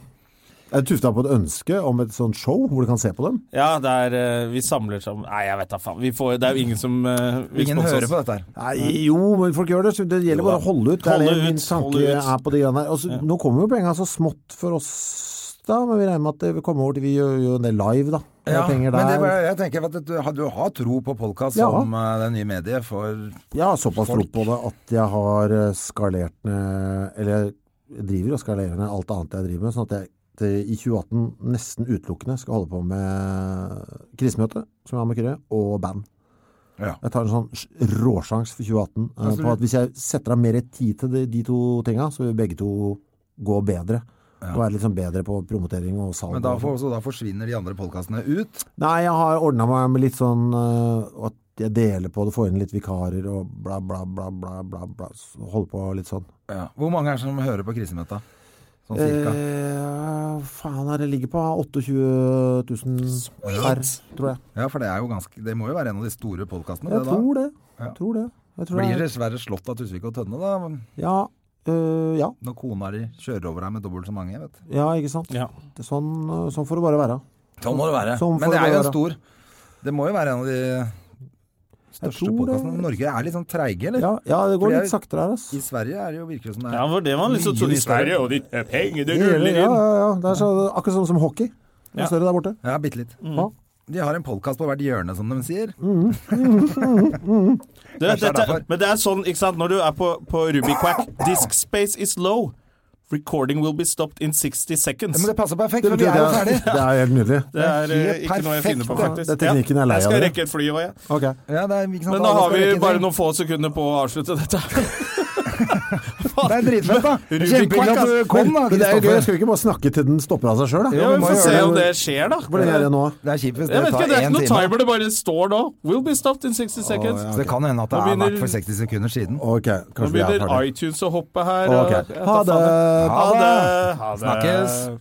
[SPEAKER 3] Er det tufta på et ønske om et sånt show hvor du kan se på dem?
[SPEAKER 1] Ja, det er eh, Vi samler sammen Nei, jeg vet da faen. Vi får, det er jo ingen som eh, vil
[SPEAKER 2] Ingen
[SPEAKER 1] sponse
[SPEAKER 2] hører
[SPEAKER 1] oss.
[SPEAKER 2] på dette her.
[SPEAKER 3] Nei, jo, men folk gjør det. Så det gjelder
[SPEAKER 1] Jo da.
[SPEAKER 3] bare å holde ut. Det er
[SPEAKER 1] Holde
[SPEAKER 3] det min
[SPEAKER 1] ut,
[SPEAKER 3] tanke
[SPEAKER 1] holde ut.
[SPEAKER 3] er på de greiene der. Altså, Nå kommer jo penga så smått for oss, da. Men vi regner med at det vil komme over til Vi gjør jo en del live, da. Det er
[SPEAKER 2] Ja, men
[SPEAKER 3] penger
[SPEAKER 2] det,
[SPEAKER 3] der.
[SPEAKER 2] bare- jeg tenker at du, har- du har tro på podkast
[SPEAKER 3] Ja.
[SPEAKER 2] som eh, det nye mediet for
[SPEAKER 3] Jeg har såpass tro
[SPEAKER 2] Folk.
[SPEAKER 3] på det at jeg har eh, skalert ned Eller jeg driver og skalerer ned alt annet jeg driver med, sånn at jeg til- i 2018 nesten utelukkende skal holde på med eh, krisemøte, som jeg har med Kyrre, og band.
[SPEAKER 2] Ja.
[SPEAKER 3] Jeg tar en sånn sj- råsjans for 2018 eh, på at hvis jeg setter av mer tid til de, de to tinga, så vil begge to gå bedre. Og være litt sånn bedre på promotering og salg.
[SPEAKER 2] Men da,
[SPEAKER 3] og sånn.
[SPEAKER 2] for, så da forsvinner de andre podkastene ut.
[SPEAKER 3] Nei, jeg har ordna meg med litt sånn øh, at jeg deler på det, får inn litt vikarer og bla, bla, bla, bla, bla. bla så holder på litt sånn.
[SPEAKER 2] Hvor mange er det som hører på krisemøta? Sånn cirka.
[SPEAKER 3] Eh, faen, her det ligger på 28 000 per, tror jeg.
[SPEAKER 2] Ja, for det er jo ganske Det må jo være en av de store podkastene,
[SPEAKER 3] Jeg
[SPEAKER 2] det da.
[SPEAKER 3] tror det.
[SPEAKER 2] Ja.
[SPEAKER 3] Tror det. Jeg tror
[SPEAKER 2] Blir
[SPEAKER 3] det.
[SPEAKER 2] det dessverre slått av Tusvik og Tønne, da. men
[SPEAKER 3] er- Ja, øh, ja.
[SPEAKER 2] Når kona di kjører over deg med dobbelt så mange, vet du.
[SPEAKER 3] Ja, ikke sant.
[SPEAKER 1] Ja.
[SPEAKER 3] Det- Sånn, øh, sånn får det bare være.
[SPEAKER 2] Sånn må det være.
[SPEAKER 3] Sånn får
[SPEAKER 2] Men det
[SPEAKER 3] det
[SPEAKER 2] er jo en
[SPEAKER 3] være.
[SPEAKER 2] stor Det må jo være en av de største
[SPEAKER 3] tror det-
[SPEAKER 2] podkastene. Norge er litt sånn treige, eller?
[SPEAKER 3] Ja, ja det går
[SPEAKER 2] Fordi
[SPEAKER 3] litt
[SPEAKER 2] jeg-
[SPEAKER 3] saktere her, ass.
[SPEAKER 2] I Sverige er det jo virkelig som det er.
[SPEAKER 1] Ja, for det var liksom
[SPEAKER 2] Mye
[SPEAKER 1] sånn i
[SPEAKER 2] nytt
[SPEAKER 1] Sverige,
[SPEAKER 2] der.
[SPEAKER 1] og de eh, penger, det
[SPEAKER 3] Det gjør
[SPEAKER 1] ruller
[SPEAKER 3] det, ja,
[SPEAKER 1] inn.
[SPEAKER 3] ja, ja. Det er så, akkurat sånn som hockey. Det
[SPEAKER 1] Ja.
[SPEAKER 3] er større der borte.
[SPEAKER 2] Ja, Mm. bitte litt.
[SPEAKER 3] Ja.
[SPEAKER 2] De har en podkast på hvert hjørne, som de sier.
[SPEAKER 1] Du vet,
[SPEAKER 2] Kanskje det er
[SPEAKER 1] dette,
[SPEAKER 2] derfor.
[SPEAKER 1] men det er sånn, ikke sant, når du er på, på Rubiquack Disk space is low. Recording will be stopped in 60 seconds.
[SPEAKER 2] Men det passer perfekt,
[SPEAKER 3] Det
[SPEAKER 2] for vi
[SPEAKER 3] betyr
[SPEAKER 2] er jo
[SPEAKER 3] at det
[SPEAKER 2] ferdige.
[SPEAKER 3] er, det er helt nydelig.
[SPEAKER 1] Det er eh,
[SPEAKER 2] helt
[SPEAKER 1] ikke noe jeg finner på,
[SPEAKER 2] perfekt,
[SPEAKER 1] faktisk.
[SPEAKER 3] da. Det er teknikken jeg er lei
[SPEAKER 1] jeg skal
[SPEAKER 3] av, det.
[SPEAKER 1] rekke et fly òg, jeg.
[SPEAKER 3] Ok.
[SPEAKER 2] Ja, det er, ikke sant,
[SPEAKER 1] Men nå
[SPEAKER 2] alle
[SPEAKER 1] har
[SPEAKER 2] skal
[SPEAKER 1] vi
[SPEAKER 2] rekke
[SPEAKER 1] bare
[SPEAKER 2] ting.
[SPEAKER 1] noen få sekunder på å avslutte dette.
[SPEAKER 2] Det er dritfett, da.
[SPEAKER 1] Ruben
[SPEAKER 2] Kjempehyggelig at du kom, da,
[SPEAKER 3] altså. Men det er jo gøy,
[SPEAKER 2] Kristoffer.
[SPEAKER 3] skal vi ikke bare snakke til den stopper av seg sjøl, da?
[SPEAKER 2] Ja,
[SPEAKER 1] Ja,
[SPEAKER 2] vi
[SPEAKER 1] vi
[SPEAKER 2] må
[SPEAKER 1] får
[SPEAKER 2] gjøre
[SPEAKER 1] se
[SPEAKER 2] det.
[SPEAKER 1] om det skjer, da.
[SPEAKER 3] Hvor lenge er det nå?
[SPEAKER 2] Det er kjipt hvis
[SPEAKER 1] Jeg
[SPEAKER 2] det
[SPEAKER 1] vet ikke,
[SPEAKER 2] tar
[SPEAKER 1] det er ikke
[SPEAKER 2] én
[SPEAKER 1] noe
[SPEAKER 2] time.
[SPEAKER 1] timer, det bare står nå. Will be stopped in 60 seconds.
[SPEAKER 2] Så det kan hende at det
[SPEAKER 1] Nå
[SPEAKER 2] er
[SPEAKER 1] begynner-
[SPEAKER 2] vært for 60 sekunder siden.
[SPEAKER 3] Ok,
[SPEAKER 1] Nå
[SPEAKER 3] kanskje vi er
[SPEAKER 1] begynner
[SPEAKER 3] ferdige.
[SPEAKER 1] iTunes å hoppe her. og-
[SPEAKER 3] Ok,
[SPEAKER 1] Jeg vet da
[SPEAKER 3] ha det!
[SPEAKER 1] faen, jeg.
[SPEAKER 2] Ha
[SPEAKER 1] Ha
[SPEAKER 2] det!
[SPEAKER 1] det! Ha det.
[SPEAKER 2] Snakkes.